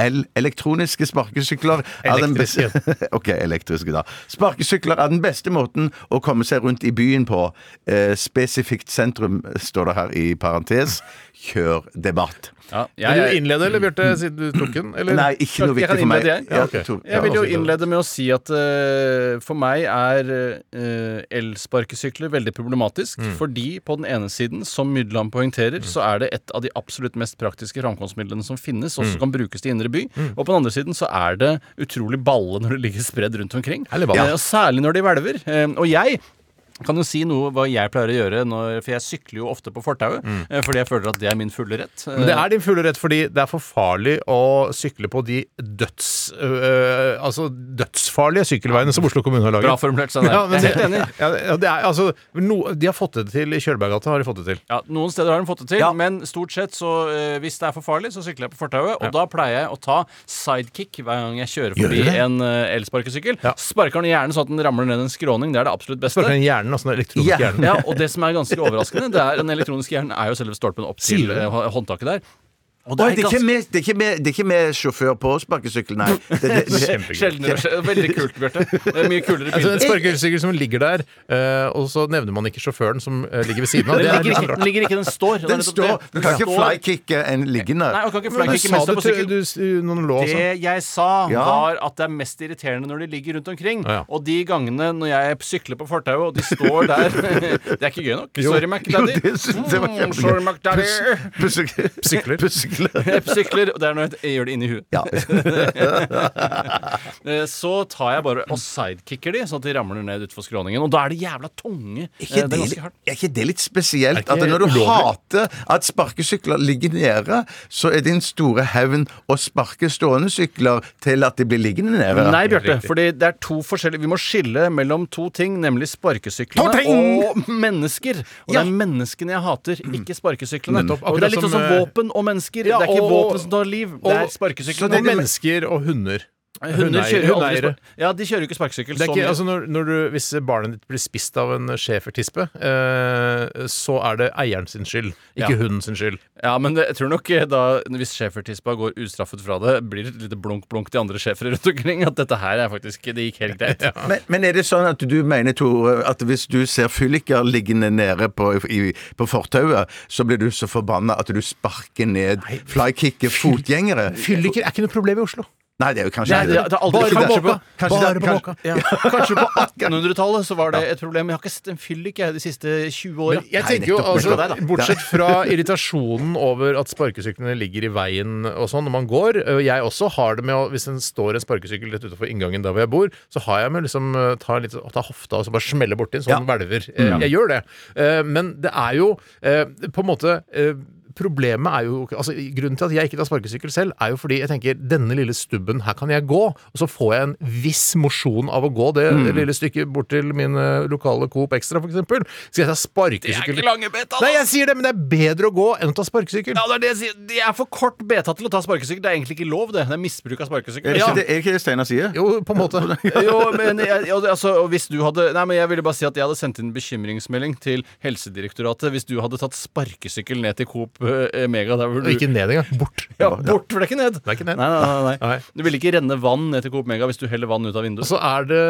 Speaker 5: El-elektroniske sparkesykler er den beste Ok, elektriske, da. Sparkesykler er den beste måten å komme seg rundt i byen på. Eh, spesifikt sentrum, står det her i parentes. Kjør debatt.
Speaker 6: Ja, jeg,
Speaker 4: Vil du
Speaker 6: jeg,
Speaker 4: innlede, eller
Speaker 6: Mm.
Speaker 4: Bjarte, siden du tok den? Eller?
Speaker 5: Nei, ikke noe
Speaker 6: Jeg kan
Speaker 5: viktig for meg.
Speaker 6: innlede, jeg.
Speaker 5: Ja,
Speaker 4: ok.
Speaker 5: to-
Speaker 6: jeg vil jo
Speaker 4: altså,
Speaker 5: ja. altså.
Speaker 6: innlede med å si at eh, for meg er eh, elsparkesykler veldig problematisk.
Speaker 4: Mm.
Speaker 6: Fordi på den ene siden, som Mydland poengterer, så er det et av de absolutt mest praktiske framkomstmidlene som finnes,
Speaker 4: Mm.
Speaker 6: og som kan brukes til indre by. Og på den andre siden så er det utrolig balle når det ligger spredd rundt omkring.
Speaker 4: Eller balle.
Speaker 6: Eh, og særlig når de hvelver. Eh, og jeg kan jo si noe hva jeg pleier å gjøre, når, for jeg sykler jo ofte på fortauet. eh, Fordi jeg føler at det er min fulle rett.
Speaker 4: Mm. Men det er din fulle rett, fordi det er for farlig å sykle på de døds, øh, altså dødsfarlige sykkelveiene som Oslo kommune har laget.
Speaker 6: Bra formulert, Steinar.
Speaker 4: Ja, men
Speaker 6: Jeg er helt
Speaker 4: det-
Speaker 6: enig.
Speaker 4: Ja, ja, det er, altså, no, de har fått det til i Kjølberggata. har de fått det til.
Speaker 6: Ja, Noen steder har de fått det til,
Speaker 5: Ja.
Speaker 6: men stort sett så eh, hvis det er for farlig, så sykler jeg på fortauet. Og da pleier jeg å ta sidekick hver gang jeg kjører
Speaker 4: Gjør du
Speaker 6: forbi
Speaker 4: det?
Speaker 6: en eh, elsparkesykkel.
Speaker 4: Ja.
Speaker 6: Sparker den gjerne sånn at den ramler ned en skråning. Det er det absolutt beste.
Speaker 4: Sparker den hjernen, altså den elektroniske
Speaker 5: Ja.
Speaker 4: hjernen.
Speaker 6: Ja, og det som er ganske overraskende, det er den elektroniske hjernen er jo selve stolpen opp til
Speaker 4: Sier du det?
Speaker 6: eh, hå- håndtaket der. Og
Speaker 5: Oi, det, er ikke med, det, er ikke med, det er ikke med sjåfør på sparkesykkel, nei. Det, det, det,
Speaker 4: Kjempegøy.
Speaker 6: Sjeldnere. Veldig kult, Bjarte. Det er Mye kulere
Speaker 4: Altså, en
Speaker 6: bilder.
Speaker 4: sparkesykkel som ligger der, øh, og så nevner man ikke sjåføren som øh, ligger ved siden av. Det
Speaker 6: Den
Speaker 4: er
Speaker 6: ligger,
Speaker 4: litt
Speaker 6: ikke,
Speaker 4: rart.
Speaker 6: den ligger ikke, den står. Det er
Speaker 5: den
Speaker 6: nettopp
Speaker 5: står
Speaker 6: det.
Speaker 5: Du kan
Speaker 6: Den
Speaker 5: ikke
Speaker 6: står.
Speaker 5: flykicke en liggende.
Speaker 6: Nei, man kan ikke fly
Speaker 4: Men sa
Speaker 6: ikke mens du
Speaker 4: du,
Speaker 6: er på
Speaker 4: til-
Speaker 6: sykkel.
Speaker 4: du, s- noen lå og sånn?
Speaker 6: Det jeg sa,
Speaker 5: Ja.
Speaker 6: var at det er mest irriterende når de ligger rundt omkring.
Speaker 4: Ja, ja.
Speaker 6: Og de gangene når jeg sykler på fortauet, og de står der Det er ikke gøy nok. Sorry, McDaddy.
Speaker 5: det synes jeg var
Speaker 6: Mm,
Speaker 5: kjempegøy.
Speaker 6: sorry, McDaddy.
Speaker 5: Pussekler.
Speaker 6: Jeg sykler, og det er når jeg jeg gjør det inni huet.
Speaker 5: Ja.
Speaker 6: Eh, Så tar jeg bare og sidekicker de, sånn at de ramler ned utfor skråningen. Og da er det jævla tunge. Eh,
Speaker 5: Ikke
Speaker 6: det er
Speaker 5: det,
Speaker 6: ganske hardt.
Speaker 5: er ikke det litt spesielt
Speaker 4: Er
Speaker 5: at
Speaker 4: ikke
Speaker 5: når du
Speaker 4: ulovlig?
Speaker 5: hater at sparkesykler ligger nede, så er din store hevn å sparke stående sykler til at de blir liggende nede?
Speaker 6: Nei, Bjarte.
Speaker 4: Riktig.
Speaker 6: Fordi det er to forskjellige Vi må skille mellom to ting, nemlig
Speaker 5: To
Speaker 6: sparkesyklene
Speaker 5: ting!
Speaker 6: og mennesker. Og det
Speaker 5: Ja.
Speaker 6: er menneskene jeg hater, ikke sparkesyklene.
Speaker 4: Nettopp.
Speaker 6: Og det er litt
Speaker 4: Akkurat som,
Speaker 6: sånn som
Speaker 4: eh,
Speaker 6: våpen og mennesker.
Speaker 4: ja,
Speaker 6: det er ikke
Speaker 4: og-
Speaker 6: våpen som tar liv, det
Speaker 4: og-
Speaker 6: er sparkesyklene.
Speaker 4: Og
Speaker 6: Og men-
Speaker 4: mennesker og hunder.
Speaker 6: Hunder kjører jo aldri Sånn,
Speaker 4: hundeeiere.
Speaker 6: spar- Ja, de kjører jo ikke sparkesykkel.
Speaker 4: Det er
Speaker 6: så
Speaker 4: ikke,
Speaker 6: mye.
Speaker 4: altså når, når du, hvis barnet ditt blir spist av en schæfertispe, eh, så er det eieren sin skyld, ikke
Speaker 6: Ja.
Speaker 4: hunden sin skyld.
Speaker 6: Ja, men det, jeg tror nok eh, da, hvis schæfertispa går ustraffet fra det, blir det et lite blunk-blunk til andre schæfere rundt omkring at dette her er faktisk Det gikk helt greit.
Speaker 5: Men, men er det sånn at du mener, Tore, at hvis du ser fylliker liggende nede på, i, på fortauet, så blir du så forbanna at du sparker ned, flykicker fotgjengere?
Speaker 4: Fylliker er ikke noe problem i Oslo.
Speaker 5: Nei, det er jo kanskje
Speaker 6: Nei, det, det er aldri
Speaker 5: Bare på
Speaker 6: kanskje på-
Speaker 5: Måka. Kanskje det-
Speaker 6: bare på
Speaker 5: kanskje-
Speaker 6: Måka. Ja. Kanskje på 1800-tallet så var det et problem. Jeg har ikke sett en fyllik jeg de siste 20 åra.
Speaker 4: Jeg tenker jo,
Speaker 5: nettopp,
Speaker 4: altså,
Speaker 5: nettopp der, da.
Speaker 4: Bortsett fra irritasjonen over at sparkesyklene ligger i veien og sånn når man går øh, Jeg også har det med å Hvis det står en sparkesykkel rett utenfor inngangen der hvor jeg bor, så har jeg med å liksom, øh, ta, litt, å ta hofta og så bare smelle borti så
Speaker 5: Ja.
Speaker 4: den hvelver. Eh, Jeg gjør det. Eh, Men det er jo eh, på en måte eh, Problemet er jo, altså Grunnen til at jeg ikke tar sparkesykkel selv, er jo fordi jeg tenker denne lille stubben, her kan jeg gå. Og så får jeg en viss mosjon av å gå det lille stykket bort til min eh, lokale Coop Extra, f.eks. Skal jeg ta sparkesykkel
Speaker 6: lange beta,
Speaker 4: Nei, jeg sier det, men det er bedre å gå enn å ta sparkesykkel.
Speaker 6: Ja, det er det jeg sier. Det er for kort beta til å ta sparkesykkel. Det er egentlig ikke lov, det. Det er misbruk av
Speaker 5: Er
Speaker 6: sparkesykkel.
Speaker 5: det
Speaker 6: Ja.
Speaker 5: ikke det, er det ikke det Steinar sier?
Speaker 4: Jo, på en måte.
Speaker 6: jo, men jeg, og det- altså, og hvis du hadde Nei, men jeg ville bare si at jeg hadde sendt inn bekymringsmelding til Helsedirektoratet hvis du hadde tatt sparkesykkel ned til Coop eh, mega der hvor du
Speaker 4: Og ikke ned engang. Bort.
Speaker 6: Ja, bort, for det er ikke ned.
Speaker 4: Det er ikke ned.
Speaker 6: Nei, nei, nei, nei.
Speaker 4: Nei.
Speaker 6: Du vil ikke renne vann ned til Coop Mega hvis du heller vann ut av vinduet.
Speaker 4: Og så er det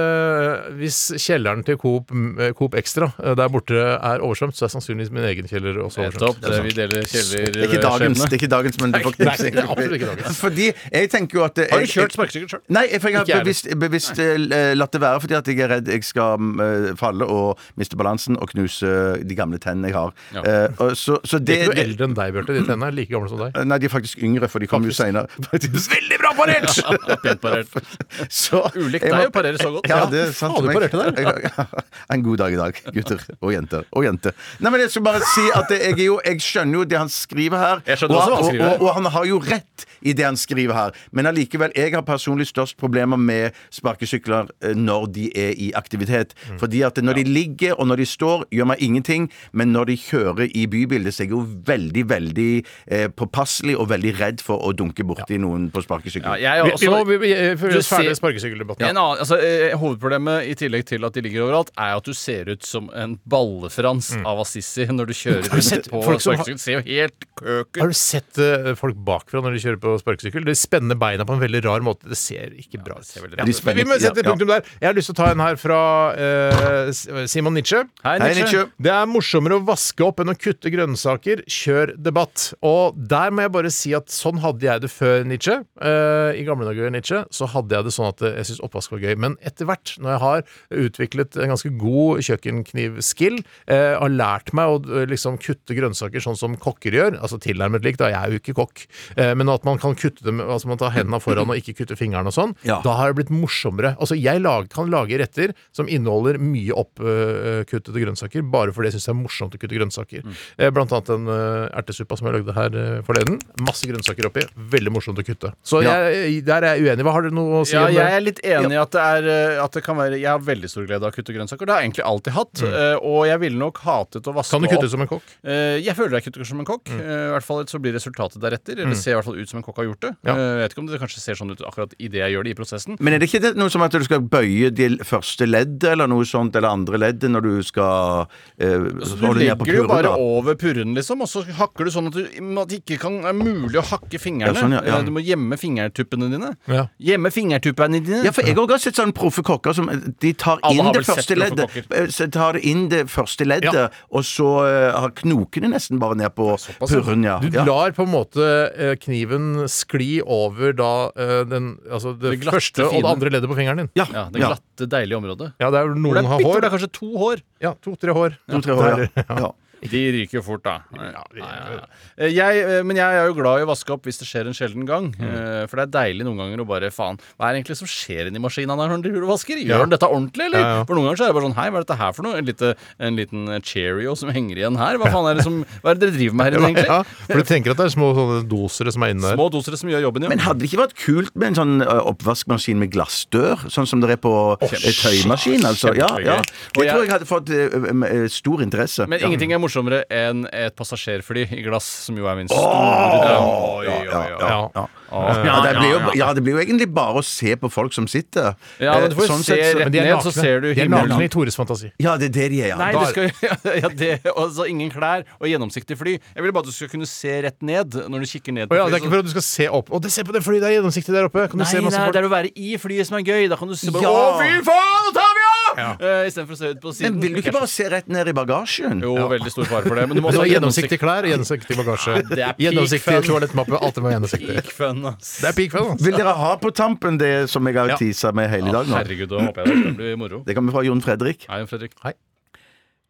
Speaker 4: Hvis kjelleren til Coop, eh, Coop Extra eh, der borte er oversvømt, så er sannsynligvis min egen kjeller også
Speaker 6: Nettopp.
Speaker 4: oversvømt.
Speaker 6: Det vi deler kjeller
Speaker 5: Ikke dagens,
Speaker 6: skjebne.
Speaker 5: det er ikke dagens, men du får
Speaker 4: Nei,
Speaker 5: knipsing.
Speaker 4: det er absolutt ikke dagens.
Speaker 5: Fordi jeg tenker jo at
Speaker 6: Har du kjørt sparkesykkel sjøl?
Speaker 5: Nei, for
Speaker 4: Ikke
Speaker 5: jeg har
Speaker 4: jeg
Speaker 5: bevisst, bevisst eh, latt det være fordi at jeg er redd jeg skal mm, eh, falle og miste balansen og knuse eh, de gamle tennene jeg har.
Speaker 6: Ja.
Speaker 5: Eh, og så, så
Speaker 4: Det
Speaker 5: det,
Speaker 4: er ikke noe
Speaker 5: det
Speaker 4: eldre enn deg, Bjarte. De tennene er like gamle som deg.
Speaker 5: Nei, de er faktisk yngre, for de kom jo seinere. Veldig bra parert!
Speaker 6: Pent parert.
Speaker 5: Så
Speaker 6: Ulikt
Speaker 5: jeg
Speaker 6: deg
Speaker 5: må-
Speaker 6: å parere så godt.
Speaker 5: Ja, det er sant.
Speaker 4: Faen, du
Speaker 5: for meg.
Speaker 4: parerte
Speaker 5: Jeg- En god dag i dag, gutter og jenter. Og jente. Nei, men jeg skal bare si at jeg, er jo, jeg skjønner jo det han skriver her.
Speaker 6: Jeg skjønner
Speaker 5: og,
Speaker 6: også hva han skriver.
Speaker 5: Og, og, og han har jo rett i det han skriver her. Men allikevel, jeg har personlig størst problemer med sparkesykler eh, når de er i aktivitet.
Speaker 6: Mm.
Speaker 5: Fordi at når de ligger og når de står, gjør meg ingenting. Men når de kjører i bybildet, så er jeg jo veldig, veldig eh, påpasselig og veldig redd for å dunke borti noen på sparkesykkel.
Speaker 6: Ja, jeg er
Speaker 4: Vi, vi må
Speaker 6: også,
Speaker 4: vi, vi, vi,
Speaker 6: altså, Du
Speaker 4: vi, ferdig
Speaker 6: ser-
Speaker 4: sparkesykkeldebatten.
Speaker 6: en annen, altså, eh, hovedproblemet, i tillegg til at de ligger overalt, er at du ser ut som en ballefrans
Speaker 4: Mm.
Speaker 6: av Assisi når du kjører rundt på
Speaker 4: folk som har-
Speaker 6: sparkesykkel. Ser jo helt køker
Speaker 4: Har du sett eh, folk bakfra når de kjører på sparkesykkel? De spenner beina på en veldig rar måte. Det ser ikke bra ut.
Speaker 6: veldig
Speaker 4: Ja,
Speaker 5: rart ut.
Speaker 4: men vi må sette
Speaker 5: Ja, ja.
Speaker 4: punktum der. Jeg har lyst til å ta en her fra eh, Simon Nietzsche.
Speaker 6: Hei,
Speaker 5: Hei, Nietzsche.
Speaker 4: Det er morsommere å vaske opp enn å kutte grønnsaker. Kjør debatt. Og der må jeg bare si at sånn hadde jeg det før Nietzsche. Eh, I gamle dager Nietzsche, så hadde jeg det sånn at eh, jeg syntes oppvask var gøy. Men etter hvert, når jeg har utviklet en ganske god kjøkkenknivskill, eh, har lært meg å eh, liksom kutte grønnsaker sånn som kokker gjør, altså tilnærmet likt, da jeg er jo ikke kokk, eh, men at man kan kutte dem, altså man tar hendene foran og ikke kutter fingrene og sånn,
Speaker 5: Ja.
Speaker 4: da har det blitt morsommere. Altså, jeg lag, kan lage retter som inneholder mye oppkuttede grønnsaker, bare fordi jeg syns det er morsomt å kutte grønnsaker. Eh, Blant annet den eh, ertesuppa som jeg lagde her eh, forleden. Masse grønnsaker oppi. Veldig morsomt å kutte. Så
Speaker 5: Ja.
Speaker 4: jeg, der er jeg uenig. Hva har dere noe å si
Speaker 6: Ja,
Speaker 4: om det?
Speaker 6: jeg er litt enig i at det, er, eh, at det kan være Jeg har veldig stor glede av å kutte grønnsaker. Det har jeg egentlig alltid hatt. eh, Og jeg ville nok hatet å vaske
Speaker 4: Mm. Kan du
Speaker 6: opp.
Speaker 4: kutte som Mm. en kokk?
Speaker 6: Eh, Jeg føler jeg kutter som en kokk. Eh, I hvert fall så blir resultatet deretter. Eller ser i hvert fall ut som en kokk har gjort det.
Speaker 4: Mm. Ja.
Speaker 6: Eh, Jeg vet ikke om det kanskje ser sånn ut akkurat idet jeg gjør det i prosessen.
Speaker 5: Men er det ikke det, noe som at du skal bøye til første ledd, eller noe sånt, eller andre leddet, når du skal eh,
Speaker 6: Så Altså, du
Speaker 5: holde ned på
Speaker 6: legger jo
Speaker 5: puren?
Speaker 6: bare
Speaker 5: da?
Speaker 6: over purren, liksom, og så hakker du sånn at, du, at det ikke kan, er mulig å hakke fingrene.
Speaker 5: Ja, sånn, ja, ja.
Speaker 6: Eh, Du må gjemme fingertuppene dine.
Speaker 4: Ja.
Speaker 6: Gjemme fingertuppene dine.
Speaker 5: Ja, for jeg har også sett sånne proffe kokker som eh, de tar
Speaker 6: Alle
Speaker 5: inn
Speaker 6: har
Speaker 5: det
Speaker 6: vel
Speaker 5: første
Speaker 6: sett proffe
Speaker 5: leddet,
Speaker 6: kokker.
Speaker 5: eh, så tar det inn det første leddet,
Speaker 4: Ja.
Speaker 5: og så eh, har knokene nesten bare ned på
Speaker 6: ja.
Speaker 5: purren, ja.
Speaker 4: Du
Speaker 5: ja.
Speaker 4: lar på en måte eh, kniven skli over da eh, den, altså det,
Speaker 6: Det glatte,
Speaker 4: første og
Speaker 6: fine.
Speaker 4: det andre leddet på fingeren din.
Speaker 5: Ja,
Speaker 6: Ja, det
Speaker 5: ja.
Speaker 6: glatte, deilige området.
Speaker 4: Ja, det er jo
Speaker 6: Hvor det
Speaker 4: noen
Speaker 6: er
Speaker 4: har
Speaker 6: bitte- hvor
Speaker 4: hår.
Speaker 6: Det er kanskje to hår.
Speaker 4: Ja, To-tre hår.
Speaker 5: To-tre hår, ja. ja.
Speaker 6: De ryker jo fort, da. Ja,
Speaker 4: de-
Speaker 6: Jeg, eh, men jeg er jo glad i å vaske opp hvis det skjer en sjelden gang.
Speaker 4: Mm.
Speaker 6: eh, For det er deilig noen ganger å bare faen Hva er det egentlig som skjer inni maskina der når du vasker? Gjør
Speaker 4: Ja.
Speaker 6: den dette ordentlig, eller?
Speaker 4: Ja, ja.
Speaker 6: For noen ganger så er det bare sånn Hei, hva er dette her for noe? En, lite, en liten eh, Cheerio som henger igjen her? Hva faen er det som Hva er det dere driver med her inne, egentlig?
Speaker 4: Ja, for du tenker at det er små sånne dosere som er inne der.
Speaker 6: Små doser som gjør jobben, ja.
Speaker 5: Men hadde det ikke vært kult med en sånn eh, oppvaskmaskin med glassdør, sånn som det er på eh, tøymaskin, altså? Ja, ja.
Speaker 6: kjempegøy. Og
Speaker 5: Det
Speaker 6: jeg-
Speaker 5: tror jeg hadde fått eh, eh, eh, stor interesse.
Speaker 6: Men
Speaker 5: Ja.
Speaker 6: ingenting er morsommere enn et passasjerfly i glass, som jo er min store drøm. Oi, oi, oi.
Speaker 5: ja, ja.
Speaker 6: Åh.
Speaker 5: Ja, det blir jo, ja, det blir jo egentlig bare å se på folk som sitter.
Speaker 6: Ja, men du får
Speaker 5: Eh, sånn
Speaker 6: se
Speaker 5: sett så-
Speaker 6: rett
Speaker 4: Men de er
Speaker 6: ned, så
Speaker 4: nakne.
Speaker 6: ser du
Speaker 4: de er
Speaker 6: himmelen.
Speaker 4: nakne i Tores fantasi.
Speaker 5: Ja, det er det de er, ja.
Speaker 6: Nei,
Speaker 5: Da-
Speaker 6: du skal jo ja, det, altså, Ingen klær og gjennomsiktig fly. Jeg vil bare at du skal kunne se rett ned når du kikker
Speaker 4: Å
Speaker 6: ned. på
Speaker 4: ja, det er
Speaker 6: flyet,
Speaker 4: ikke for at du skal se opp. Å, det se på det flyet, det er gjennomsiktig der oppe! Kan du
Speaker 6: Nei,
Speaker 4: se masse
Speaker 6: nei, det
Speaker 4: folk?
Speaker 6: er å være i flyet som er gøy. Da kan du se bare
Speaker 5: Ja.
Speaker 6: Å, fy faen, nå tar vi av! Eh, Istedenfor å se ut på siden.
Speaker 5: Men vil du ikke bare se rett ned i bagasjen?
Speaker 6: Jo, veldig stor fare for det. Men du må
Speaker 4: Det
Speaker 6: også
Speaker 4: var
Speaker 6: ha
Speaker 4: gjennomsiktig klær, gjennomsiktig bagasje,
Speaker 6: Det er peak
Speaker 4: gjennomsiktig
Speaker 6: fun.
Speaker 4: toalettmappe. Alt det må være gjennomsiktig.
Speaker 6: Peak fun, ass.
Speaker 4: Det er peak fun, altså.
Speaker 5: Vil dere ha på tampen det som jeg har
Speaker 4: Ja.
Speaker 5: teasa med hele dag nå?
Speaker 6: Herregud, da håper jeg det blir moro.
Speaker 5: Det kommer fra Jon Fredrik.
Speaker 6: Hei, Fredrik.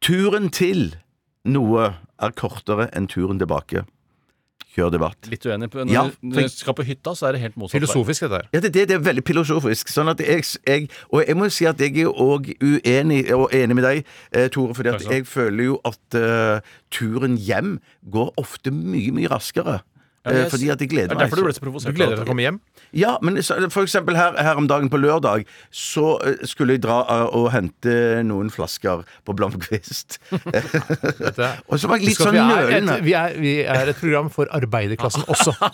Speaker 5: Turen til noe er kortere enn turen tilbake. Kjør debatt.
Speaker 6: Litt uenig. på- Når,
Speaker 5: Ja,
Speaker 6: du- når du skal på hytta, så er det helt motsatt. vei.
Speaker 4: Filosofisk, dette her.
Speaker 5: Ja, det, er det, det er veldig filosofisk. Sånn at jeg, jeg, og jeg må si at jeg er òg uenig og enig med deg, eh, Tore, fordi at
Speaker 6: Takk skal du ha.
Speaker 5: jeg føler jo at eh, turen hjem går ofte mye, mye raskere.
Speaker 6: Ja, men jeg-
Speaker 5: eh, fordi at jeg gleder
Speaker 6: Det er
Speaker 5: meg.
Speaker 6: derfor du ble så provosert. Du gleder deg til å komme hjem?
Speaker 5: Ja, men så- for eksempel her, her om dagen på lørdag så eh, skulle jeg dra eh, og hente noen flasker på Blomkvist. og så var jeg litt
Speaker 4: Husk at
Speaker 5: sånn
Speaker 4: vi er, et,
Speaker 5: nølende.
Speaker 4: vi, er, vi er et program for arbeiderklassen også.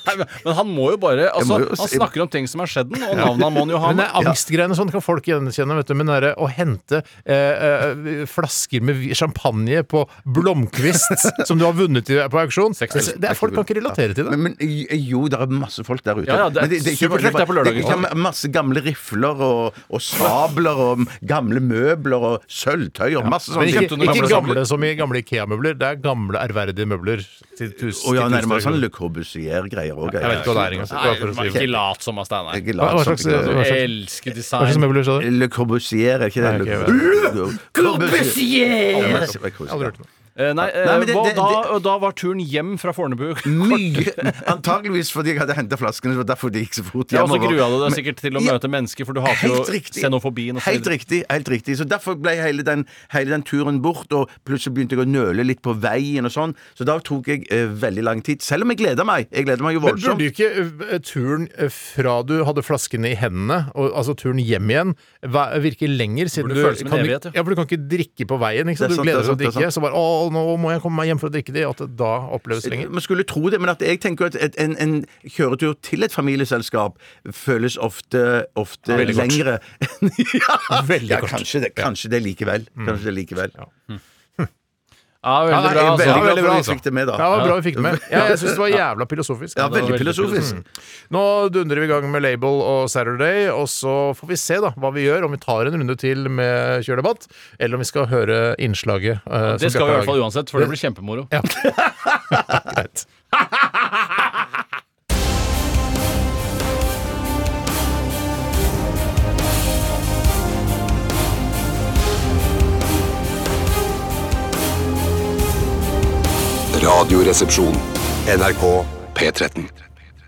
Speaker 6: Men han må jo bare altså,
Speaker 5: må jo
Speaker 6: Han
Speaker 5: si-
Speaker 6: snakker om ting som er skjedd, den, og navnet han må han jo ha
Speaker 4: Men det
Speaker 6: med.
Speaker 4: er angstgreiene sånn kan folk gjenkjenne. Vet du, men det er å hente eh, eh, flasker med vi- champagne på Blomkvist som du har vunnet i, på auksjon Altså, det, det er, Folk kan ikke relatere til det.
Speaker 5: Men, men jo, det er masse folk der ute.
Speaker 6: Ja, ja, det er
Speaker 5: Men
Speaker 6: supertrykk
Speaker 5: bare-
Speaker 6: der på lørdagen.
Speaker 5: Det er ikke masse gamle rifler og, og sabler og gamle møbler og sølvtøy og masse
Speaker 4: Men
Speaker 5: sånne
Speaker 4: ikke,
Speaker 5: ting.
Speaker 4: ikke gamle som i gamle Ikea-møbler. Det er gamle, ærverdige møbler. Til tusen,
Speaker 5: Og ja,
Speaker 4: til tusen
Speaker 5: nærmere sånn
Speaker 4: kroner.
Speaker 5: Le Corbusier-greier òg.
Speaker 4: Jeg vet ikke hva det er engang. så bare for å
Speaker 6: Nei,
Speaker 4: si
Speaker 6: Ikke
Speaker 4: det.
Speaker 6: lat som, Steinar.
Speaker 4: Hva hva slags, hva slags,
Speaker 6: Elsker
Speaker 4: hva slags
Speaker 6: design.
Speaker 4: møbler sa du?
Speaker 5: Le Corbusier, er ikke det?
Speaker 4: Nei, ok,
Speaker 5: Le Corbusier!
Speaker 4: Aldri hørt om det.
Speaker 6: Eh, Nei, eh,
Speaker 5: Nei, men det-
Speaker 6: hva-
Speaker 5: det-
Speaker 6: da,
Speaker 5: det-
Speaker 6: og da var turen hjem fra Fornebu
Speaker 5: Mye! Antakeligvis fordi jeg hadde henta flaskene. Det var derfor det gikk så fort
Speaker 6: Ja, og så
Speaker 5: hjemover.
Speaker 6: grua du deg
Speaker 5: Men-
Speaker 6: sikkert til å
Speaker 5: Ja,
Speaker 6: møte mennesker, for du hater jo
Speaker 5: Helt riktig.
Speaker 6: xenofobien og så
Speaker 5: Helt
Speaker 6: videre.
Speaker 5: riktig. helt riktig Så Derfor ble hele den, hele den turen bort, og plutselig begynte jeg å nøle litt på veien. og sånn Så da tok jeg eh, veldig lang tid. Selv om jeg gleder meg. Jeg gleder meg jo
Speaker 4: Men
Speaker 5: voldsomt.
Speaker 4: burde ikke eh, turen eh, fra du hadde flaskene i hendene, og, altså turen hjem igjen, væ- virke lenger? Siden
Speaker 6: Burde
Speaker 4: du,
Speaker 6: føles som en
Speaker 4: kan, ikke-
Speaker 6: evighet, ja.
Speaker 4: ja, for du kan ikke drikke på veien. Ikke
Speaker 5: Det er
Speaker 4: sant? Du
Speaker 5: sant,
Speaker 4: gleder deg til å
Speaker 5: det er sant, det er
Speaker 4: drikke, så bare 'Å, nå må jeg komme meg hjem for å drikke det'. At det da oppleves lenger.
Speaker 5: Eh, Man skulle tro det, men at jeg tenker at et, en, en kjøretur til et familieselskap føles ofte, ofte
Speaker 4: Veldig kort.
Speaker 5: lengre. ja,
Speaker 4: Veldig Mm.
Speaker 5: ja,
Speaker 4: kort.
Speaker 5: kanskje det, kanskje det likevel. Kanskje det likevel.
Speaker 6: Ja,
Speaker 5: Ja,
Speaker 6: veldig
Speaker 5: jeg
Speaker 6: bra.
Speaker 5: er veldig
Speaker 6: Altså.
Speaker 4: bra,
Speaker 5: glad for at
Speaker 4: altså.
Speaker 5: vi fikk det med,
Speaker 4: Ja,
Speaker 5: da.
Speaker 4: det var bra vi fikk det med. Ja, jeg syns det var jævla filosofisk.
Speaker 5: Ja,
Speaker 4: det var
Speaker 5: veldig filosofisk.
Speaker 4: Nå dundrer vi i gang med Label og Saturday, og så får vi se da hva vi gjør. Om vi tar en runde til med kjørdebatt, eller om vi skal høre innslaget. eh, som
Speaker 6: Det skal vi
Speaker 4: Bjarte
Speaker 6: i hvert fall
Speaker 4: lager.
Speaker 6: uansett, for det blir kjempemoro.
Speaker 4: Greit.
Speaker 11: Radioresepsjon. NRK P13.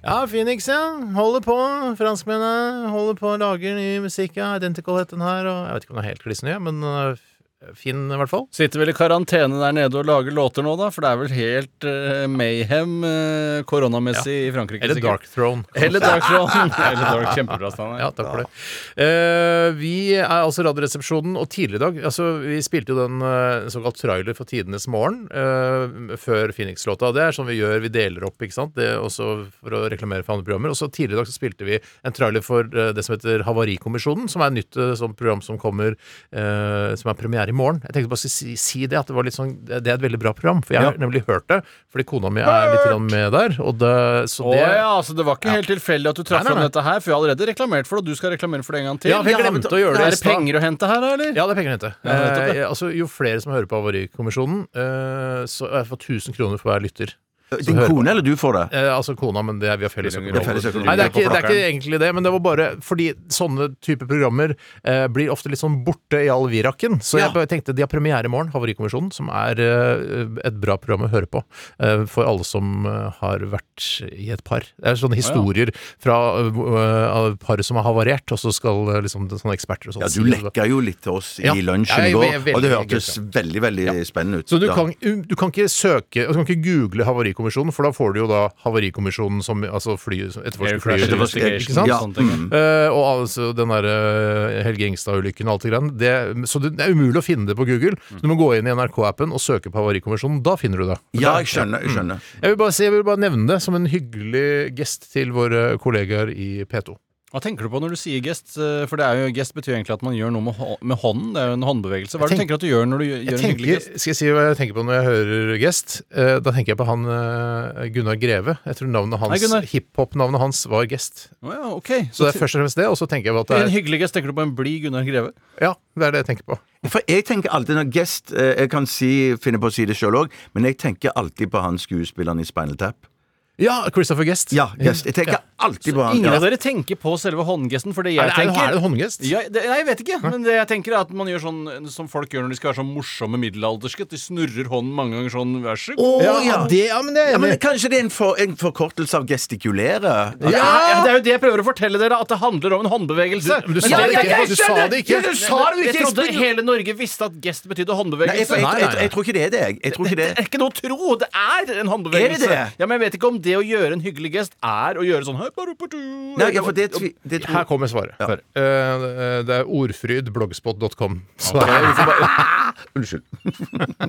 Speaker 4: Ja, Phoenix, ja. Holder på. Franskmennene holder på å lage ny musikk. Ja. Identical het den her. Og jeg vet ikke om den er helt kliss ny, men øh, fin i hvert fall.
Speaker 6: Sitter vel i karantene der nede og lager låter nå, da? For det er vel helt eh, mayhem eh, koronamessig i Frankrike.
Speaker 4: Eller
Speaker 6: sikkert.
Speaker 4: Dark Throne.
Speaker 6: Eller Dark Throne. Eller Dark, kjempebra, Steinar.
Speaker 4: Ja, takk for det. Eh, vi er altså Radioresepsjonen, og tidligere i dag altså, Vi spilte jo den eh, såkalt trailer for Tidenes morgen eh, før Phoenix-låta. Det er sånn vi gjør, vi deler opp, ikke sant? Det er også for å reklamere for andre programmer. Og så tidligere i dag så spilte vi en trailer for eh, det som heter Havarikommisjonen, som er et nytt eh, sånn program som kommer eh, som er premiere i morgen. Jeg tenkte bare å si, si det, at det var litt sånn Det er et veldig bra program, for jeg har nemlig hørt det. Fordi kona mi er litt grann med der, og det, så
Speaker 6: Å
Speaker 4: det
Speaker 6: ja, altså det var ikke helt tilfeldig at du traff
Speaker 4: Nei, nei,
Speaker 6: om
Speaker 4: nei.
Speaker 6: dette her, for jeg har allerede reklamert for det, og du skal reklamere for det en gang til.
Speaker 4: Ja, vi glemte å gjøre det i
Speaker 6: Er det
Speaker 4: stad.
Speaker 6: penger å hente her, da, eller?
Speaker 4: Ja, det er penger å hente.
Speaker 6: Ja, nettopp det.
Speaker 4: eh, altså, jo flere som hører på Havarikommisjonen, eh, så jeg får 1000 kroner for hver lytter.
Speaker 5: Din kone eller du får det?
Speaker 4: Eh, altså kona, men det er vi har felles
Speaker 6: Det
Speaker 4: økonomi.
Speaker 6: er
Speaker 5: felles økonomi.
Speaker 4: Nei, det er, ikke, det er
Speaker 6: Plakkeren.
Speaker 4: ikke egentlig det, men det var bare fordi sånne type programmer eh, blir ofte litt sånn borte i all virakken. Så
Speaker 5: Ja.
Speaker 4: jeg bare tenkte de har premiere i morgen, Havarikommisjonen, som er eh, et bra program å høre på eh, for alle som eh, har vært i et par. Det er sånne historier fra eh, av par som har havarert, og så skal eh, liksom sånne eksperter og sånn
Speaker 5: Ja,
Speaker 4: si
Speaker 5: du
Speaker 4: det.
Speaker 5: lekka jo litt til oss
Speaker 4: Ja.
Speaker 5: i lunsjen
Speaker 4: Ja, jeg-
Speaker 5: i
Speaker 4: jeg-
Speaker 5: går,
Speaker 4: jeg-
Speaker 5: og det
Speaker 4: veldig
Speaker 5: hørtes veldig veldig spennende ut.
Speaker 4: Så du
Speaker 5: Ja.
Speaker 4: kan, du kan ikke søke Du kan ikke google Havarikommisjonen, for da får du jo da Havarikommisjonen som altså fly, etterforsker
Speaker 6: Air crash
Speaker 4: flyet.
Speaker 6: investigation,
Speaker 4: Ikke sant?
Speaker 5: Ja.
Speaker 6: sånne ting.
Speaker 5: Mm.
Speaker 4: Eh, og altså den der eh, Helge Ingstad-ulykken og alt det greiene. Det- Så det er umulig å finne det på Google. Så du må gå inn i NRK-appen og søke på Havarikommisjonen. Da finner du det.
Speaker 5: Ja, jeg skjønner. jeg skjønner
Speaker 4: Jeg vil, bare, si- jeg vil bare nevne det som en hyggelig gest til våre kollegaer i P2.
Speaker 6: Hva tenker du på når du sier gest? Eh, For det er jo, gest betyr egentlig at man gjør noe med, hå- med hånden. Det er jo en håndbevegelse. Hva er det du
Speaker 4: Jeg
Speaker 6: tenker at du gjør når du gjør,
Speaker 4: Jeg
Speaker 6: gjør en hyggelig
Speaker 4: tenker,
Speaker 6: gest?
Speaker 4: skal jeg si hva jeg tenker på når jeg hører gest? Eh, da tenker jeg på han eh, Gunnar Greve. Jeg tror navnet
Speaker 6: Hei, Gunnar.
Speaker 4: hans, hiphop-navnet hans var gest.
Speaker 6: Å ja, ok.
Speaker 4: Så det er først og fremst det, og så tenker jeg på at
Speaker 6: En
Speaker 4: det er
Speaker 6: hyggelig gest, tenker du på en blid Gunnar Greve?
Speaker 4: Ja, det er det jeg tenker på.
Speaker 5: For jeg tenker alltid når Guest eh, Jeg kan si, finne på å si det sjøl òg, men jeg tenker alltid på han skuespilleren i Spinal Tap.
Speaker 4: Ja, Christopher Guest.
Speaker 5: Mm. Ja, Guest. Jeg tenker alltid på han.
Speaker 6: Ingen
Speaker 5: Ja.
Speaker 6: av dere tenker på selve håndgesten? For det jeg
Speaker 5: Er det- er det- er
Speaker 6: tenker
Speaker 5: det en håndgest?
Speaker 6: Ja, det, nei, jeg vet ikke. Men det jeg tenker er at man gjør sånn som folk gjør når de skal være sånn morsomme middelalderske. At de snurrer hånden mange ganger sånn. Vær så god.
Speaker 5: Å, ja,
Speaker 4: det- ja, men det er jeg
Speaker 5: Ja, men
Speaker 4: enig i.
Speaker 5: Kanskje det er en, for, en forkortelse av gestikulere?
Speaker 6: Ja! Det er jo det jeg prøver å fortelle dere, at det handler om en håndbevegelse.
Speaker 5: Du- men du sa det
Speaker 6: jeg-
Speaker 5: ikke.
Speaker 6: jeg
Speaker 5: Du sa
Speaker 6: skjønner.
Speaker 5: det ikke.
Speaker 6: Ja, du sa det jo ikke.
Speaker 5: Jeg
Speaker 6: Jeg
Speaker 5: trodde
Speaker 6: trodde hele Norge visste at gest betydde
Speaker 5: Nei, jeg,
Speaker 6: håndbevegelse.
Speaker 5: jeg, jeg, jeg, jeg tror ikke det er det. jeg. Jeg tror ikke det.
Speaker 6: Det er ikke noe å tro! Det er en håndbevegelse.
Speaker 5: Er det det?
Speaker 6: Ja, men jeg vet ikke om det å gjøre en hyggelig gest er å gjøre sånn Nei,
Speaker 5: Nei, ja, for det tvi- det tror-
Speaker 4: Her kommer svaret. Hør. Eh, det er ordfrydblogspot.com.
Speaker 5: Unnskyld.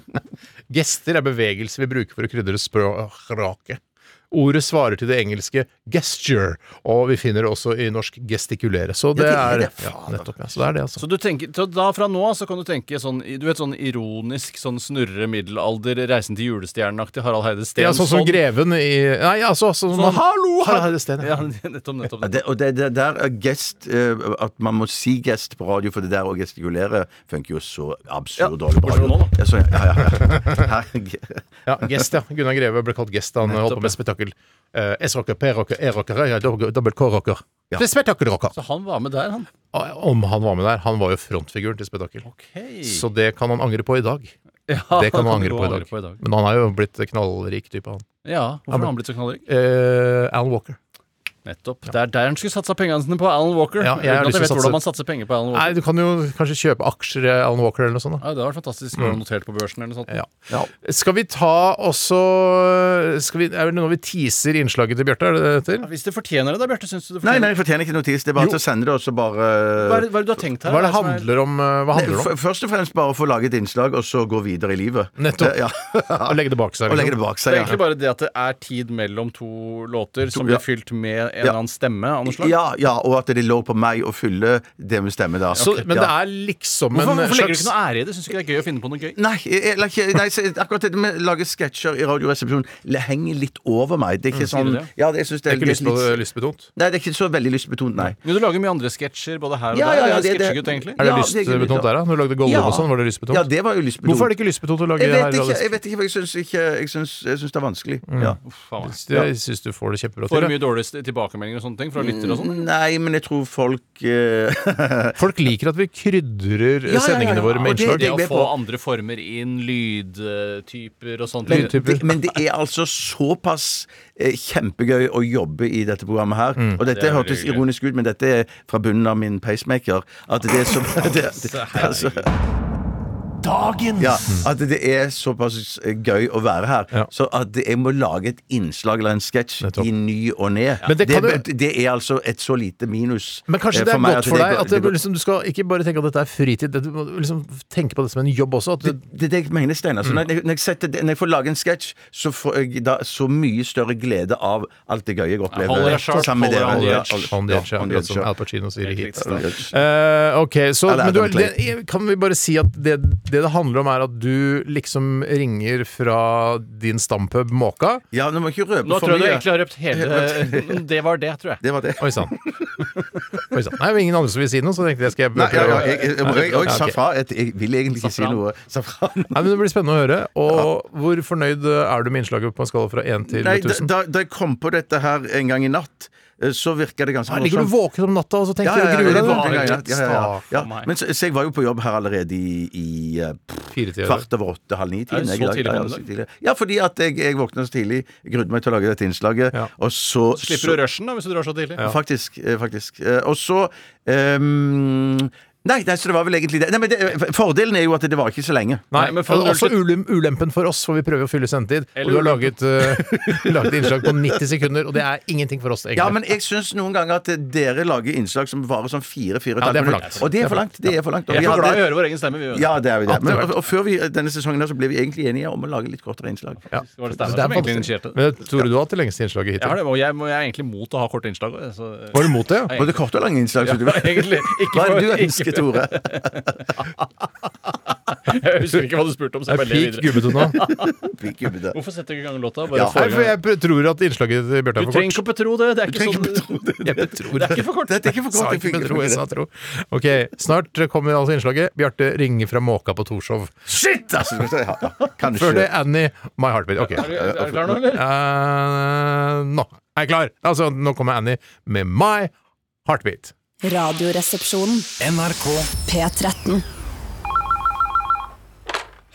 Speaker 4: Gester er bevegelser vi bruker for å krydre språket. Ordet svarer til det engelske 'gesture', og vi finner det også i norsk 'gestikulere'. Så det,
Speaker 6: det er
Speaker 4: er,
Speaker 6: det,
Speaker 4: ja, nettopp, ja. Så det er det, altså.
Speaker 6: Så du tenker, så da fra nå av så kan du tenke sånn, du vet, sånn ironisk, sånn snurre middelalder, reisen til julestjernen-aktig Harald Heide Steen.
Speaker 4: Ja, sånn som greven i Nei, altså sånn,
Speaker 6: Sånn, hallo,
Speaker 4: Harald
Speaker 6: ha-
Speaker 4: Heide Steen, ja.
Speaker 6: Ja, nettopp, nettopp.
Speaker 5: Ja, det, og det, det der er gest eh, At man må si gest på radio, for det der å gestikulere funker jo så absurd dårlig på radio. Ja, så, ja, ja, ja. Her-
Speaker 4: Ja, Gest, ja. Gunnar Greve ble kalt Gest da han holdt på med spetakkel. Eh, S-rocker, P-rocker, E-rocker, ja, dobbel- dobbel K-rocker. Det er Spetakkelrocker.
Speaker 6: Så han var med der, han.
Speaker 4: eh, Om han var med der. Han var jo frontfiguren til spetakkel. Så det kan han angre på i dag.
Speaker 6: Ja,
Speaker 4: det kan han angre
Speaker 6: det
Speaker 4: på i dag.
Speaker 6: kan han angre på i dag.
Speaker 4: Men han er jo blitt knallrik type, han.
Speaker 6: Ja, hvorfor har han blitt så knallrik?
Speaker 4: Eh, Alan Walker.
Speaker 6: Nettopp. Det er der han skulle satsa pengene sine på Alan Walker.
Speaker 4: Ja, jeg har
Speaker 6: uten at
Speaker 4: lyst til å
Speaker 6: jeg vet
Speaker 4: satse-
Speaker 6: hvordan man satser penger på Alan Walker.
Speaker 4: Nei, du kan jo kanskje kjøpe aksjer i Alan Walker eller noe sånt. Da.
Speaker 6: Ja, det hadde vært fantastisk når han noterte på børsen eller noe sånt.
Speaker 4: Mm. Ja. Skal vi ta også skal vi, Er det noe vi teaser innslaget til Bjarte? Er det det det heter?
Speaker 6: Hvis det fortjener det da, Bjarte, syns du
Speaker 5: Nei,
Speaker 6: det fortjener
Speaker 5: nei, jeg fortjener ikke notis. Det er bare til å sende det, og så bare
Speaker 6: Hva er det- hva er det du har tenkt her?
Speaker 4: Hva er det
Speaker 6: som er-
Speaker 4: handler om? eh, Hva handler det om?
Speaker 5: F- Først og fremst bare å få laget innslag, og så gå videre i livet.
Speaker 4: Nettopp.
Speaker 5: Eh, Ja.
Speaker 4: Å legge det bak seg.
Speaker 5: Og legge
Speaker 4: liksom.
Speaker 5: det bak
Speaker 6: Det
Speaker 5: seg.
Speaker 6: er
Speaker 5: ja.
Speaker 6: egentlig bare det at det er tid mellom to låter som
Speaker 5: ja.
Speaker 6: blir fylt med en
Speaker 5: Ja.
Speaker 6: eller annen stemme av noe slag.
Speaker 5: Ja, ja, og at det lå på meg å fylle det med stemme da.
Speaker 4: Så, men det
Speaker 5: ja.
Speaker 4: er liksom en
Speaker 6: Hvorfor,
Speaker 5: eh,
Speaker 6: hvorfor legger du
Speaker 4: slags-
Speaker 6: ikke noe ære i det? Syns du ikke det er gøy å finne på noe gøy?
Speaker 5: Nei, jeg, jeg, la ikke- nei, så akkurat det med å lage sketsjer i Radioresepsjonen le- henger litt over meg. Det er ikke
Speaker 6: sier du
Speaker 5: sånn
Speaker 6: det?
Speaker 5: ja, det, jeg synes
Speaker 4: Mm, Det
Speaker 5: det, er
Speaker 4: er ikke
Speaker 5: litt-
Speaker 4: lyst på
Speaker 5: litt-
Speaker 4: lystbetont?
Speaker 5: Nei, det er ikke så veldig lystbetont, nei.
Speaker 6: Men du lager mye andre sketsjer både her og
Speaker 5: Ja, ja,
Speaker 6: der.
Speaker 5: ja,
Speaker 6: Du er
Speaker 5: det- det-
Speaker 6: sketsjegutt, egentlig.
Speaker 5: Ja,
Speaker 4: Er det
Speaker 5: det er ikke
Speaker 4: lystbetont
Speaker 5: lyst,
Speaker 4: der, da? Når du lagde Gollum
Speaker 5: Ja.
Speaker 4: og sånn, var det lystbetont?
Speaker 5: Ja, det var jo lystbetont.
Speaker 4: Hvorfor er det Mm. ikke lystbetont å lage
Speaker 5: jeg vet, ikke,
Speaker 4: her?
Speaker 5: jeg vet ikke, for jeg syns ikke Jeg syns, jeg syns det er vanskelig. Ja.
Speaker 6: Faen, meg.
Speaker 4: Jeg syns du får det kjempebra til.
Speaker 6: Får
Speaker 4: ja.
Speaker 6: du mye dårlige tilbakemeldinger og sånne ting fra lyttere og sånn?
Speaker 5: Nei, men jeg tror folk eh,
Speaker 4: Folk liker at vi krydrer eh,
Speaker 5: ja, ja,
Speaker 4: sendingene våre
Speaker 5: og
Speaker 4: med
Speaker 5: det-
Speaker 4: innslag.
Speaker 6: Det å
Speaker 5: ble
Speaker 6: få
Speaker 5: på.
Speaker 6: andre former inn, lydtyper og sånt.
Speaker 4: Lydtyper.
Speaker 5: det, men det er altså såpass eh, kjempegøy å jobbe i dette programmet her.
Speaker 4: Mm.
Speaker 5: Og dette
Speaker 6: Det er
Speaker 5: hørtes
Speaker 6: veldig gøy.
Speaker 5: ironisk ut, men dette er fra bunnen av min pacemaker. At det er altså, så det, det, det, er så-
Speaker 6: Dagen!
Speaker 5: ja, At det er såpass gøy å være her.
Speaker 4: Ja.
Speaker 5: Så at jeg må lage et innslag eller en sketsj
Speaker 4: Nettopp.
Speaker 5: i ny og ne,
Speaker 4: Men det
Speaker 5: det,
Speaker 4: kan
Speaker 5: det, er altså et så lite minus
Speaker 4: Men kanskje
Speaker 5: eh,
Speaker 4: det er
Speaker 5: meg
Speaker 4: godt for deg
Speaker 5: går-
Speaker 4: at det,
Speaker 5: går-
Speaker 4: liksom, du skal ikke bare tenke at dette er fritid, det- du må liksom tenke på det som en jobb også. At
Speaker 5: Det
Speaker 4: du,
Speaker 5: det er det jeg mener, Steinar.
Speaker 4: Mm.
Speaker 5: Så Når, jeg- når, jeg setter det- når jeg får lage en sketsj, så får jeg da så mye større glede av alt det gøye jeg opplever.
Speaker 6: Holder deg sharp,
Speaker 5: Sammen med
Speaker 6: holder
Speaker 5: dere.
Speaker 6: deg on the
Speaker 5: Holder-
Speaker 6: edge.
Speaker 5: holder-
Speaker 4: on the edge,
Speaker 5: ja, on the
Speaker 4: akkurat som
Speaker 5: edge, ja.
Speaker 4: Al Pacino sier i Heat.
Speaker 5: On the edge.
Speaker 4: Eh, ok, så
Speaker 5: Eller
Speaker 4: men du,
Speaker 5: Adam Clay.
Speaker 4: det, Kan vi bare si at det, det det handler om, er at du liksom ringer fra din stampub Måka?
Speaker 5: Ja, nå må jeg ikke røpe
Speaker 6: Nå
Speaker 5: for
Speaker 6: tror jeg du
Speaker 5: mye.
Speaker 6: egentlig har røpt hele Det var det, tror jeg.
Speaker 5: Det var det.
Speaker 4: Oi sann. Oi sann. Nei, det var ingen andre som ville si noe, så tenkte jeg skal jeg
Speaker 5: Nei, ja, ja, jeg, jeg, jeg, jeg, jeg,
Speaker 4: Ja, ok.
Speaker 5: sa fra. Jeg, jeg vil egentlig ikke si
Speaker 6: Safran.
Speaker 5: noe. Safran.
Speaker 4: Nei, men Det blir spennende å høre. Og hvor fornøyd er du med innslaget på en skala fra 1 til
Speaker 5: Nei, da,
Speaker 4: 1000?
Speaker 5: da, da jeg kom på dette her en gang i natt, eh, så virka det ganske
Speaker 6: Ah,
Speaker 4: Her ligger du våken om natta og så tenker du og
Speaker 5: det
Speaker 4: gruer
Speaker 5: var en gang i
Speaker 4: deg?
Speaker 5: natt. Ja, ja, ja.
Speaker 4: Stakkars
Speaker 5: Ja,
Speaker 6: meg.
Speaker 5: Men så, så jeg var jo på jobb her allerede i, i eh,
Speaker 4: Fire til
Speaker 5: Kvart over åtte, halv
Speaker 6: Er
Speaker 5: ni-tiden.
Speaker 6: det så tidlig på den
Speaker 5: Ja, fordi at jeg, jeg våkna så tidlig, grudde meg til å lage dette innslaget,
Speaker 4: Ja.
Speaker 5: og så
Speaker 6: Slipper du rushen da, hvis du drar så tidlig?
Speaker 5: Ja. Faktisk. eh, faktisk. Eh, Og så ehm, Nei, nei, så det var vel egentlig det. Nei, men det, Fordelen er jo at det var ikke så lenge.
Speaker 4: Nei,
Speaker 6: Nei, men
Speaker 4: men
Speaker 6: fra null
Speaker 4: Også
Speaker 6: til-
Speaker 4: ulem- ulempen for oss, for vi prøver å fylle sendetid. Og
Speaker 6: Eller
Speaker 4: du har laget, eh, laget innslag på 90 sekunder, og det er ingenting for oss, egentlig.
Speaker 5: Ja, men jeg syns noen ganger at dere lager innslag som varer sånn fire-fire
Speaker 4: Ja, det er for langt.
Speaker 5: Og det er for langt. Det er for langt. Og
Speaker 6: Vi er
Speaker 5: vi
Speaker 6: for
Speaker 5: hadde-
Speaker 6: glad i å høre vår egen stemme, vi. vet.
Speaker 5: Ja, det er vi det.
Speaker 4: At det
Speaker 5: Men,
Speaker 4: har
Speaker 5: og, og før vi, denne sesongen her, så ble vi egentlig enige om å lage litt kortere innslag.
Speaker 4: Ja.
Speaker 6: Det var det
Speaker 4: Det
Speaker 6: Steinar
Speaker 4: er
Speaker 6: som egentlig
Speaker 4: vanskelig.
Speaker 6: initierte det.
Speaker 4: Men Tore, du har hatt det lengste innslaget
Speaker 6: Jeg, har
Speaker 4: hittil.
Speaker 6: det, og jeg, må- jeg er egentlig mot å ha korte innslag. også, Så,
Speaker 4: Var du mot det? ja?
Speaker 5: Både korte og lange innslag. så du-
Speaker 6: egentlig. Ikke
Speaker 5: Hva er det du
Speaker 6: for-
Speaker 5: ønsker, Tore?
Speaker 6: Jeg husker ikke hva du spurte om. så
Speaker 4: Det er
Speaker 6: jeg bare lever
Speaker 4: peak gubbete
Speaker 6: videre.
Speaker 4: nå. Nei,
Speaker 5: Fikk jo det.
Speaker 6: Hvorfor setter du ikke i gang låta?
Speaker 5: Ja,
Speaker 6: Bare
Speaker 5: her
Speaker 4: for
Speaker 6: forrige gang.
Speaker 4: jeg pr- tror at innslaget til Bjarte
Speaker 6: Du
Speaker 4: er for
Speaker 6: trenger
Speaker 4: kort.
Speaker 6: ikke å betro det. Det er ikke
Speaker 5: trenger ikke
Speaker 6: sånn Jeg betror det. er ikke for kort.
Speaker 5: Dette er ikke for
Speaker 4: Sa
Speaker 5: godt.
Speaker 4: ikke betro, jeg sa tro. Ok, Snart kommer altså innslaget. Bjarte ringer fra måka på Torshov.
Speaker 5: Shit, altså! Ja, ja. Kanskje.
Speaker 4: Før det Annie My Heartbeat. Ok.
Speaker 6: Er du, er du klar nå, eller?
Speaker 4: Eh, nå. er klar! Altså, nå kommer Annie med My Heartbeat.
Speaker 1: Radioresepsjonen.
Speaker 4: NRK.
Speaker 1: P13.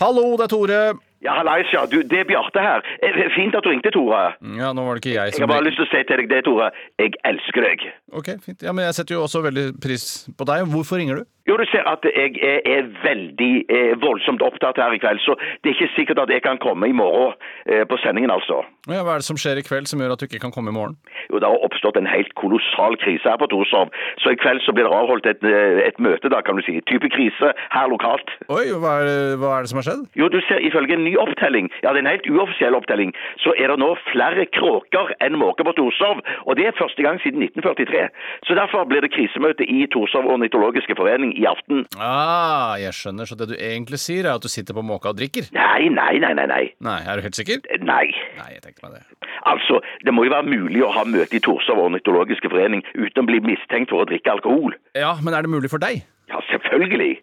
Speaker 6: Hallo, det er Tore.
Speaker 12: Ja, hallais, ja. Du, det er Bjarte her. Eh, Fint at du ringte, Tore.
Speaker 6: Ja, nå var det ikke jeg
Speaker 12: Jeg har
Speaker 6: som
Speaker 12: bare lyst til å si til deg det, Tore. Jeg elsker deg.
Speaker 6: Ok, fint. Ja, men jeg setter jo også veldig pris på deg. Hvorfor ringer du?
Speaker 12: Jo, du ser at jeg er, er veldig eh, voldsomt opptatt her i kveld, så det er ikke sikkert at jeg kan komme i morgen eh, på sendingen, altså.
Speaker 6: Ja, hva er det som skjer i kveld som gjør at du ikke kan komme i morgen?
Speaker 12: Jo, det har oppstått en helt kolossal krise her på Torshov, så i kveld så blir det avholdt et, eh, et møte, da, kan du si. Type krise her lokalt.
Speaker 6: Oi, hva er, det- hva er det som har skjedd?
Speaker 12: Jo, du ser, ifølge en ny opptelling, ja, det er en helt uoffisiell opptelling, så er det nå flere kråker enn måker på Torshov, og det er første gang siden 1943. Så derfor blir det krisemøte i Torshov ornitologiske forening i aften.
Speaker 6: Ah, jeg skjønner, så det du egentlig sier er at du sitter på måka og drikker?
Speaker 12: Nei, nei, nei, nei, nei.
Speaker 6: Nei, er du helt sikker?
Speaker 12: Nei.
Speaker 6: Nei, jeg tenkte meg det.
Speaker 12: Altså, det må jo være mulig å ha møte i Torshov ornitologiske forening uten å bli mistenkt for å drikke alkohol.
Speaker 6: Ja, men er det mulig for deg?
Speaker 12: Ja, selvfølgelig.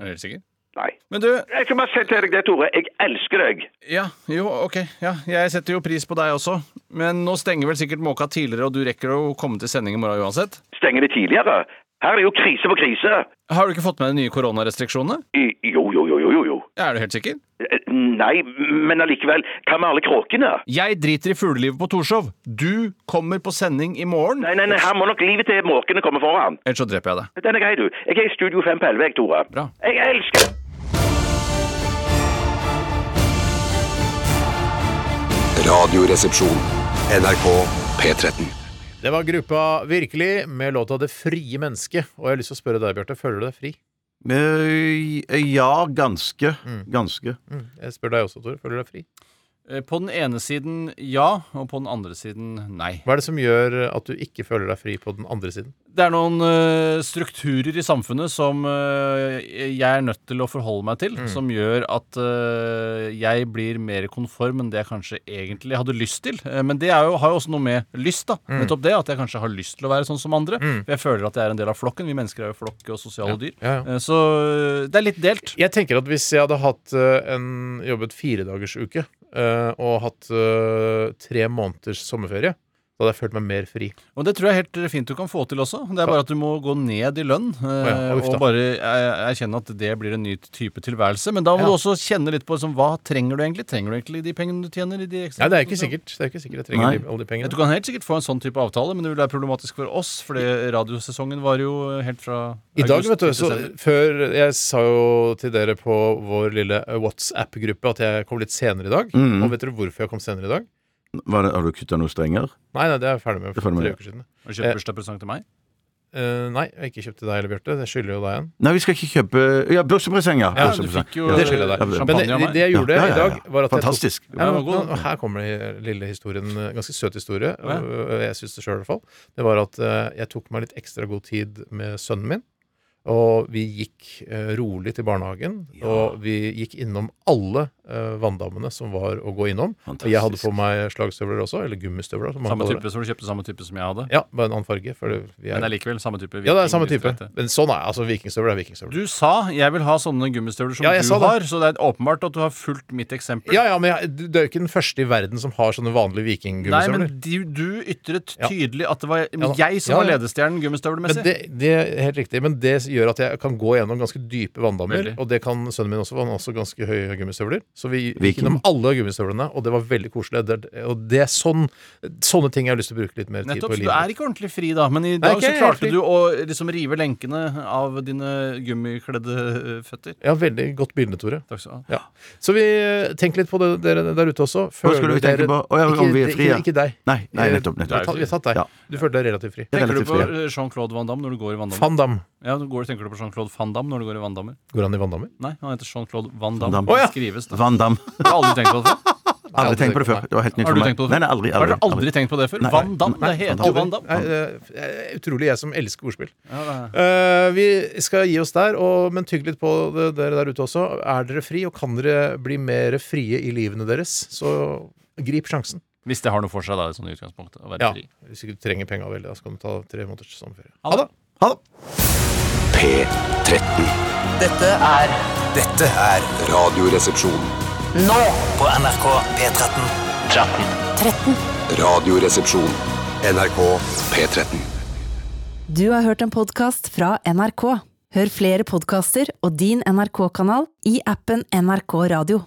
Speaker 6: Er du helt sikker?
Speaker 12: Nei.
Speaker 6: Men du
Speaker 12: Jeg kan bare si til deg det, Tore. Jeg elsker deg.
Speaker 6: Ja, jo, ok. Ja, jeg setter jo pris på deg også. Men nå stenger vel sikkert måka tidligere, og du rekker å komme til sending i morgen uansett?
Speaker 12: Stenger det tidligere? Her er jo krise på krise.
Speaker 6: Har du ikke fått med de nye koronarestriksjonene?
Speaker 12: I- Jo, jo, jo, jo, jo, jo.
Speaker 6: Er du helt sikker?
Speaker 12: Eh, Nei, men allikevel. Hva med alle kråkene?
Speaker 6: Jeg driter i fuglelivet på Torshov. Du kommer på sending i morgen.
Speaker 12: Nei, nei, nei, her må nok livet til måkene komme foran.
Speaker 6: Ellers så dreper jeg deg.
Speaker 12: Den er grei, du. Jeg er i Studio 5 på 11, jeg, Tore.
Speaker 6: Bra.
Speaker 12: Jeg elsker
Speaker 11: Radioresepsjon. NRK P13.
Speaker 4: Det var gruppa Virkelig med låta Det frie mennesket. Og jeg har lyst til å spørre deg, Bjarte, føler du deg fri?
Speaker 5: Eh, Ja, ganske.
Speaker 4: Mm.
Speaker 5: Ganske.
Speaker 4: Jeg spør deg også, Tore. Føler du deg fri?
Speaker 6: Eh, På den ene siden ja, og på den andre siden nei.
Speaker 4: Hva er det som gjør at du ikke føler deg fri på den andre siden?
Speaker 6: Det er noen eh, strukturer i samfunnet som eh, jeg er nødt til å forholde meg
Speaker 4: Mm.
Speaker 6: til, som gjør at eh, jeg blir mer konform enn det jeg kanskje egentlig hadde lyst til. Eh, men det er jo, har jo også noe med lyst, da.
Speaker 4: Mm.
Speaker 6: Nettopp det, at jeg kanskje har lyst til å være sånn som andre.
Speaker 4: Mm.
Speaker 6: For jeg føler at jeg er en del av flokken. Vi mennesker er jo flokke og sosiale dyr.
Speaker 4: Ja, ja.
Speaker 6: Eh, så det er litt delt.
Speaker 4: Jeg tenker at hvis jeg hadde hatt eh, en, jobbet fire dagers uke eh, og hatt eh, tre måneders sommerferie, da hadde jeg følt meg mer fri.
Speaker 6: Og det tror jeg er helt fint du kan få til også. Det er bare at du må gå ned i lønn. eh,
Speaker 4: ja, uff da.
Speaker 6: og bare eh, erkjenne at det blir en ny type tilværelse. Men da må
Speaker 4: Ja.
Speaker 6: du også kjenne litt på liksom, hva trenger du egentlig. Trenger du egentlig de pengene du tjener? I de ekstra
Speaker 4: Nei, det er ikke sikkert. Det er ikke sikkert jeg trenger
Speaker 6: Nei.
Speaker 4: de- alle de
Speaker 6: Du
Speaker 4: pengene.
Speaker 6: kan helt sikkert få en sånn type avtale, men det vil være problematisk for oss, fordi radiosesongen var jo helt fra
Speaker 4: I dag,
Speaker 6: august
Speaker 4: vet du,
Speaker 6: til
Speaker 4: så
Speaker 6: desember.
Speaker 4: før Jeg sa jo til dere på vår lille eh, WhatsApp-gruppe at jeg kom litt senere i dag.
Speaker 5: Mm.
Speaker 4: Og vet dere hvorfor jeg kom senere i dag?
Speaker 5: Var det, har du kutta noen strenger?
Speaker 4: Nei, nei, det er jeg ferdig med
Speaker 5: Det er
Speaker 4: for
Speaker 5: ferdig med
Speaker 4: tre
Speaker 5: det.
Speaker 4: uker siden.
Speaker 6: Har du kjøpt bursdagspresang til meg?
Speaker 4: Eh, nei, jeg har ikke kjøpt til deg heller, Bjarte. Det skylder jo deg en.
Speaker 5: Nei, vi skal ikke kjøpe Ja, bursdagspresang, ja.
Speaker 4: Ja, du
Speaker 5: Bursdagspresang.
Speaker 6: fikk jo,
Speaker 5: Ja.
Speaker 4: Det skylder jeg deg.
Speaker 5: Ja, ja,
Speaker 4: Men
Speaker 6: Champagne
Speaker 4: det,
Speaker 6: av meg.
Speaker 4: det jeg gjorde
Speaker 5: Ja, ja, ja, ja.
Speaker 4: i dag, var at
Speaker 5: Fantastisk.
Speaker 4: jeg tok ja,
Speaker 6: Ja,
Speaker 4: men,
Speaker 6: det var god,
Speaker 4: nå- Her kommer den lille historien. eh, Ganske søt historie.
Speaker 6: Ja.
Speaker 4: eh, Jeg syns det sjøl, i hvert fall. Det var at eh, jeg tok meg litt ekstra god tid med sønnen min. Og vi gikk eh, rolig til barnehagen, og vi gikk innom alle eh, vanndammene som var å gå innom. Og jeg hadde på meg slagstøvler også, eller gummistøvler. som mange
Speaker 6: Samme
Speaker 4: kaller
Speaker 6: type som du kjøpte samme type som jeg hadde?
Speaker 4: det. Ja, bare en annen farge. For det- vi
Speaker 6: Men
Speaker 4: er,
Speaker 6: allikevel samme type?
Speaker 4: ja, det er samme
Speaker 6: viking,
Speaker 4: type.
Speaker 6: litt rette.
Speaker 4: Men sånn er altså vikingstøvler er vikingstøvler.
Speaker 6: Du sa 'jeg vil ha sånne gummistøvler som
Speaker 4: Ja, jeg
Speaker 6: du
Speaker 4: sa det.
Speaker 6: har', så det er åpenbart at du har fulgt mitt eksempel.
Speaker 4: Ja, ja, men jeg, du- det er jo ikke den første i verden som har sånne vanlige
Speaker 6: Nei,
Speaker 4: vikinggummistøvler.
Speaker 6: men
Speaker 4: Men,
Speaker 6: du, du ytret
Speaker 4: Ja.
Speaker 6: tydelig at det var
Speaker 4: da.
Speaker 6: jeg som
Speaker 4: Ja,
Speaker 6: var
Speaker 4: ja.
Speaker 6: ledestjernen gummistøvlemessig.
Speaker 4: det, det er helt riktig, men det gjør at jeg kan gå gjennom ganske dype vanndammer.
Speaker 6: Veldig.
Speaker 4: Og det kan sønnen min også, for han har også ganske høye gummistøvler. Så vi gikk
Speaker 5: Viking.
Speaker 4: gjennom alle gummistøvlene, og det var veldig koselig. Det, er- og det er sånn, sånne ting jeg har lyst til å bruke litt mer tid
Speaker 6: Nettopp,
Speaker 4: på i
Speaker 6: så Du
Speaker 4: livet.
Speaker 6: er ikke ordentlig fri, da, men i dag
Speaker 4: ikke
Speaker 6: så
Speaker 4: helt
Speaker 6: klarte
Speaker 4: fri.
Speaker 6: du å liksom rive lenkene av dine gummikledde eh, føtter.
Speaker 4: Ja, veldig godt bilde, Tore.
Speaker 6: Takk skal du ha.
Speaker 4: Ja. Så vi eh, tenk litt på det, dere der ute også.
Speaker 5: Hva skulle vi
Speaker 4: dere-
Speaker 5: tenke på? Å, ja, om
Speaker 4: ikke,
Speaker 5: vi er frie?
Speaker 4: Ikke, ikke deg.
Speaker 5: Nei, nei, nettopp.
Speaker 4: Vi har
Speaker 5: nettopp.
Speaker 4: tatt- vi har tatt deg.
Speaker 5: Ja.
Speaker 4: Du følte deg relativt fri.
Speaker 5: Jeg er
Speaker 6: Tenker du
Speaker 5: relativt
Speaker 6: på
Speaker 5: fri.
Speaker 6: eh, Jean-Claude Van Damme når du går i vanndammen?
Speaker 4: Van Damme.
Speaker 6: Ja, du går, tenker du på Jean-Claude Van Damme når du går i vanndammer?
Speaker 4: Går han i vanndammer?
Speaker 6: Nei, han heter Jean-Claude Van
Speaker 5: Van
Speaker 6: Damme.
Speaker 5: Damme.
Speaker 6: Det
Speaker 4: Å, ja.
Speaker 6: Skrives, da.
Speaker 5: Van Damme.
Speaker 6: Jeg har aldri tenkt på det før.
Speaker 5: Aldri tenkt på det før. Det var helt nytt
Speaker 6: Har
Speaker 5: for
Speaker 6: du
Speaker 5: meg.
Speaker 6: tenkt på det
Speaker 5: Nei,
Speaker 6: før?
Speaker 5: nei, aldri,
Speaker 6: Har
Speaker 5: aldri,
Speaker 6: dere aldri
Speaker 5: aldri.
Speaker 6: tenkt på det før?
Speaker 5: Nei,
Speaker 6: Van Damme,
Speaker 5: nei,
Speaker 6: det heter jo
Speaker 5: aldri.
Speaker 6: Van Damme.
Speaker 4: Nei, det er utrolig jeg som elsker ordspill.
Speaker 6: Ja, det er-
Speaker 4: Eh, vi skal gi oss der, og, men tygg litt på det, dere der ute også. Er dere fri, og kan dere bli mer frie i livene deres, så grip sjansen.
Speaker 6: Hvis det har noe for seg, da, sånn i utgangspunktet, å være
Speaker 4: Ja,
Speaker 6: fri.
Speaker 4: Hvis ikke du trenger penga veldig, da skal du ta tre måneders sommerferie.
Speaker 6: Ha det.
Speaker 5: Ha det.
Speaker 11: P13.
Speaker 3: Dette er Dette er
Speaker 11: Radioresepsjon.
Speaker 3: Nå på NRK P13.
Speaker 1: 13.
Speaker 11: Radioresepsjon. NRK P13.
Speaker 1: Du har hørt en podkast fra NRK. Hør flere podkaster og din NRK-kanal i appen NRK Radio.